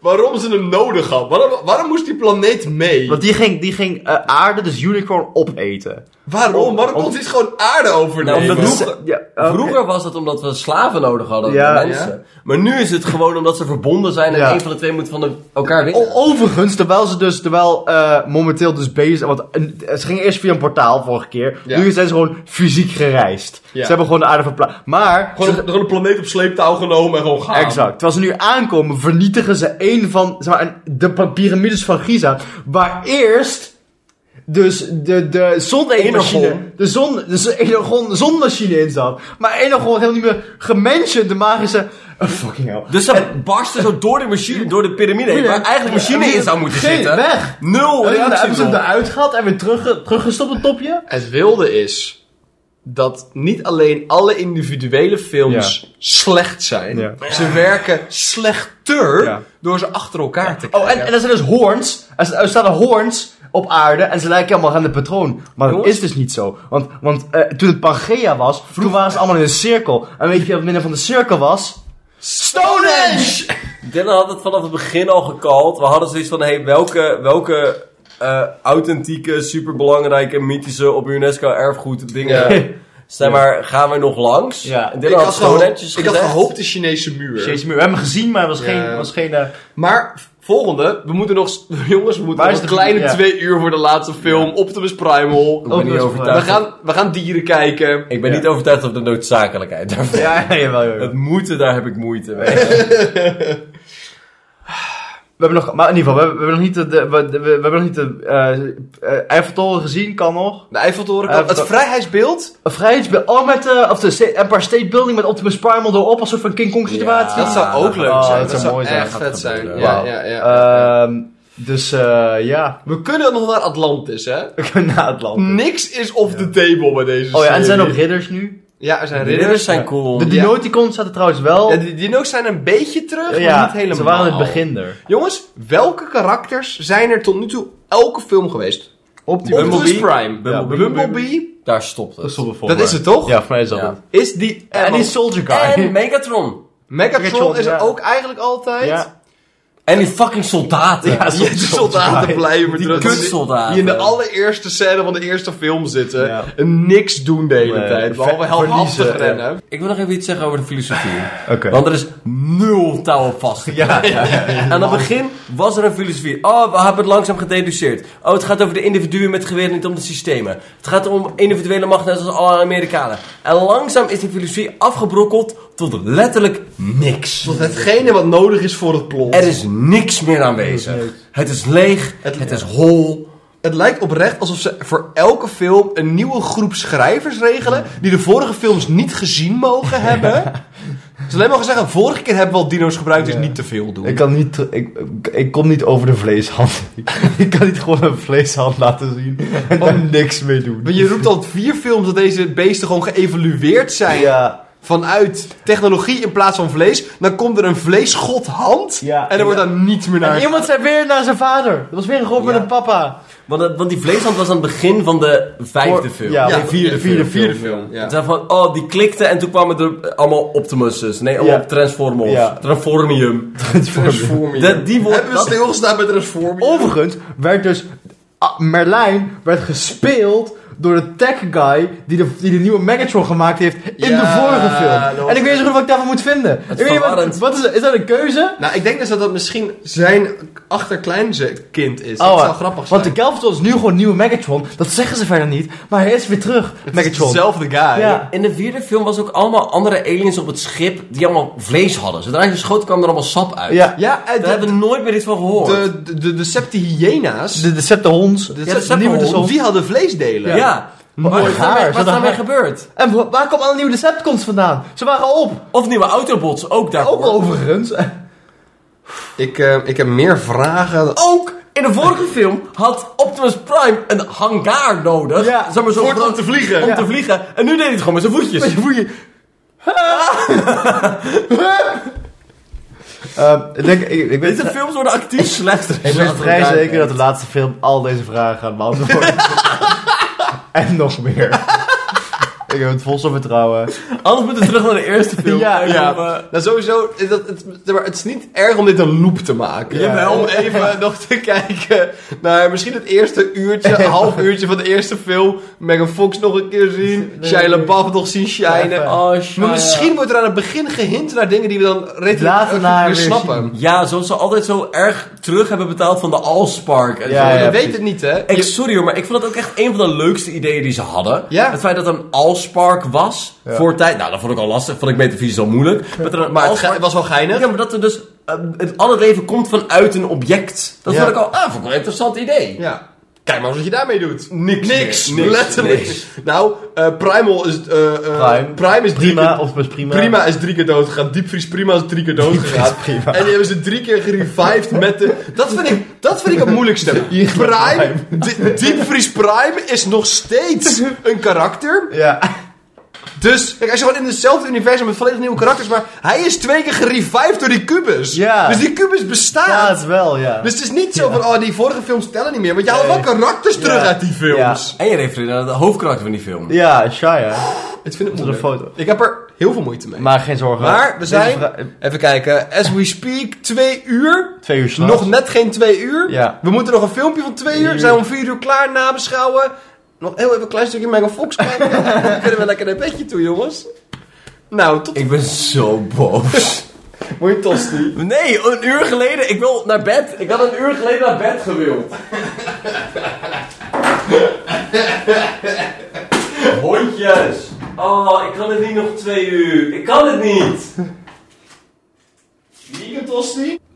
S4: waarom ze hem nodig had. Waarom, waarom moest die planeet mee?
S1: Want die ging, die ging eh, aarde, dus Unicorn, opeten.
S4: waarom? Waarom kon hij gewoon aarde overnemen?
S3: Nou, omdat
S4: Vroeger-
S3: ze-
S1: Ja,
S3: Vroeger was dat omdat we slaven nodig hadden,
S1: Ja.
S3: de mensen. Maar nu is het gewoon omdat ze verbonden zijn en
S1: Ja. Oh,
S3: één van de twee moet van de- elkaar winnen.
S1: O- Overigens, terwijl ze dus, terwijl eh, momenteel dus bezig zijn, want eh, ze gingen eerst via een portaal vorige keer.
S4: Ja.
S1: Nu zijn ze gewoon fysiek gereisd.
S4: Ja.
S1: Ze hebben gewoon de aarde verplaatst. Maar,
S4: Gewoon
S1: ze-
S4: een, gewoon een planeet op sleeptouw genomen en gewoon gaan.
S1: exact. Terwijl ze nu aankomen, vernietigen ze één van, zeg maar, een- de pa- piramides van Giza. Waar eerst, dus de, de zonne-energie,
S4: Energon.
S1: de zon, de z- Energon zonmachine in zat. Maar Energon helemaal niet meer gementioned, de magische, eh, fucking hell.
S3: dus ze barsten zo door de machine, door de piramide heen, waar eigenlijk de machine in zou moeten
S1: Geen
S3: zitten.
S1: weg.
S3: Nul
S1: En dan
S3: reactie
S1: hebben ze hem
S3: erop.
S1: eruit gehad en weer terug, teruggestopt op het topje.
S4: Het wilde is dat niet alleen alle individuele films slecht zijn.
S1: Ja.
S4: Ze werken slechter
S1: Ja.
S4: door ze achter elkaar te
S1: Oh,
S4: krijgen.
S1: en, en er zijn dus hoorns. Er sta- er staan er hoorns op aarde en ze lijken allemaal aan de patroon. Maar dat is dus niet zo. Want, want eh, toen het Pangea was, toen waren ze allemaal in een cirkel. En weet je wat het midden van de cirkel was? Stonehenge!
S3: Dylan had het vanaf het begin al gekald. We hadden zoiets van, hey, welke, welke eh, authentieke, superbelangrijke, mythische, op UNESCO erfgoed dingen... Zeg maar, gaan we nog langs?
S1: Ja.
S3: En
S4: ik,
S3: Dylan had,
S4: had
S3: Stone
S4: gehoopt,
S3: Hedges
S4: ik had
S3: gezegd.
S4: gehoopt de Chinese muur.
S1: Jezus, muur. we hebben hem gezien, maar het was
S4: Ja.
S1: geen... Was geen eh,
S4: Maar volgende, we moeten nog, s- jongens, we moeten
S1: Waar
S4: nog
S1: is
S4: een
S1: de-
S4: kleine
S1: ja.
S4: twee uur voor de laatste film, Optimus Primal.
S3: Ik ben niet
S1: Overigens-
S4: We
S3: overtuigd.
S4: gaan, we gaan dieren kijken.
S3: Ik ben niet overtuigd van de noodzakelijkheid daarvan.
S1: ja, ja, jawel, jawel.
S3: Het moeten, daar heb ik moeite mee.
S1: We hebben nog... Maar in ieder geval, we hebben, we hebben nog niet de... de- we, we, we hebben nog niet de... eh eh, Eiffeltoren gezien, kan nog.
S4: De Eiffeltoren, kan- het
S1: Eiffeltoren.
S4: vrijheidsbeeld,
S1: Een vrijheidsbeeld. Oh, met de... Of de Sta- Empire State Building met Optimus Primal erop. Als een soort van King Kong situatie.
S4: dat zou ook leuk
S1: Oh,
S4: zijn.
S1: dat zou mooi zijn.
S4: echt
S1: Gaat
S4: vet zijn.
S3: gebeuren.
S4: Ja,
S1: Wauw.
S4: ja, ja.
S1: Ehm, dus eh, ja,
S4: we kunnen nog naar Atlantis, hè?
S1: we kunnen naar het land.
S4: Niks is off the table bij deze
S1: Oh ja, en er
S4: serie.
S1: zijn ook ridders nu.
S4: Ja, er zijn ridders.
S3: Ridders zijn cool.
S1: De Dinoticons zaten trouwens wel.
S4: Ja, die Dino's zijn een beetje terug, maar
S1: Ja,
S4: niet helemaal.
S1: ze waren in het begin er.
S4: Jongens, welke karakters zijn er tot nu toe elke film geweest? Optimus Prime.
S3: Bumblebee.
S4: Bumblebee.
S3: Daar stopt het.
S4: Dat is het toch?
S1: Ja, voor mij is dat
S3: Ja.
S1: het.
S4: Is die...
S1: En die Soldier Guy.
S3: En Megatron.
S4: Megatron
S1: Megatron,
S4: is er
S1: ja.
S4: ook eigenlijk altijd.
S1: Ja.
S3: En die fucking soldaten.
S1: Ja,
S4: Die de soldaten blijven maar terug.
S3: kutsoldaten.
S4: Die in de allereerste scène van de eerste film zitten.
S1: Ja.
S4: En niks doen de hele
S1: Nee, ver-
S4: tijd. Behalve heldhaftig
S1: verliezen,
S4: rennen.
S3: Ik wil nog even iets zeggen over de filosofie.
S1: Oké.
S3: Want er is nul touw op vast.
S1: Ja, ja, ja.
S3: Aan het begin was er een filosofie. Oh, we hebben het langzaam gededuceerd. Oh, het gaat over de individuen met geweren, niet om de systemen. Het gaat om individuele macht, net als alle Amerikanen. En langzaam is die filosofie afgebrokkeld tot letterlijk niks.
S4: Tot hetgene wat nodig is voor het plot.
S3: Er is niks meer aanwezig. Het is leeg, het, is hol.
S4: Het lijkt oprecht alsof ze voor elke film een nieuwe groep schrijvers regelen. die de vorige films niet gezien mogen hebben. Ze alleen mogen zeggen: vorige keer hebben we al dino's gebruikt, dus niet te veel doen.
S1: Ik, kan niet, ter- ik, ik kom niet over de vleeshand. ik kan niet gewoon een vleeshand laten zien en daar niks mee doen.
S4: Want je roept al vier films dat deze beesten gewoon geëvolueerd zijn.
S1: Ja,
S4: Vanuit technologie in plaats van vlees. Dan komt er een vleesgodhand.
S1: Ja.
S4: en er wordt dan niet meer naar.
S1: en iemand zei weer naar zijn vader. Dat was weer een grap met
S3: Ja.
S1: een papa.
S3: Want, dat- want die vleeshand was aan het begin van de vijfde film.
S1: Ja,
S4: Ja,
S1: de vierde, vierde, vierde.
S4: film.
S3: Het zijn van, oh, die klikte en toen kwamen er allemaal Optimuses. Nee, allemaal
S1: Ja.
S3: Transformers.
S1: Ja.
S3: Transformium.
S4: Transformium.
S3: Dat, die wordt...
S4: Hebben we stilgestaan bij Transformium?
S1: Overigens werd dus ah, Merlijn werd gespeeld door de tech guy die de, die de nieuwe Megatron gemaakt heeft in
S4: Ja,
S1: de vorige film.
S4: dat
S1: En ik weet niet zo goed wat ik daarvan moet vinden. Ik weet niet, wat,
S3: verwarrend.
S1: wat is, is dat een keuze?
S4: Nou, ik denk dus dat dat misschien zijn achterkleinkind is.
S1: Oh,
S4: dat zou
S1: eh,
S4: grappig zijn.
S1: Want de Galvatron is nu gewoon nieuwe Megatron. Dat zeggen ze verder niet. Maar hij is weer terug, Megatron.
S4: Hetzelfde guy.
S1: ja.
S3: In de vierde film was ook allemaal andere aliens op het schip die allemaal vlees hadden. Zodra je schoot kwam er allemaal sap uit.
S1: Ja.
S4: Ja, eh,
S3: Daar hebben
S4: de,
S3: we nooit meer iets van gehoord.
S4: de, de, de Decepticons,
S1: De Decepticons.
S4: de
S3: Ja, de
S4: nieuwe
S3: Decepticons.
S4: die hadden vleesdelen.
S3: ja. Maar wat is
S1: haar,
S3: daarmee-
S1: ze
S3: wat is
S1: hadden
S3: daarmee
S1: haar-
S3: gebeurd?
S1: En wa- waar komen alle nieuwe Decepticons vandaan? Ze waren op.
S3: Of nieuwe Autobots, ook daarvoor.
S1: Ook overigens.
S4: Ik, eh, ik heb meer vragen. dan-
S3: Ook in de vorige film had Optimus Prime een hangaar nodig.
S1: Ja,
S3: zeg maar zo groot-
S4: om te vliegen.
S3: Om
S4: Ja.
S3: te vliegen. En nu deed hij het gewoon met zijn voetjes.
S1: Je voelt je- Ehm, ik denk, ik, ik weet
S3: Deze films worden actief slechter.
S1: Ik ben vrij zeker dat de laatste film al deze vragen gaat beantwoorden. en nog meer. ik heb het volste vertrouwen.
S3: Anders moeten we terug naar de eerste film.
S1: Ja,
S3: Even,
S4: Ja,
S3: eh,
S4: nou sowieso, eh, dat, het, maar het is niet erg om dit een loop te maken.
S3: Jawel.
S4: Om even nog te kijken naar misschien het eerste uurtje, half uurtje van de eerste film. Megan Fox nog een keer zien, Shia LaBeouf nog zien shinen.
S1: Even.
S3: oh,
S4: Maar
S3: Shia.
S4: misschien wordt er aan het begin gehint naar dingen die we dan
S1: Later naar
S4: redelijk weer
S1: weer
S4: snappen.
S3: Ja, zoals ze altijd zo erg terug hebben betaald van de Allspark. En
S1: Ja,
S3: zo.
S4: je
S1: ja.
S4: weet
S1: precies.
S4: het niet, hè?
S3: Ik, sorry hoor, maar ik vond dat ook echt een van de leukste ideeën die ze hadden.
S4: Ja.
S3: Het feit dat er een Allspark was voor tijd. Nou, dat vond ik al lastig. Vond ik metafysisch al moeilijk. Maar, dat er een
S4: Maar het, ge-
S3: Allspark-
S4: het was wel geinig.
S3: Ja, maar dat er dus... eh, het, al het leven komt vanuit een object. Dat
S4: Ja.
S3: vond ik al... Ah, vond ik wel een interessant idee.
S4: Ja. Kijk maar eens wat je daarmee doet.
S3: Niks
S4: Niks.
S3: meer. Niks,
S4: letterlijk.
S3: niks.
S4: Nou, eh, Primal is... eh, eh,
S1: Prime.
S4: is drie
S1: Prima,
S4: keer-
S1: of best prima.
S4: Prima is drie keer doodgegaan. Diepvries Prima is drie keer doodgegaan.
S1: Prima.
S4: En die hebben ze drie keer gerevived met de... Dat vind ik, dat vind ik het moeilijkste. Prime, Di- Diepvries Prime is nog steeds een karakter.
S1: Ja.
S4: Dus, kijk, als je gewoon in hetzelfde universum met volledig nieuwe karakters... Maar hij is twee keer gerevived door die kubus.
S1: Ja.
S4: Dus die kubus bestaat.
S1: ja, het wel, ja.
S4: Dus het is niet zo van, oh, die vorige films tellen niet meer. Want je haalt wel karakters terug uit die films.
S3: En je refereerde naar de hoofdkarakter van die film.
S1: ja, Shia.
S4: Het vind ik
S1: Dat is een
S4: moeilijk.
S1: foto.
S4: Ik heb er heel veel moeite mee.
S1: Maar geen zorgen.
S4: Maar we
S1: Deze
S4: zijn,
S1: vra-
S4: even kijken, as we speak, twee uur.
S1: Twee uur s'nachts.
S4: Nog net geen twee uur.
S1: Ja.
S4: We moeten nog een filmpje van twee uur. Zijn we om vier uur klaar, nabeschouwen. Nog heel even een klein stukje Megan Fox kijken. Dan kunnen we lekker naar bedje toe, jongens. Nou, tot...
S3: Ik ben zo boos.
S4: Mooi tosti.
S3: Nee, een uur geleden. Ik wil naar bed. Ik had een uur geleden naar bed gewild. Hondjes. Oh, ik kan het niet nog twee uur. Ik kan het niet.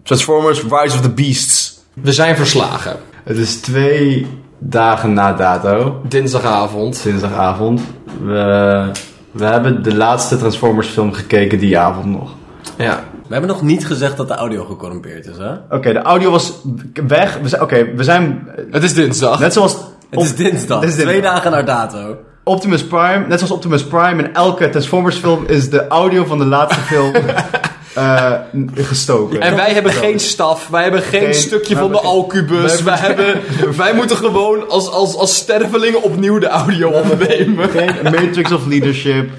S11: Transformers Rise of the Beasts.
S4: We zijn verslagen.
S1: Het is Dus twee dagen na dato.
S4: Dinsdagavond.
S1: Dinsdagavond. We, we hebben de laatste Transformers film gekeken die avond nog.
S4: Ja.
S3: We hebben nog niet gezegd dat de audio gecorrumpeerd is, hè?
S1: Oké, de audio was weg. We zijn- Oké, we zijn...
S4: Het is dinsdag.
S1: Net zoals...
S3: Het is dinsdag.
S1: Het is
S3: Twee
S1: dinsdag.
S3: dagen naar dato.
S1: Optimus Prime, net zoals Optimus Prime in elke Transformers film is de audio van de laatste film eh, n- gestoken.
S4: En wij hebben geen staf, wij hebben geen
S1: Geen-
S4: stukje
S1: we
S4: van de
S1: hebben geen-
S4: Alcubus.
S1: we
S4: Wij, hebben, wij moeten gewoon als, als, als stervelingen opnieuw de audio opnemen.
S1: Geen Matrix of Leadership,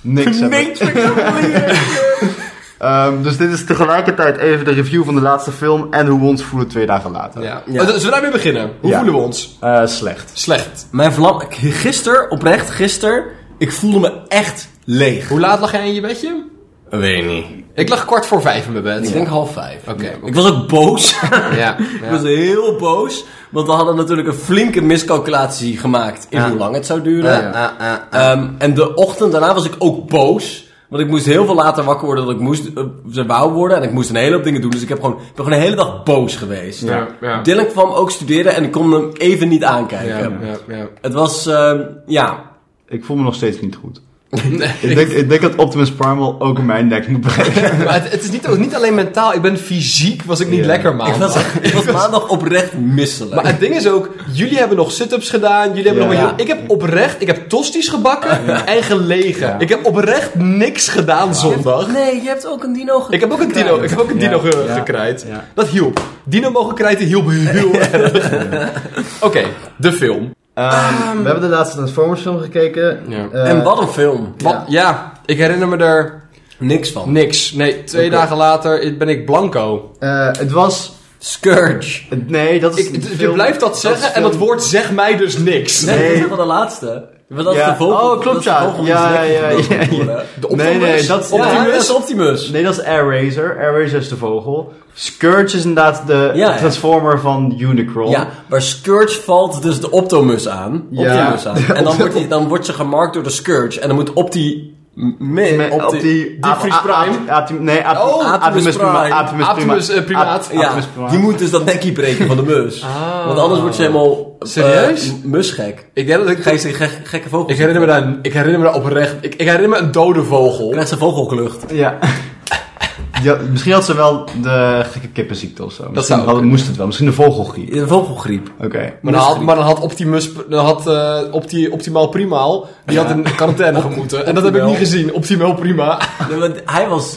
S1: niks hebben.
S3: Niks meer
S1: Ehm, dus dit is tegelijkertijd even de review van de laatste film en hoe we ons voelen twee dagen later.
S4: Ja. Oh, Zullen we daarmee beginnen? Hoe
S1: Ja.
S4: voelen we ons?
S1: Eh, slecht.
S4: Slecht.
S3: Mijn vlam... Gisteren, oprecht, gisteren... Ik voelde me echt leeg.
S4: Hoe laat lag jij in je bedje?
S3: Weet niet.
S4: Ik lag kwart voor vijf in mijn bed.
S3: Ik denk half vijf.
S4: Oké.
S3: Ik was ook boos.
S4: Ja.
S3: Ik was
S4: ja.
S3: heel boos, want we hadden natuurlijk een flinke miscalculatie gemaakt in hoe lang het zou duren. Ehm, en de ochtend daarna was ik ook boos, want ik moest heel veel later wakker worden dan ik moest, eh, ze wou worden. En ik moest een hele hoop dingen doen, dus ik heb gewoon, ik ben gewoon de hele dag boos geweest.
S4: ja.
S3: Dylan kwam ook studeren en ik kon hem even niet aankijken.
S4: Ja, ja, ja.
S3: Het was, ehm, ja,
S1: Ik voel me nog steeds niet goed. ik, denk, ik denk dat Optimus Primal ook in mijn nek moet breken.
S4: Maar het, het is niet, ook niet alleen mentaal, ik ben fysiek, was ik niet
S1: Ja.
S4: lekker man.
S3: ik was, ik was maandag oprecht misselijk.
S4: Maar het ding is ook, jullie hebben nog sit-ups gedaan. Jullie hebben
S1: Ja.
S4: nog wat- ik heb oprecht, ik heb tosti's gebakken en gelegen. Ik heb oprecht niks gedaan zondag.
S3: nee, je hebt ook een dino
S4: Ik heb ook een dino, ik heb ook een dino ge-
S1: Ja.
S4: gekrijt.
S1: Ja.
S4: Dat hielp. Dino mogen krijten hielp heel erg. Oké, de film.
S1: Ehm, we hebben de laatste Transformers film gekeken.
S4: Ja.
S1: Eh,
S3: En wat een film.
S4: Wat, ja. ik herinner me daar
S3: Niks van.
S4: niks. Nee, twee dagen later ben ik blanco.
S1: Eh, het was
S3: Scourge.
S1: Nee, dat is
S4: Ik- je blijft dat zeggen en dat woord zegt mij dus niks.
S3: Nee,
S1: Nee.
S3: dat is wel de laatste. Want dat is
S1: Ja.
S3: de vogel.
S1: Oh, klopt,
S3: dat is de
S1: ja.
S3: vogel die
S1: Ja,
S3: zijn nek
S1: ja, ja,
S3: gebroken
S1: ja, ja.
S3: wordt, hè.
S1: de Nee, nee, dat is
S3: Optimus, dat is Optimus.
S1: Nee, dat is Air Razor. Air Razor is de vogel. Scourge is inderdaad de
S3: Ja, ja.
S1: transformer van Unicron.
S3: Ja, maar Scourge valt dus de Optimus aan.
S1: Ja.
S3: Optimus aan. En dan wordt, die, dan wordt ze gemarkt door de Scourge. En dan moet Opti... Min,
S1: Met-
S3: Opti...
S1: op die... Optimus Prime? Nee, Ap-
S3: Oh,
S1: Ap-
S3: Optimus
S1: Optimus Prime.
S3: Prime.
S1: Optimus Prima-
S4: Optimus eh, primaat.
S1: Op-
S3: ja,
S1: Optimus Ah. Prime.
S3: die moet dus dat nekje breken van de mus. Want anders wordt ze helemaal... eh,
S4: Serieus?
S3: m- musgek.
S4: Ik, denk dat ik,
S3: Gekke, gek- gekke vogel.
S4: ik herinner me daar, ik herinner me daar oprecht. Ik, ik herinner me een dode vogel.
S3: Krijgt ze vogelklucht.
S1: Ja. Ja, misschien had ze wel de gekke kippenziekte of zo. Misschien
S4: zou
S1: had- moest het wel. Misschien de vogelgriep.
S3: De vogelgriep.
S1: Oké.
S4: Maar dan, had, maar dan had Optimus, dan had eh, Opti- Optimaal Primaal, die had een quarantaine gemoeten. En dat heb ik niet gezien, Optimaal Prima.
S3: Nee, want Hij was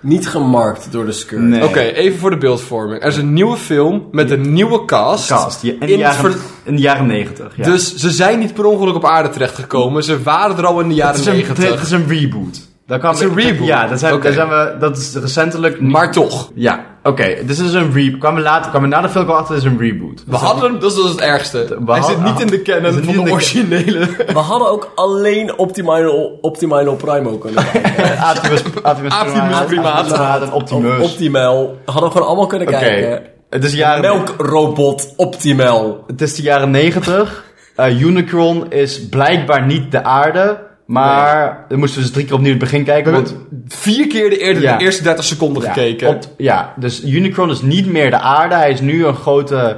S3: niet gemarkt door de Scourge.
S1: Nee.
S4: Oké, even voor de beeldvorming. Er is een nieuwe film met een nieuwe cast.
S1: Cast. Ja, in, de
S4: In het
S1: jaren,
S4: ver-
S1: in de jaren 90. Ja.
S4: Dus ze zijn niet per ongeluk op aarde terechtgekomen. Ze waren er al in de
S1: het
S4: jaren
S1: is een, het
S4: negentig.
S1: is een reboot. Daar kwam
S4: Het is een
S1: ik-
S4: reboot?
S1: Ja, dat, zijn,
S4: Oké.
S1: daar zijn we, dat is recentelijk...
S4: Maar toch.
S1: Ja, oké. Dus het is een reboot. Kwamen we later, kwamen we na de film al achter, het is een reboot.
S4: We hadden hem, dat is dus het ergste.
S1: We
S4: Hij
S1: had-
S4: zit niet in de
S1: Hij
S4: canon
S1: zit
S4: van
S1: niet in
S4: de
S1: de-
S4: originele.
S3: We hadden ook alleen Optimal, Optimal Primo kunnen kijken.
S1: Optimus, Optimus,
S4: Optimus Primaat.
S1: en Optimus.
S3: Optimal. Hadden we gewoon allemaal kunnen
S1: Oké.
S3: kijken.
S1: Het is jaren...
S3: Melkrobot Optimal.
S1: Het is de jaren 90. Eh, Unicron is blijkbaar niet de aarde. Maar dan moesten we dus drie keer opnieuw het begin kijken. Want,
S4: Vier keer de, eerder,
S1: Ja.
S4: de eerste 30 seconden gekeken.
S1: Ja, op- ja, dus Unicron is niet meer de aarde. Hij is nu een grote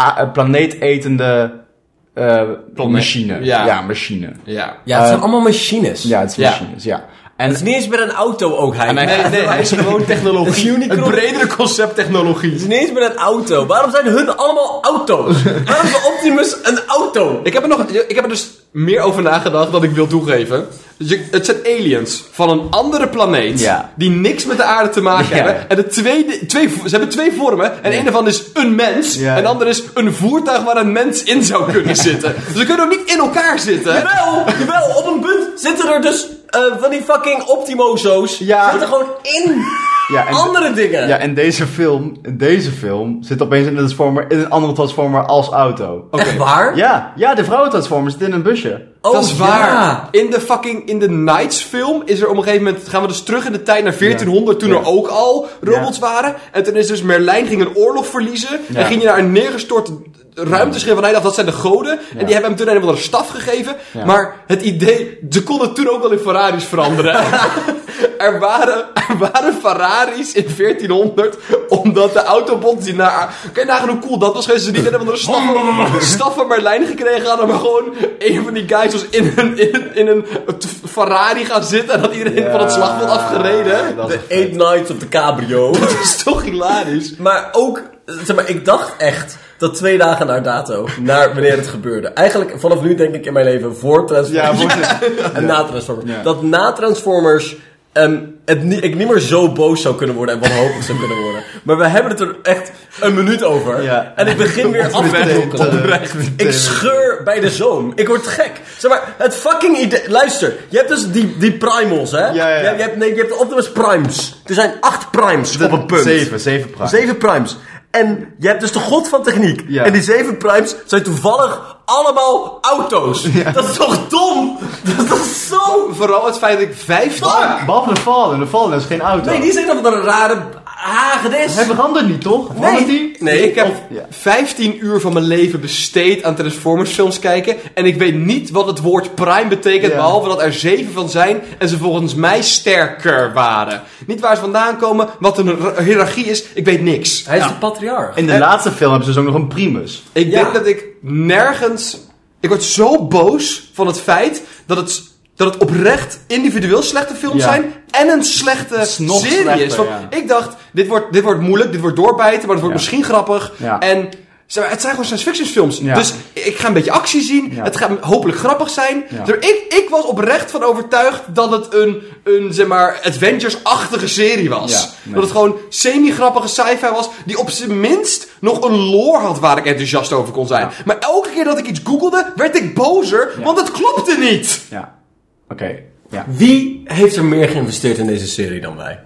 S1: a- eh, planeetetende eh, machine.
S4: ja.
S1: machine.
S4: ja.
S3: Ja, het zijn allemaal machines.
S1: Eh, Ja, het is
S4: Ja.
S1: machines, ja. En
S3: Het is niet eens meer een auto ook, hij.
S4: Nee, nee, hij is gewoon technologie.
S3: Unicron-
S4: Een bredere concept technologie.
S3: Het is niet eens meer een auto. Waarom zijn hun allemaal auto's? Waarom is Optimus een auto?
S4: Ik heb, er nog, ik heb er dus meer over nagedacht dan ik wil toegeven. Je- het zijn aliens van een andere planeet.
S1: Ja.
S4: Die niks met de aarde te maken
S1: Ja.
S4: hebben. En de tweede, twee, ze hebben twee vormen. En een daarvan is een mens.
S1: Ja.
S4: En de andere is een voertuig waar een mens in zou kunnen zitten. Dus ze kunnen ook niet in elkaar zitten.
S3: Jawel, jawel, op een punt zitten er dus eh, van die fucking Optimozo's.
S1: Ja.
S3: Zitten gewoon in
S1: Ja, en-
S3: andere dingen.
S1: Ja, en deze film, in deze film zit opeens een transformer in een andere transformer als auto.
S3: Echt waar?
S1: Ja, ja, de vrouwentransformer zit in een busje.
S3: Oh,
S4: dat is waar.
S3: ja.
S4: In de fucking in de Knights film is er op een gegeven moment gaan we dus terug in de tijd naar 1400 toen er ook al robots waren. En toen is dus Merlijn ging een oorlog verliezen en ging je naar een neergestort ruimteschip van hij dacht dat zijn de goden en die hebben hem toen een of andere staf gegeven. Maar het idee ze konden toen ook al in Ferraris veranderen. Er waren, er waren Ferraris in 1400, omdat de Autobots die naar... Kan je nagaan hoe cool dat was geweest? Ze niet een of andere staf van- staf van Merlijn gekregen hadden, maar gewoon een van die guys was in een, in een, in een Ferrari gaan zitten en had iedereen van het slagveld afgereden.
S1: Dat is
S3: The Eight Nights of the Cabrio.
S4: Dat is toch hilarisch.
S3: Maar ook, zeg maar, ik dacht echt dat twee dagen naar dato, naar wanneer het gebeurde. Eigenlijk vanaf nu denk ik in mijn leven voor Transformers en na Transformers. Dat na Transformers ehm, het ni- ik niet meer zo boos zou kunnen worden en wanhopig zou kunnen worden. Maar we hebben het er echt een minuut over.
S1: Ja. eh,
S3: En ik begin weer af te
S1: Oprecht,
S3: donkelen.
S1: oprecht.
S3: Ik scheur bij de zoom. Ik word gek. Zeg maar, het fucking idee... Luister, je hebt dus die, die primals, hè?
S1: ja, ja.
S3: Je, hebt- je hebt, nee, je hebt de Optimus Primes. Er zijn acht primes op een punt.
S1: Zeven, zeven praat.
S3: Zeven primes. En je hebt dus de god van techniek.
S1: Ja.
S3: En die zeven primes zijn toevallig allemaal auto's. Dat is toch dom? Dat, dat is zo...
S4: Vooral het feit dat ik vijf...
S3: Fuck!
S1: Behalve de Fallen, de Fallen is geen auto.
S3: Nee, die zijn dan van een rare hagedis.
S1: Hij verandert niet, toch? Verandert die?
S3: Nee,
S4: ik heb
S1: ja.
S4: 15 uur van mijn leven besteed aan Transformers films kijken. En ik weet niet wat het woord prime betekent.
S1: Ja.
S4: Behalve dat er 7 van zijn. En ze volgens mij sterker waren. Niet waar ze vandaan komen. Wat een ra- hiërarchie is. Ik weet niks.
S3: Hij is de patriarch.
S1: In de laatste film hebben ze dus ook nog een Primus.
S4: Ik
S3: Ja.
S4: denk dat ik nergens. Ik word zo boos van het feit dat het, dat het oprecht individueel slechte films
S1: Ja.
S4: zijn. En een slechte
S1: is nog
S4: serie is.
S1: slechter,
S4: Want
S1: ja.
S4: Ik dacht, dit wordt, dit wordt moeilijk, dit wordt doorbijten, maar het wordt
S1: Ja.
S4: misschien grappig.
S1: Ja.
S4: En zeg maar, het zijn gewoon science fiction films.
S1: Ja.
S4: Dus ik ga een beetje actie zien.
S1: Ja.
S4: Het gaat hopelijk grappig zijn.
S1: Ja.
S4: Zeg maar, Ik, ik was oprecht van overtuigd dat het een, een zeg maar, Adventures-achtige serie was.
S1: Ja, nee.
S4: Dat het gewoon semi-grappige sci-fi was. Die op zijn minst nog een lore had waar ik enthousiast over kon zijn. Maar elke keer dat ik iets googelde, werd ik bozer. Want het klopte niet.
S1: Ja. Oké. Ja.
S3: Wie heeft er meer geïnvesteerd in deze serie dan wij?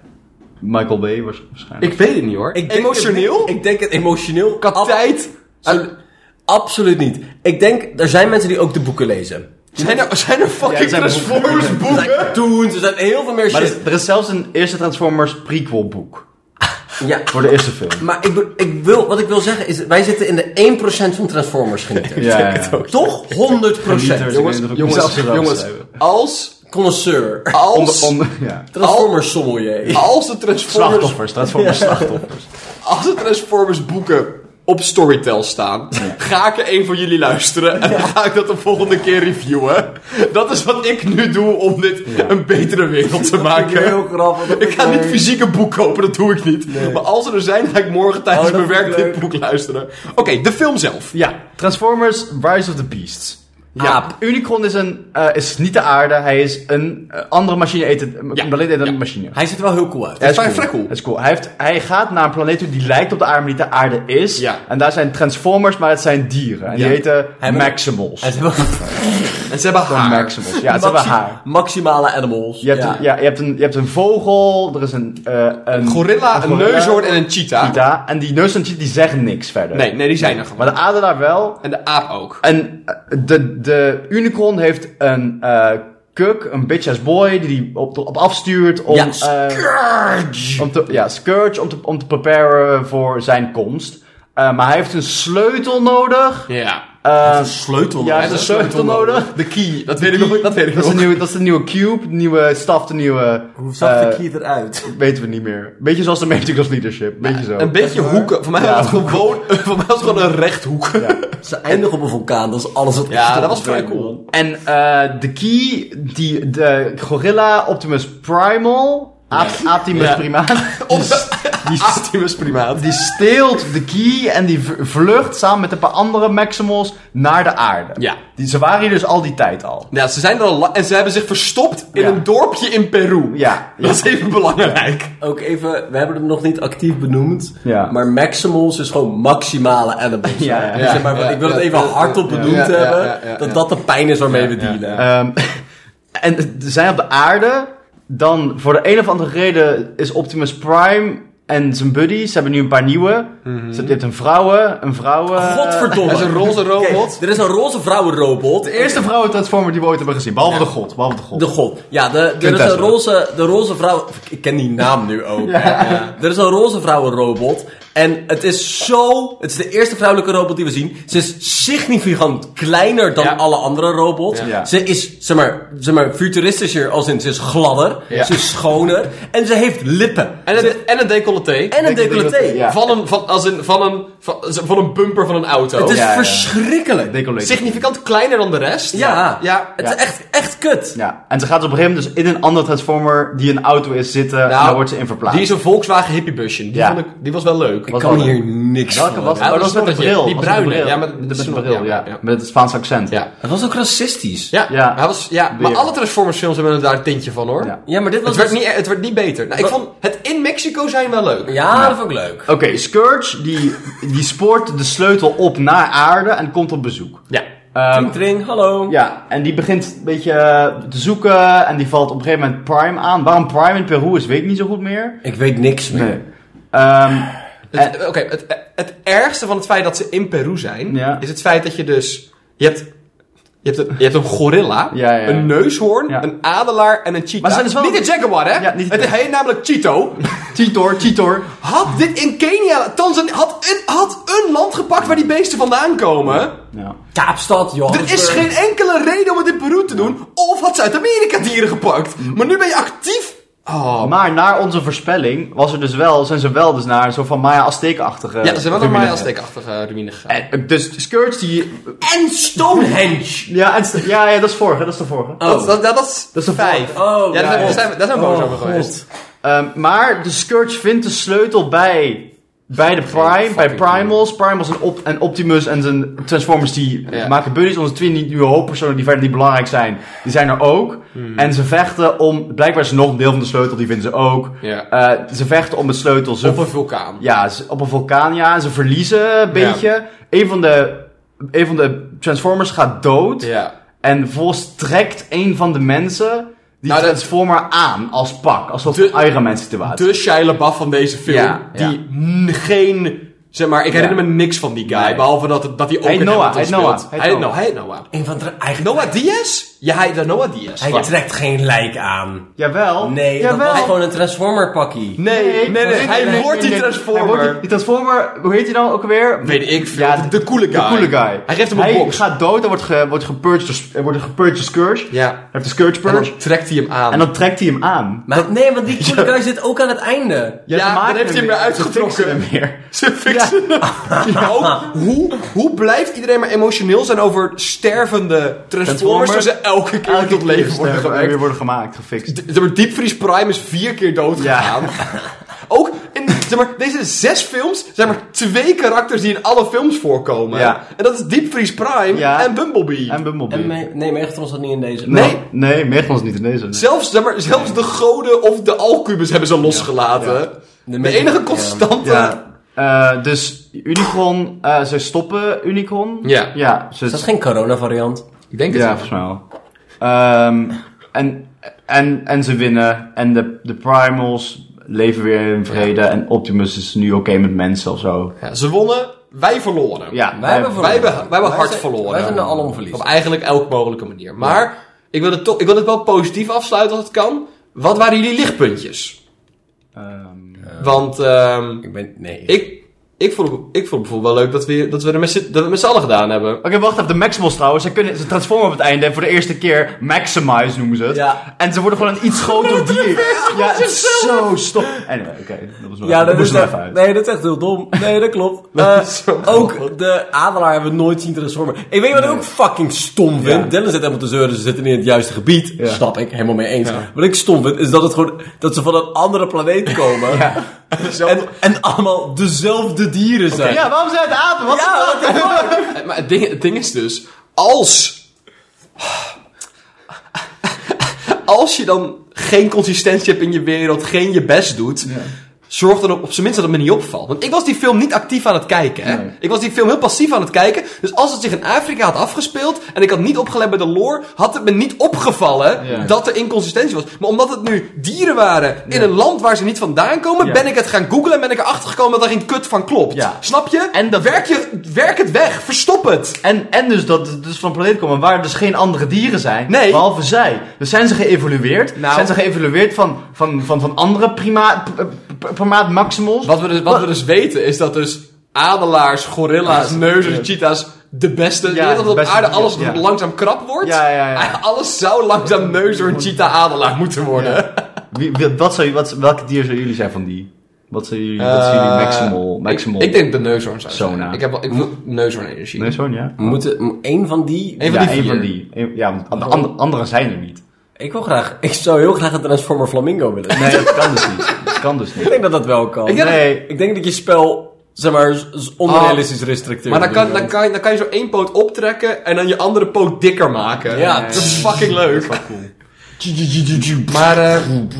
S1: Michael Bay waarsch- waarschijnlijk.
S4: Ik weet het niet hoor.
S3: Ik denk-
S4: Emotioneel?
S3: Ik denk het emotioneel.
S4: Ik had tijd.
S3: Ab- absoluut niet. Ik denk, er zijn mensen die ook de boeken lezen.
S4: Zijn er, zijn er fucking
S1: zijn
S4: Transformers boeken?
S3: Er zijn cartoons, er zijn heel veel meer
S1: maar er
S3: shit.
S1: is, er is zelfs een eerste Transformers prequel boek. eh,
S3: Ja.
S1: Voor de eerste film.
S3: Maar ik, be- ik wil, wat ik wil zeggen is, wij zitten in de 1% van Transformers genieters.
S1: Ja, ja, ja.
S3: Toch? 100%.
S1: Jongens, jongens, jongens.
S4: Als,
S3: Connoisseur.
S4: als,
S1: ja.
S3: Transformers sommelier.
S4: als de Transformers
S1: Slachtoffers, Transformers slachtoffers.
S4: als de Transformers boeken op Storytel staan, ga ik er een van jullie luisteren en ga ik dat de volgende keer reviewen. Dat is wat ik nu doe om dit een betere wereld te maken.
S3: Heel grappig. dat
S4: Ik ga
S3: leuk.
S4: niet fysiek een boek kopen, dat doe ik niet. Maar als ze er zijn, ga ik morgen tijdens
S3: Oh, dat
S4: mijn
S3: vind
S4: werk
S3: ik
S4: dit
S3: leuk.
S4: boek luisteren. Oké, de film zelf.
S1: Ja, Transformers Rise of the Beasts.
S4: Ja.
S1: Aap. Unicron is, een, eh, is niet de aarde, hij is een eh, andere machine, eet het, een planeet eet een machine.
S3: Hij ziet er wel heel cool uit.
S1: Hij is
S4: vrij-
S1: cool.
S4: vrij cool.
S1: Hij is cool. Hij, heeft, hij gaat naar een planeet toe die lijkt op de aarde, maar niet de aarde is.
S4: Ja.
S1: En daar zijn Transformers, maar het zijn dieren. En die heten
S3: Hij moet-
S1: Maximals.
S3: Hij is wel
S4: En ze hebben haar.
S1: Maximals, ja, ze hebben haar.
S3: Maximale animals.
S1: Je hebt, Een, ja, je, hebt een, je hebt een vogel, er is een... eh, een
S4: Gorilla, een
S1: gorilla,
S4: neushoorn en een cheetah.
S1: cheetah. En die neushoorn en cheetah, die zeggen niks verder.
S4: Nee, nee, die zijn er gewoon.
S1: Maar de adelaar wel,
S4: En de aap ook.
S1: En eh, de, de unicorn heeft een eh, kuk, een bitch ass boy, die die op, op afstuurt om...
S3: Ja,
S1: eh, om te, ja, Scourge, om te, om te preparen voor zijn komst. Eh, maar hij heeft een sleutel nodig.
S4: Ja.
S1: Eh,
S3: Sleutel.
S1: ja, hij heeft een sleutel nodig.
S4: De key, dat weet ik nog. Dat weet ik
S1: Dat is, de
S4: nog.
S1: nieuwe, dat is de nieuwe cube, de nieuwe staf, de nieuwe...
S3: Hoe zag
S1: eh,
S3: de key eruit?
S1: Weten we niet meer. Beetje zoals de Matrix of Leadership. Beetje zo.
S4: Een beetje hoeken. Voor mij was het gewoon, voor mij was het gewoon een rechthoek.
S3: Ze eindigen op een vulkaan, dat is alles wat
S4: Ja, dat was vrij cool.
S1: En eh, de key, die, de gorilla Optimus Primal, Apt- Optimus
S4: Ja.
S1: Primaat, die, s- die, s-
S4: Optimus Primaat.
S1: die steelt de key en die v- vlucht samen met een paar andere Maximals naar de aarde.
S4: Ja.
S1: Die, ze waren hier dus al die tijd al.
S4: Ja, ze zijn er al la- en ze hebben zich verstopt in
S1: Ja.
S4: een dorpje in Peru.
S1: Ja.
S4: Dat is even belangrijk.
S3: Ook even, we hebben hem nog niet actief benoemd.
S1: Ja.
S3: Maar Maximals is gewoon maximale animals.
S1: Ja, ja,
S3: Dus zeg maar,
S4: ja,
S3: ik wil
S4: ja,
S3: het even
S4: ja,
S3: hardop
S4: ja,
S3: benoemd
S4: ja, ja,
S3: hebben.
S4: ja, ja, ja.
S3: dat dat de pijn is waarmee we dealen.
S1: Ehm, en ze zijn op de aarde, dan voor de een of andere reden is Optimus Prime en zijn buddies, ze hebben nu een paar nieuwe.
S4: Mhm.
S1: Ze hebben je hebt een vrouwen, een vrouwen...
S3: Godverdomme.
S4: Eh, Hij is een roze robot.
S3: Oké, er is een roze vrouwenrobot.
S1: De eerste vrouwen-transformer die we ooit hebben gezien, behalve de god, behalve de god.
S3: De god. Ja, de, er is
S1: Tesla.
S3: een roze, de roze vrouw. Ik ken die naam nu ook. hè. Er is een roze vrouwenrobot. En het is zo. Het is de eerste vrouwelijke robot die we zien. Ze is significant kleiner dan alle andere robots.
S1: Ja.
S3: Ze is, zeg maar, zeg maar, futuristischer als in ze is gladder. Ze is schoner. En ze heeft lippen.
S4: En een, en een decolleté.
S3: En een decolleté.
S1: ja.
S4: Van, een, van, als een, van, een, van, van een bumper van een auto.
S3: Het is
S1: Ja, ja.
S3: verschrikkelijk.
S1: Decolleté.
S4: Significant kleiner dan de rest.
S3: Ja.
S1: Nou,
S4: ja.
S3: Het is echt, echt kut.
S1: Ja, en ze gaat op een gegeven moment dus in een andere Transformer die een auto is zitten en daar wordt ze in verplaatst.
S4: Nou, Die is een Volkswagen hippiebusje. Die,
S1: Ja.
S4: vond ik, die was wel leuk.
S3: Ik
S1: Wat
S3: kan
S1: wel
S3: hier niks
S1: Welke
S3: van.
S1: was
S4: Ja,
S1: het? Oh,
S4: dat
S1: dat was
S4: is
S1: met een
S4: dat je-
S1: bril.
S4: die
S1: was met een
S4: bruine.
S1: bril.
S4: Ja, maar-
S1: met een
S4: ja,
S1: bril, ja.
S4: ja.
S1: Met het Spaans accent.
S4: Ja.
S3: Het was ook racistisch.
S4: Ja,
S1: Ja.
S4: Hij was, ja. maar
S1: Weer.
S4: alle Transformers films hebben daar een tintje van hoor.
S1: Ja.
S3: Ja, maar dit was.
S4: Het, werd
S3: dus-
S4: niet, het werd niet beter. Nou, ik
S3: Wa-
S4: vond het in Mexico zijn wel leuk.
S3: Ja, dat vond ik leuk.
S1: Oké, Scourge die, die spoort de sleutel op naar aarde en komt op bezoek.
S4: Ja.
S1: Ehm,
S3: Tring, tring, hallo.
S1: ja, en die begint een beetje eh, te zoeken en die valt op een gegeven moment Prime aan. Waarom Prime in Peru is, weet ik niet zo goed meer.
S3: Ik weet niks meer.
S1: Ehm,
S4: Het- Oké, het, eh, het ergste van het feit dat ze in Peru zijn,
S1: Ja.
S4: is het feit dat je dus... Je hebt, je hebt, een, je hebt een gorilla,
S1: Ja, ja.
S4: een neushoorn,
S1: Ja.
S4: een adelaar en een cheetah.
S1: Maar ze zijn dus wel-
S4: Niet een jaguar, hè?
S1: Ja, niet een
S4: het
S1: jaguar.
S4: heet namelijk Cheeto.
S1: Titor, Titor.
S4: Had dit in Kenia... Tanzania, had een, had een land gepakt waar die beesten vandaan komen.
S1: Ja.
S3: Kaapstad, Johannesburg.
S4: Er is geen
S1: eh,
S4: enkele reden om het in Peru te doen. Of had Zuid-Amerika dieren gepakt. Maar nu ben je actief... Oh,
S1: Maar naar onze voorspelling was er dus wel, zijn ze wel dus naar een soort van Maya-Azteek-achtige...
S4: ja, ze zijn wel naar
S1: ruïne.
S4: Maya-Azteek-achtige ruïne gegaan.
S1: En, eh, Dus Scourge die...
S3: En Stonehenge.
S1: Ja, en st- ja, ja, dat is vorige, dat is de vorige.
S4: Dat, dat, Eh, dat, is
S1: Dat is de
S4: vijf.
S1: vorige.
S3: Oh,
S4: ja, daar zijn- daar
S3: God.
S4: zijn, we- daar zijn we boos
S3: Oh,
S4: over geweest.
S1: Ehm, maar de Scourge vindt de sleutel bij, bij de Prime, bij Primals. Primals en, Op- en Optimus en zijn Transformers die
S4: Ja.
S1: maken buddies. Onze twee niet- nieuwe hoofdpersonen die verder niet belangrijk zijn, die zijn er ook.
S4: Hmm.
S1: En ze vechten om... Blijkbaar is er nog een deel van de sleutel, die vinden ze ook.
S4: Ja.
S1: Eh, ze vechten om de sleutel. Ze
S4: Op een vulkaan.
S1: Ja, ze- op een vulkaan, ja. En ze verliezen een beetje. Een, van de, een van de Transformers gaat dood.
S4: Ja.
S1: En vervolgens trekt een van de mensen die
S4: Nou, dat-
S1: Transformer aan als pak. Als dat
S4: De-
S1: Iron Man situatie.
S4: de Shia LaBeouf van deze film.
S1: Ja, ja.
S4: die n- geen... Zeg maar, ik herinner me niks van die guy. Behalve dat, het- dat hij ook
S1: Hij
S4: in
S1: Noah,
S4: Hamilton
S1: hij Noah,
S4: speelt.
S1: hij
S4: Hij heet
S1: Noah.
S4: Noah. Hij heet Noah.
S3: Een van de eigen...
S4: Noah Diaz? Ja, hij heet Noah Diaz.
S3: Hij
S4: Fuck.
S3: trekt geen lijk aan.
S1: Jawel.
S3: Nee, dat
S1: Jawel.
S3: was gewoon een Transformer pakkie.
S1: Nee, nee, nee,
S4: hij wordt die Transformer.
S1: Hij wordt die, die Transformer, hoe heet hij nou ook alweer?
S4: Weet ik veel.
S1: Ja,
S4: de, de coole guy.
S1: De coole guy.
S4: Hij geeft hem een
S1: hij
S4: box.
S1: gaat dood, hij wordt, ge, wordt gepurged door Sc- hij wordt gepurged door Scourge. Hij
S4: Ja.
S1: heeft de Scourge
S4: En
S1: Purge.
S4: dan trekt hij hem aan.
S1: en dan trekt hij hem aan.
S3: Maar nee, want die coole guy zit ook aan het einde.
S1: Ja,
S4: dan heeft hij hem weer uitgetrokken.
S1: Ze fixen hem weer.
S4: Ze fixen hem. Maar ook, hoe, hoe blijft iedereen maar emotioneel zijn over stervende Transformers...
S1: Transformers.
S4: terwijl ze elke keer tot leven worden
S1: Sterven en
S4: gewekt?
S1: weer worden gemaakt, gefixt.
S4: D- zeg maar, Diepvries Prime is vier keer dood
S1: Ja.
S4: gegaan. Ook in zeg maar, deze zes films zijn maar twee karakters die in alle films voorkomen.
S1: Ja.
S4: En dat is Diepvries Prime
S1: Ja.
S4: en Bumblebee.
S1: En Bumblebee.
S3: En me- nee, Megatron zat niet in deze. Oh,
S1: nee, nee, Megatron is niet in deze. nee.
S4: Zelfs, zeg maar, zelfs de goden of de alcubus hebben ze losgelaten. De,
S3: mensen-
S4: enige constante...
S1: Ja. Eh, dus Unicron, eh, ze stoppen Unicron.
S4: Ja.
S1: Ja, ze,
S3: Is dat geen corona-variant?
S4: Ik denk
S1: ja volgens mij wel. Ehm, en, en, en ze winnen. En de, de Primals leven weer in vrede. En Optimus is nu oké met mensen of zo.
S4: Ja, ze wonnen, wij verloren.
S1: Ja,
S3: Wij hebben,
S4: Wij hebben, wij hebben hard
S3: zijn-
S4: verloren.
S3: Wij zijn de alom
S4: Op
S3: verliezen.
S4: eigenlijk elk mogelijke manier. Maar ik, wil het toch, ik wil het wel positief afsluiten als het kan. Wat waren jullie lichtpuntjes?
S1: ehm,
S4: Want ehm,
S3: Ik ben... Nee.
S4: ik, ik, vond, ik vond het bijvoorbeeld wel leuk dat we, dat we, er met, z'n- dat we het met z'n allen gedaan hebben.
S1: Oké, wacht even. De Maximals trouwens. Ze, kunnen, ze transformen op het einde. En voor de eerste keer Maximize noemen ze het.
S3: Ja.
S1: En ze worden gewoon een iets groter dier. Ja, het is zo stom. Anyway, oké. dat was wel
S3: Ja, dat
S1: moest
S3: is
S1: er
S3: echt,
S1: even uit.
S3: nee, dat is echt heel dom. Nee, dat klopt. Eh, ook de adelaar hebben we nooit zien transformen. Ik weet wat ik ook fucking stom vind. Dylan zit helemaal te zeuren, ze zitten niet in het juiste gebied. Snap ik, helemaal mee eens. Wat ik stom vind, is dat, het gewoon, dat ze van een andere planeet komen. en, en allemaal dezelfde dieren zijn.
S1: Ja, waarom zijn het apen? Wat
S3: Ja,
S1: is
S3: wat de fuck?
S4: Eh, Maar het ding, het ding is dus, als... Als je dan geen consistentie hebt in je wereld, geen je best doet... Zorg dan op, op zijn minst dat het me niet opvalt. Want ik was die film niet actief aan het kijken. Hè? Ik was die film heel passief aan het kijken. Dus als het zich in Afrika had afgespeeld en ik had niet opgelet bij de lore, had het me niet opgevallen dat er inconsistentie was. Maar omdat het nu dieren waren in een land waar ze niet vandaan komen, ben ik het gaan googlen en ben ik erachter gekomen dat daar geen kut van klopt.
S1: Ja.
S4: Snap je?
S1: En dat-
S4: werk, je, werk het weg, verstop het.
S1: En, en dus dat het dus van een planeet komen waar dus geen andere dieren zijn,
S4: Nee.
S1: behalve zij. Dus zijn ze geëvolueerd?
S4: Nou.
S1: Zijn ze geëvolueerd van, van, van, van andere prima, p- p- primaat maximals?
S4: Wat we, dus, wat we dus weten is dat dus adelaars, gorilla's, neuzen, cheetahs de beste...
S1: Ja,
S4: Ja, dat
S1: de
S4: op
S1: beste
S4: aarde
S1: dieren,
S4: alles
S1: ja.
S4: langzaam krap wordt.
S1: Ja, ja, ja.
S4: Alles zou langzaam neuzen, een cheetah, adelaar moeten worden.
S1: Wie, wie- wat zou, je- wat, welke dier zou jullie zijn van die? Wat zijn jullie, wat zijn jullie
S4: Eh,
S1: maximal? maximal?
S4: Ik, ik denk de neushoorn zou
S1: Sona.
S4: zijn. Ik heb wel, ik voel neushoorn-energie.
S1: Nee, zo'n ja.
S3: We moeten één van die...
S4: Eén van
S1: ja,
S4: die
S1: één
S4: vier.
S1: van die. Eén- ja, want de andere, andere zijn er niet.
S3: Ik wil graag... Ik zou heel graag een Transformer Flamingo willen.
S1: Nee, dat kan dus niet. Dat kan dus
S3: Ik
S1: niet.
S3: denk dat dat wel kan.
S4: Ik denk-
S1: Nee.
S3: Ik denk dat je spel, zeg maar, z- z- onrealistisch restricteert.
S4: Maar dan kan, dan, kan, dan kan je zo één poot optrekken en dan je andere poot dikker maken.
S3: Ja.
S4: Dat is fucking leuk. Maar eh,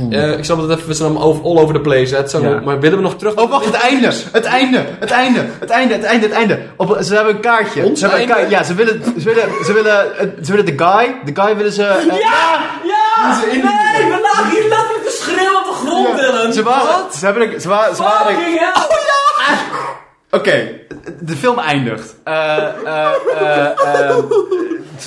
S4: eh, ik snap dat even, we zijn allemaal over- all over the place. Hè. Het zijn
S1: Ja.
S4: wel- Maar willen we nog terug?
S1: Oh, wacht, het einde! Het einde! Het einde! Het einde! Het einde! Het einde! Op, ze hebben een kaartje.
S4: Ons
S1: ze hebben een
S4: einde?
S1: kaartje. Ja, ze willen, ze willen, ze willen, eh, ze willen de guy. De guy willen ze. eh,
S3: Ja! Nee, we lagen hier letterlijk te schreeuwen op de grond, Dylan.
S1: Ze waren, ze hebben, een- ze waren, ze waren.
S3: Fucking hell.
S1: Oké, de film eindigt. Eh, eh, eh, eh,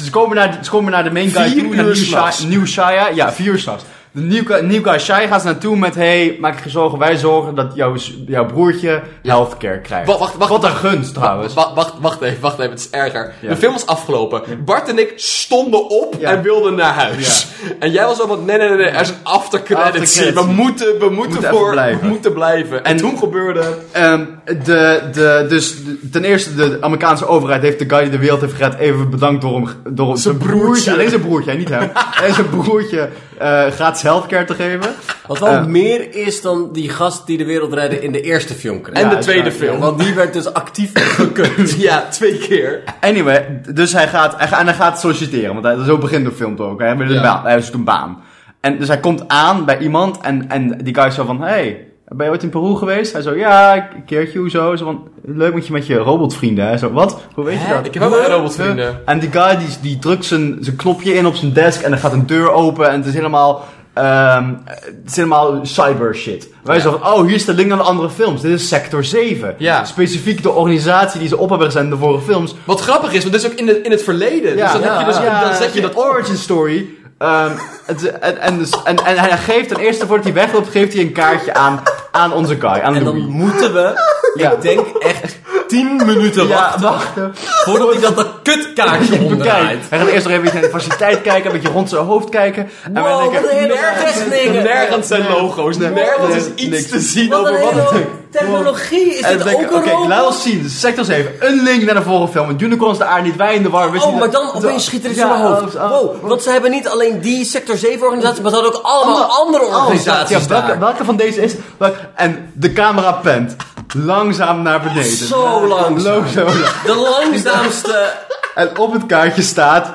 S1: ze, komen naar, de- ze komen naar de main guy
S4: Vier
S1: toe, naar
S4: uur
S1: Nieuw Shia,
S4: s'nachts.
S1: Nieuw Shia. Ja, vier uur s'nachts. De nieuw guy- nieuw guy Shia gaat ze naartoe met... hey, maak je geen zorgen, wij zorgen dat jouw, s- jouw broertje healthcare krijgt.
S4: Wa- wacht, wacht.
S1: Wat een gunst trouwens.
S4: Wa- wacht, wacht even, wacht even, het is erger.
S1: Ah, Ja.
S4: De film was afgelopen. Bart en ik stonden op
S1: Ja.
S4: en wilden naar huis. En jij was al van, nee, nee, nee, nee, er is een aftercredit
S1: Aftercredit.
S4: scene. We moeten, we moeten,
S1: moeten
S4: voor,
S1: even blijven.
S4: we moeten blijven. En,
S1: En-
S4: toen gebeurde...
S1: Ehm, de, de, dus de- ten eerste, de Amerikaanse overheid heeft de guy die de wereld heeft gered even bedankt door, hem, door zijn broertje. Alleen zijn broertje, hè, niet hem. alleen zijn broertje eh gratis healthcare te geven.
S3: Wat wel
S1: Eh.
S3: meer is dan die gast die de wereld redde in de eerste film kreeg.
S4: en
S1: Ja,
S4: de
S1: is
S4: tweede
S1: waar,
S4: film.
S3: Want die werd dus actief gekund.
S4: Ja, twee keer.
S1: Anyway, d- dus hij gaat, hij, ga- en hij gaat solliciteren, want hij, zo begint de film toch ook. Hè? Hij, wil een baan, hij zoekt een baan. En dus hij komt aan bij iemand en, en die guy is zo van, hey, Ben je ooit in Peru geweest? Hij zo, ja, een keertje, hoezo? Zo van, leuk met je met je robotvrienden. Hij zo, wat? Hoe weet je dat?
S4: Ik heb ook een robotvrienden.
S1: En die guy die, die drukt zijn, zijn knopje in op zijn desk en dan gaat een deur open en het is helemaal, ehm, het is helemaal cyber shit. Wij zo van, oh, hier is de link naar de andere films. Dit is Sector 7.
S4: Ja.
S1: Specifiek de organisatie die ze op hebben gezet in de vorige films.
S4: Wat grappig is, want dit is ook in, de, in het verleden. dus dan, heb je dus, dan zet je dat op.
S1: origin story. ehm, het- en, en, dus, en, en hij geeft, ten eerste voordat hij wegloopt, geeft hij een kaartje aan, aan onze guy, aan
S3: En dan
S1: Louis.
S3: moeten we,
S1: Ja.
S3: ik denk echt 10 minuten
S1: Ja,
S3: wachten
S1: wachten.
S3: voordat ik dat, dat kutkaartje
S1: Bekijk.
S3: omdraait.
S1: Hij gaat eerst nog even naar de faciliteit kijken, een beetje rond zijn hoofd kijken. En wij
S3: Wow, wat een hele rare dingen.
S4: Nergens zijn logo's. Nergens is iets te zien
S3: Wat een
S4: over wat het
S3: hele technologie. Is
S1: En
S3: dit
S1: we denken,
S3: ook een
S1: oké, laat
S3: robot?
S1: ons zien. Sector 7, een link naar de vorige film. Want Unicorns de aarde niet wij in de war. wist
S3: Oh,
S1: niet
S3: maar
S1: dat-
S3: dan opeens schiet er iets
S1: Ja,
S3: in mijn hoofd.
S1: oh, oh.
S3: Wow, want ze hebben niet alleen die Sector 7 organisatie, maar ze hadden ook allemaal andere
S1: Oh,
S3: organisaties
S1: ja, welke,
S3: daar.
S1: welke van deze is welke- En de camera pent langzaam naar beneden.
S3: Zo langzaam.
S1: Zo, zo.
S3: De langzaamste.
S1: En op het kaartje staat...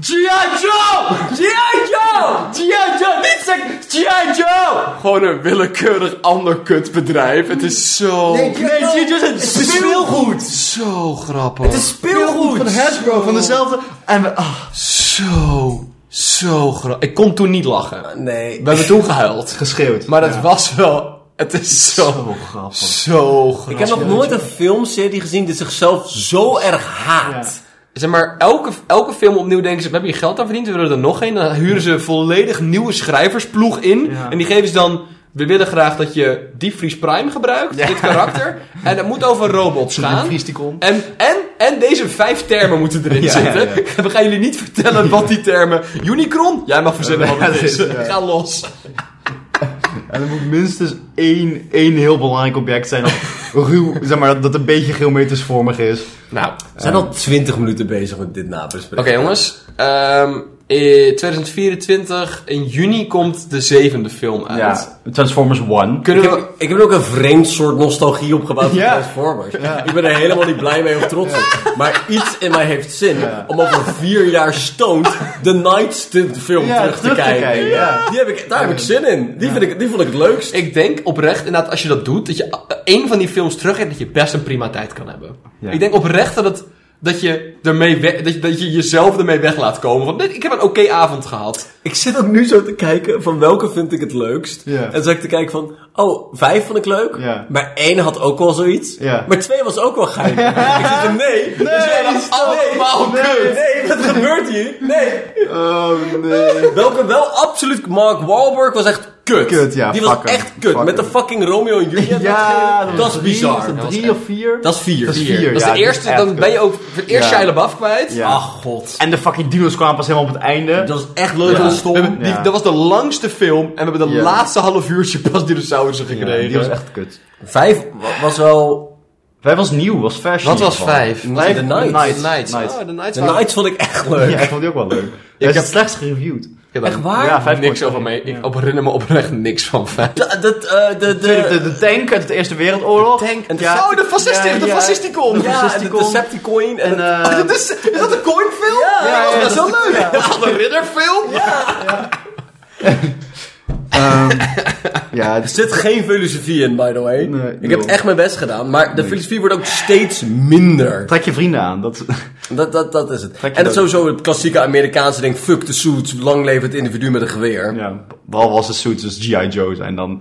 S3: G.I. Joe!
S4: Gewoon een willekeurig ander kutbedrijf. Het is zo...
S1: Nee, G.I. Joe is een speelgoed.
S4: Zo grappig.
S3: Het is speelgoed.
S1: Van Hasbro, van dezelfde... En we... ah,
S4: Zo... Zo grappig. Ik kon toen niet lachen. We
S3: Nee.
S4: hebben toen gehuild.
S1: geschreeuwd.
S4: Maar dat was wel... Het is zo... Zo grappig. Zo
S3: Ik heb nog nooit een filmserie gezien die zichzelf zo erg haat.
S4: Zeg maar, elke, elke film opnieuw denken ze, we hebben hier geld aan verdiend, we willen er nog een. Dan huren ze een volledig nieuwe schrijversploeg in.
S1: Ja.
S4: En die geven ze dan, we willen graag dat je Diepvries Prime gebruikt, dit karakter. En het moet over robots gaan.
S1: Vriesticon.
S4: En, en, en deze vijf termen moeten erin zitten. We gaan jullie niet vertellen wat die termen... Unicron? Jij mag verzinnen wat het
S1: Ja,
S4: is.
S1: dit, ja.
S4: Ga los.
S1: En er moet minstens één, één heel belangrijk object zijn dat ruw, zeg maar, dat, dat een beetje geometrisvormig is.
S4: Nou,
S3: We zijn al 20 minuten bezig met dit nabespreken.
S4: Oké jongens, Ehm in 2024, in juni, komt de zevende film
S3: Ah,
S4: uit.
S1: Transformers 1.
S4: Kunnen
S3: Ik
S4: we...
S3: heb, ik heb er ook een vreemd soort nostalgie opgebouwd voor
S1: Ja.
S3: Transformers. Ik ben er helemaal niet blij mee of trots op. Maar iets in mij heeft zin om over vier jaar stoned de Night Stint film
S1: Ja,
S3: terug, te kijken.
S1: ja.
S3: Die heb ik, daar heb ik zin in. Die, vind ik, die vond ik het leukst.
S4: Ik denk oprecht, inderdaad, als je dat doet, dat je a- één van die films teruggeeft, dat je best een prima tijd kan hebben.
S1: Ja.
S4: Ik denk oprecht dat, het, dat, je ermee we- dat, je, dat je jezelf ermee weg laat komen. Van, dit- ik heb een oké avond gehad.
S3: Ik zit ook nu zo te kijken van welke vind ik het leukst.
S1: Ja.
S3: En zat ik te kijken van, oh, vijf vond ik leuk.
S1: Ja.
S3: Maar één had ook wel zoiets.
S1: Ja.
S3: Maar twee was ook wel geil. ik zit er, nee. Dus Nee,
S1: die is
S3: allemaal oh, nee, Nee, wat gebeurt hier? Nee.
S1: Oh nee.
S3: Welke wel absoluut, Mark Wahlberg was echt kut.
S1: Kut, ja,
S3: Die was
S1: fuck hem.
S3: echt kut.
S1: Fuck
S3: Met de
S1: hem.
S3: fucking Romeo en Juliet.
S1: Ja,
S3: dat, is bizar.
S1: Drie, drie of vier?
S3: Dat is vier.
S1: Dat is
S3: Vier.
S1: vier.
S4: Dat is
S1: ja,
S4: de
S1: die
S4: eerste,
S1: echt
S4: dan
S1: kut.
S4: ben je ook voor het eerst
S1: Ja.
S4: Shia LaBeouf kwijt. Ah,
S1: Ja.
S3: Ach god.
S1: En de fucking dino's kwamen pas helemaal op het einde.
S3: Dat was echt leuk en
S4: We
S3: stom.
S4: hebben- die-
S1: Ja.
S4: Dat was de langste film en we hebben de
S1: Ja.
S4: laatste half uurtje pas dinosaurussen gekregen.
S1: Ja, die was echt kut.
S3: Vijf wa- was wel...
S1: Wij was nieuw, was vers.
S4: Wat was vijf?
S1: Vijf,
S3: The Knights.
S1: Knights.
S4: Nights.
S1: Knights.
S4: Oh, de Nights
S3: De
S4: waren-
S3: Nights vond ik echt leuk.
S1: Ja, ik vond die ook wel leuk. Hij is het slechts gereviewd.
S4: Ik heb daar
S3: Echt waar?
S1: Ja, vijf
S4: niks
S1: punten.
S4: over mee. Ik op- herinner me oprecht niks van vijf.
S3: Da- dat, eh, de, de,
S1: De, de, de tank uit de Eerste Wereldoorlog.
S3: tank. En de
S1: Ja.
S4: Oh, de fascisten,
S1: Ja,
S4: de
S1: ja.
S4: fascisticon.
S1: De
S3: ja, en de
S1: Decepticon.
S3: Decepticon. En,
S1: En,
S3: het-
S1: eh,
S4: Dat is, is dat een coinfilm?
S3: Ja, ja,
S4: dat is
S3: ja,
S4: wel leuk. Dat is een ridderfilm.
S1: ja,
S3: er
S1: dus
S3: zit geen filosofie in, by the way.
S1: Nee,
S3: ik heb
S1: nul.
S3: echt mijn best gedaan. Maar de filosofie wordt ook steeds minder.
S1: trek je vrienden aan. Dat,
S3: Dat, dat, dat is het.
S1: Trek je
S3: En het is
S1: dood.
S3: sowieso het klassieke Amerikaanse ding. Fuck the suits, lang leven het individu met een geweer.
S1: ja, behalve als de suits dus G.I. Joe zijn, dan,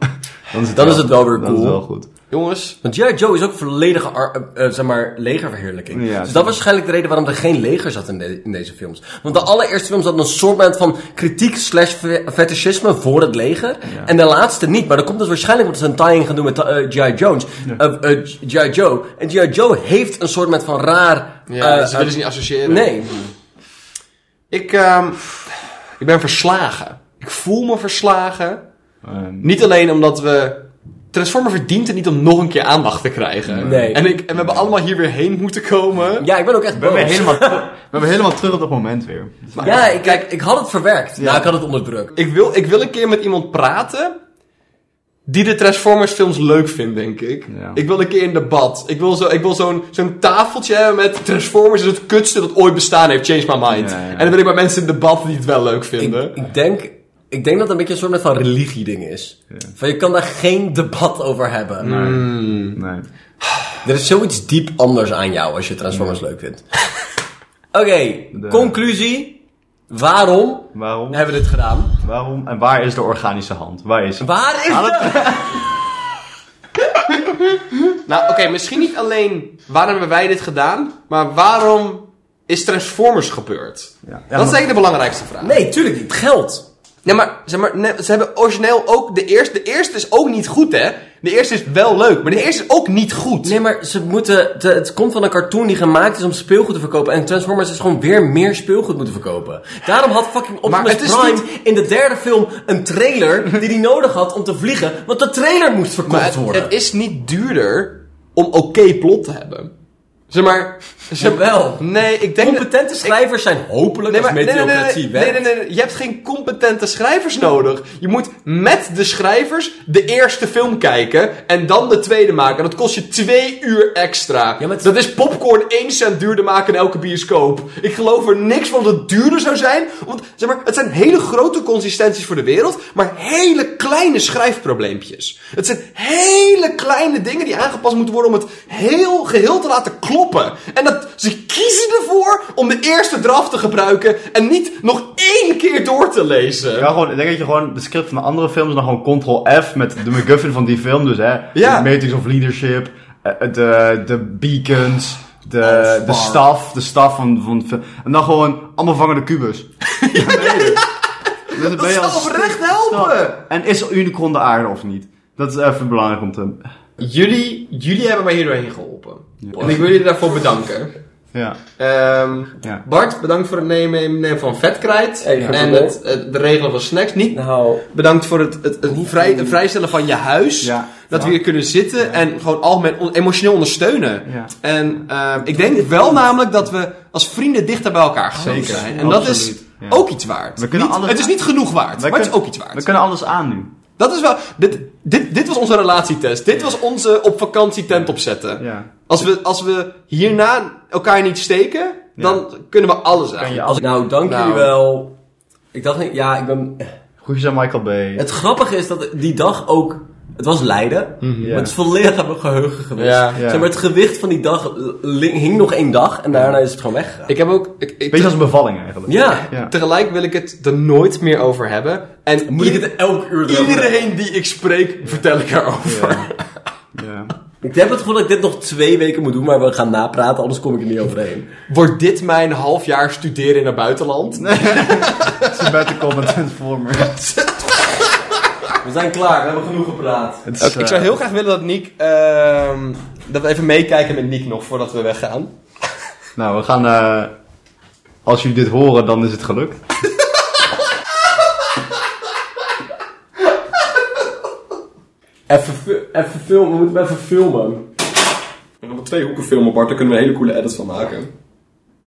S1: dan is het
S3: Dan
S1: wel-
S3: is het wel weer
S1: Dan is
S3: cool.
S1: het wel goed.
S4: Jongens,
S3: Want G.I. Joe is ook volledige ar- eh, eh, zeg maar, legerverheerlijking.
S1: Ja,
S3: dus
S1: zeker.
S3: dat was waarschijnlijk de reden waarom er geen leger zat in, de- in deze films. Want de allereerste film zat een soort van kritiek slash fe- fetischisme voor het leger. En de laatste niet. Maar dat komt dus waarschijnlijk omdat ze een tying gaan doen met eh, G.I. Jones. eh, eh, G.I. Joe. En G.I. Joe heeft een soort van raar...
S4: ja, dus
S3: eh,
S4: ze willen ze niet associëren.
S3: nee.
S4: Ik, ehm, ik ben verslagen. Ik voel me verslagen.
S1: Ehm,
S4: Niet alleen omdat we... Transformer verdient het niet om nog een keer aandacht te krijgen.
S3: Nee.
S4: En, ik, en we hebben allemaal hier weer heen moeten komen.
S3: Ja, ik ben ook echt
S1: we, hebben
S3: boos.
S1: helemaal teru- we hebben helemaal terug op dat moment weer.
S3: Ja, ik, kijk, ik had het verwerkt. Ja, ik had het onder druk.
S4: Ik wil, ik wil een keer met iemand praten die de Transformers films leuk vindt, denk ik.
S1: Ja.
S4: Ik wil een keer in debat. Ik wil, zo, ik wil zo'n, zo'n tafeltje hebben met Transformers is het kutste dat ooit bestaan heeft. Change my mind.
S1: Ja, ja.
S4: En dan wil ik bij mensen in debat die het wel leuk
S3: Ik,
S4: vinden.
S3: ik denk Ik denk dat het een beetje een soort van religie-ding is. Van je kan daar geen debat over hebben.
S1: Nee.
S3: Er is zoiets diep anders aan jou als je Transformers leuk vindt. Oké, conclusie. Waarom
S1: Waarom?
S3: hebben we dit gedaan?
S1: Waarom? En waar is de organische hand? Waar is
S3: Waar is de...
S4: Nou, oké, misschien niet alleen waarom hebben wij dit gedaan, maar waarom is Transformers gebeurd? dat is eigenlijk de belangrijkste vraag.
S3: Nee, tuurlijk niet. Geld.
S4: Nee, maar, zeg maar nee, ze hebben origineel ook de eerste. De eerste is ook niet goed, hè? De eerste is wel leuk, maar de eerste is ook niet goed.
S3: Nee, maar ze moeten... de- het komt van een cartoon die gemaakt is om speelgoed te verkopen. En Transformers is gewoon weer meer speelgoed moeten verkopen. Daarom had fucking Optimus
S4: het is
S3: Prime
S4: niet-
S3: in de derde film een trailer die hij nodig had om te vliegen. Want de trailer moest verkocht
S4: maar het,
S3: worden.
S4: het is niet duurder om oké plot te hebben. Zeg maar. Zeg
S3: Jawel.
S4: Nee, ik denk. dat-
S3: Competente schrijvers zijn hopelijk
S4: Nee, maar,
S3: als
S4: nee, nee, nee, nee,
S3: meteocratie
S4: nee, nee, nee, nee. Je hebt geen competente schrijvers nodig. Je moet met de schrijvers de eerste film kijken en dan de tweede maken. Dat kost je twee uur extra.
S3: maar het-
S4: Dat is Dus popcorn één cent duurder maken in elke bioscoop. Ik geloof er niks van dat het duurder zou zijn. Want zeg maar, het zijn hele grote consistenties voor de wereld, maar hele kleine schrijfprobleempjes. Het zijn hele kleine dingen die aangepast moeten worden om het heel geheel te laten kloppen. En dat ze kiezen ervoor om de eerste draft te gebruiken en niet nog één keer door te lezen.
S1: Ja, gewoon, ik denk dat je gewoon de script van de andere films dan gewoon Ctrl-F met de MacGuffin van die film, dus hè.
S4: Ja.
S1: De Matrix of Leadership, eh, de, de beacons,
S4: Oh,
S1: de, de staf, de staf van, van de film. En dan gewoon allemaal vangende kubus. Ja, ben je er. Dus dan ben
S4: Dat
S1: je
S4: zou
S1: al
S4: oprecht
S1: stap.
S4: helpen!
S1: En is Unicron de aarde of niet? Dat is even belangrijk om te...
S4: Jullie, jullie hebben mij hier doorheen geholpen. En ik wil jullie daarvoor bedanken.
S1: Ja.
S4: Ehm,
S1: Ja.
S4: Bart, bedankt voor het nemen, nemen van vetkrijt.
S3: Hey, geen
S4: en
S3: probleem.
S4: het, het- de regelen van snacks. Niet
S3: Nou,
S4: bedankt voor het, het, het vrij, het vrijstellen van je huis.
S1: Ja.
S4: Dat we hier kunnen zitten en gewoon algemeen on- emotioneel ondersteunen.
S1: Ja.
S4: En ehm, ik denk wel namelijk dat we als vrienden dichter bij elkaar gezeten
S1: Zeker.
S4: zijn. En dat is
S1: Absoluut. Ja.
S4: ook iets waard.
S1: We kunnen
S4: Niet-
S1: alles-
S4: het is niet genoeg waard,
S1: We
S4: maar het is
S1: kunnen-
S4: ook iets waard.
S1: We kunnen alles aan nu.
S4: Dat is wel. Dit, dit, dit was onze relatietest. Dit was onze op vakantie tent opzetten.
S1: Ja.
S4: Als, we, als we hierna elkaar niet steken, dan kunnen we alles aan.
S1: Ja,
S3: als ik, nou dank
S4: Nou.
S3: jullie wel. Ik dacht niet, ja, ik ben...
S1: Groetjes aan Michael Bay.
S3: Het grappige is dat die dag ook... Het was Leiden, maar het is volledig aan mijn geheugen geweest.
S4: Ja.
S1: Ja.
S3: Zeg maar, het gewicht van die dag li- hing nog één dag en daarna is het gewoon weggegaan.
S4: Ik heb ook. Ik, ik-
S1: Beetje als een bevalling eigenlijk.
S3: Ja.
S1: Ja.
S4: Tegelijk wil ik het er nooit meer over hebben. En
S3: Moet ik
S4: i-
S3: het elk uur erover
S4: iedereen die ik spreek, vertel ik erover.
S1: Ja.
S3: Ik heb het gevoel dat ik dit nog twee weken moet doen, maar we gaan napraten, anders kom ik er niet overheen.
S4: Wordt dit mijn half jaar studeren in het buitenland?
S1: Better Call Saul Transformers.
S3: We zijn klaar, we hebben genoeg gepraat.
S1: Het is,
S4: Oké, ik zou
S1: eh,
S4: heel graag willen dat Nick. ehm, dat we even meekijken met Nick nog voordat we weggaan.
S1: Nou, we gaan. eh, als jullie dit horen, dan is het gelukt.
S3: Even, fi- even filmen, we moeten even filmen.
S12: En op twee hoeken filmen, Bart, daar kunnen we een hele coole edit van maken.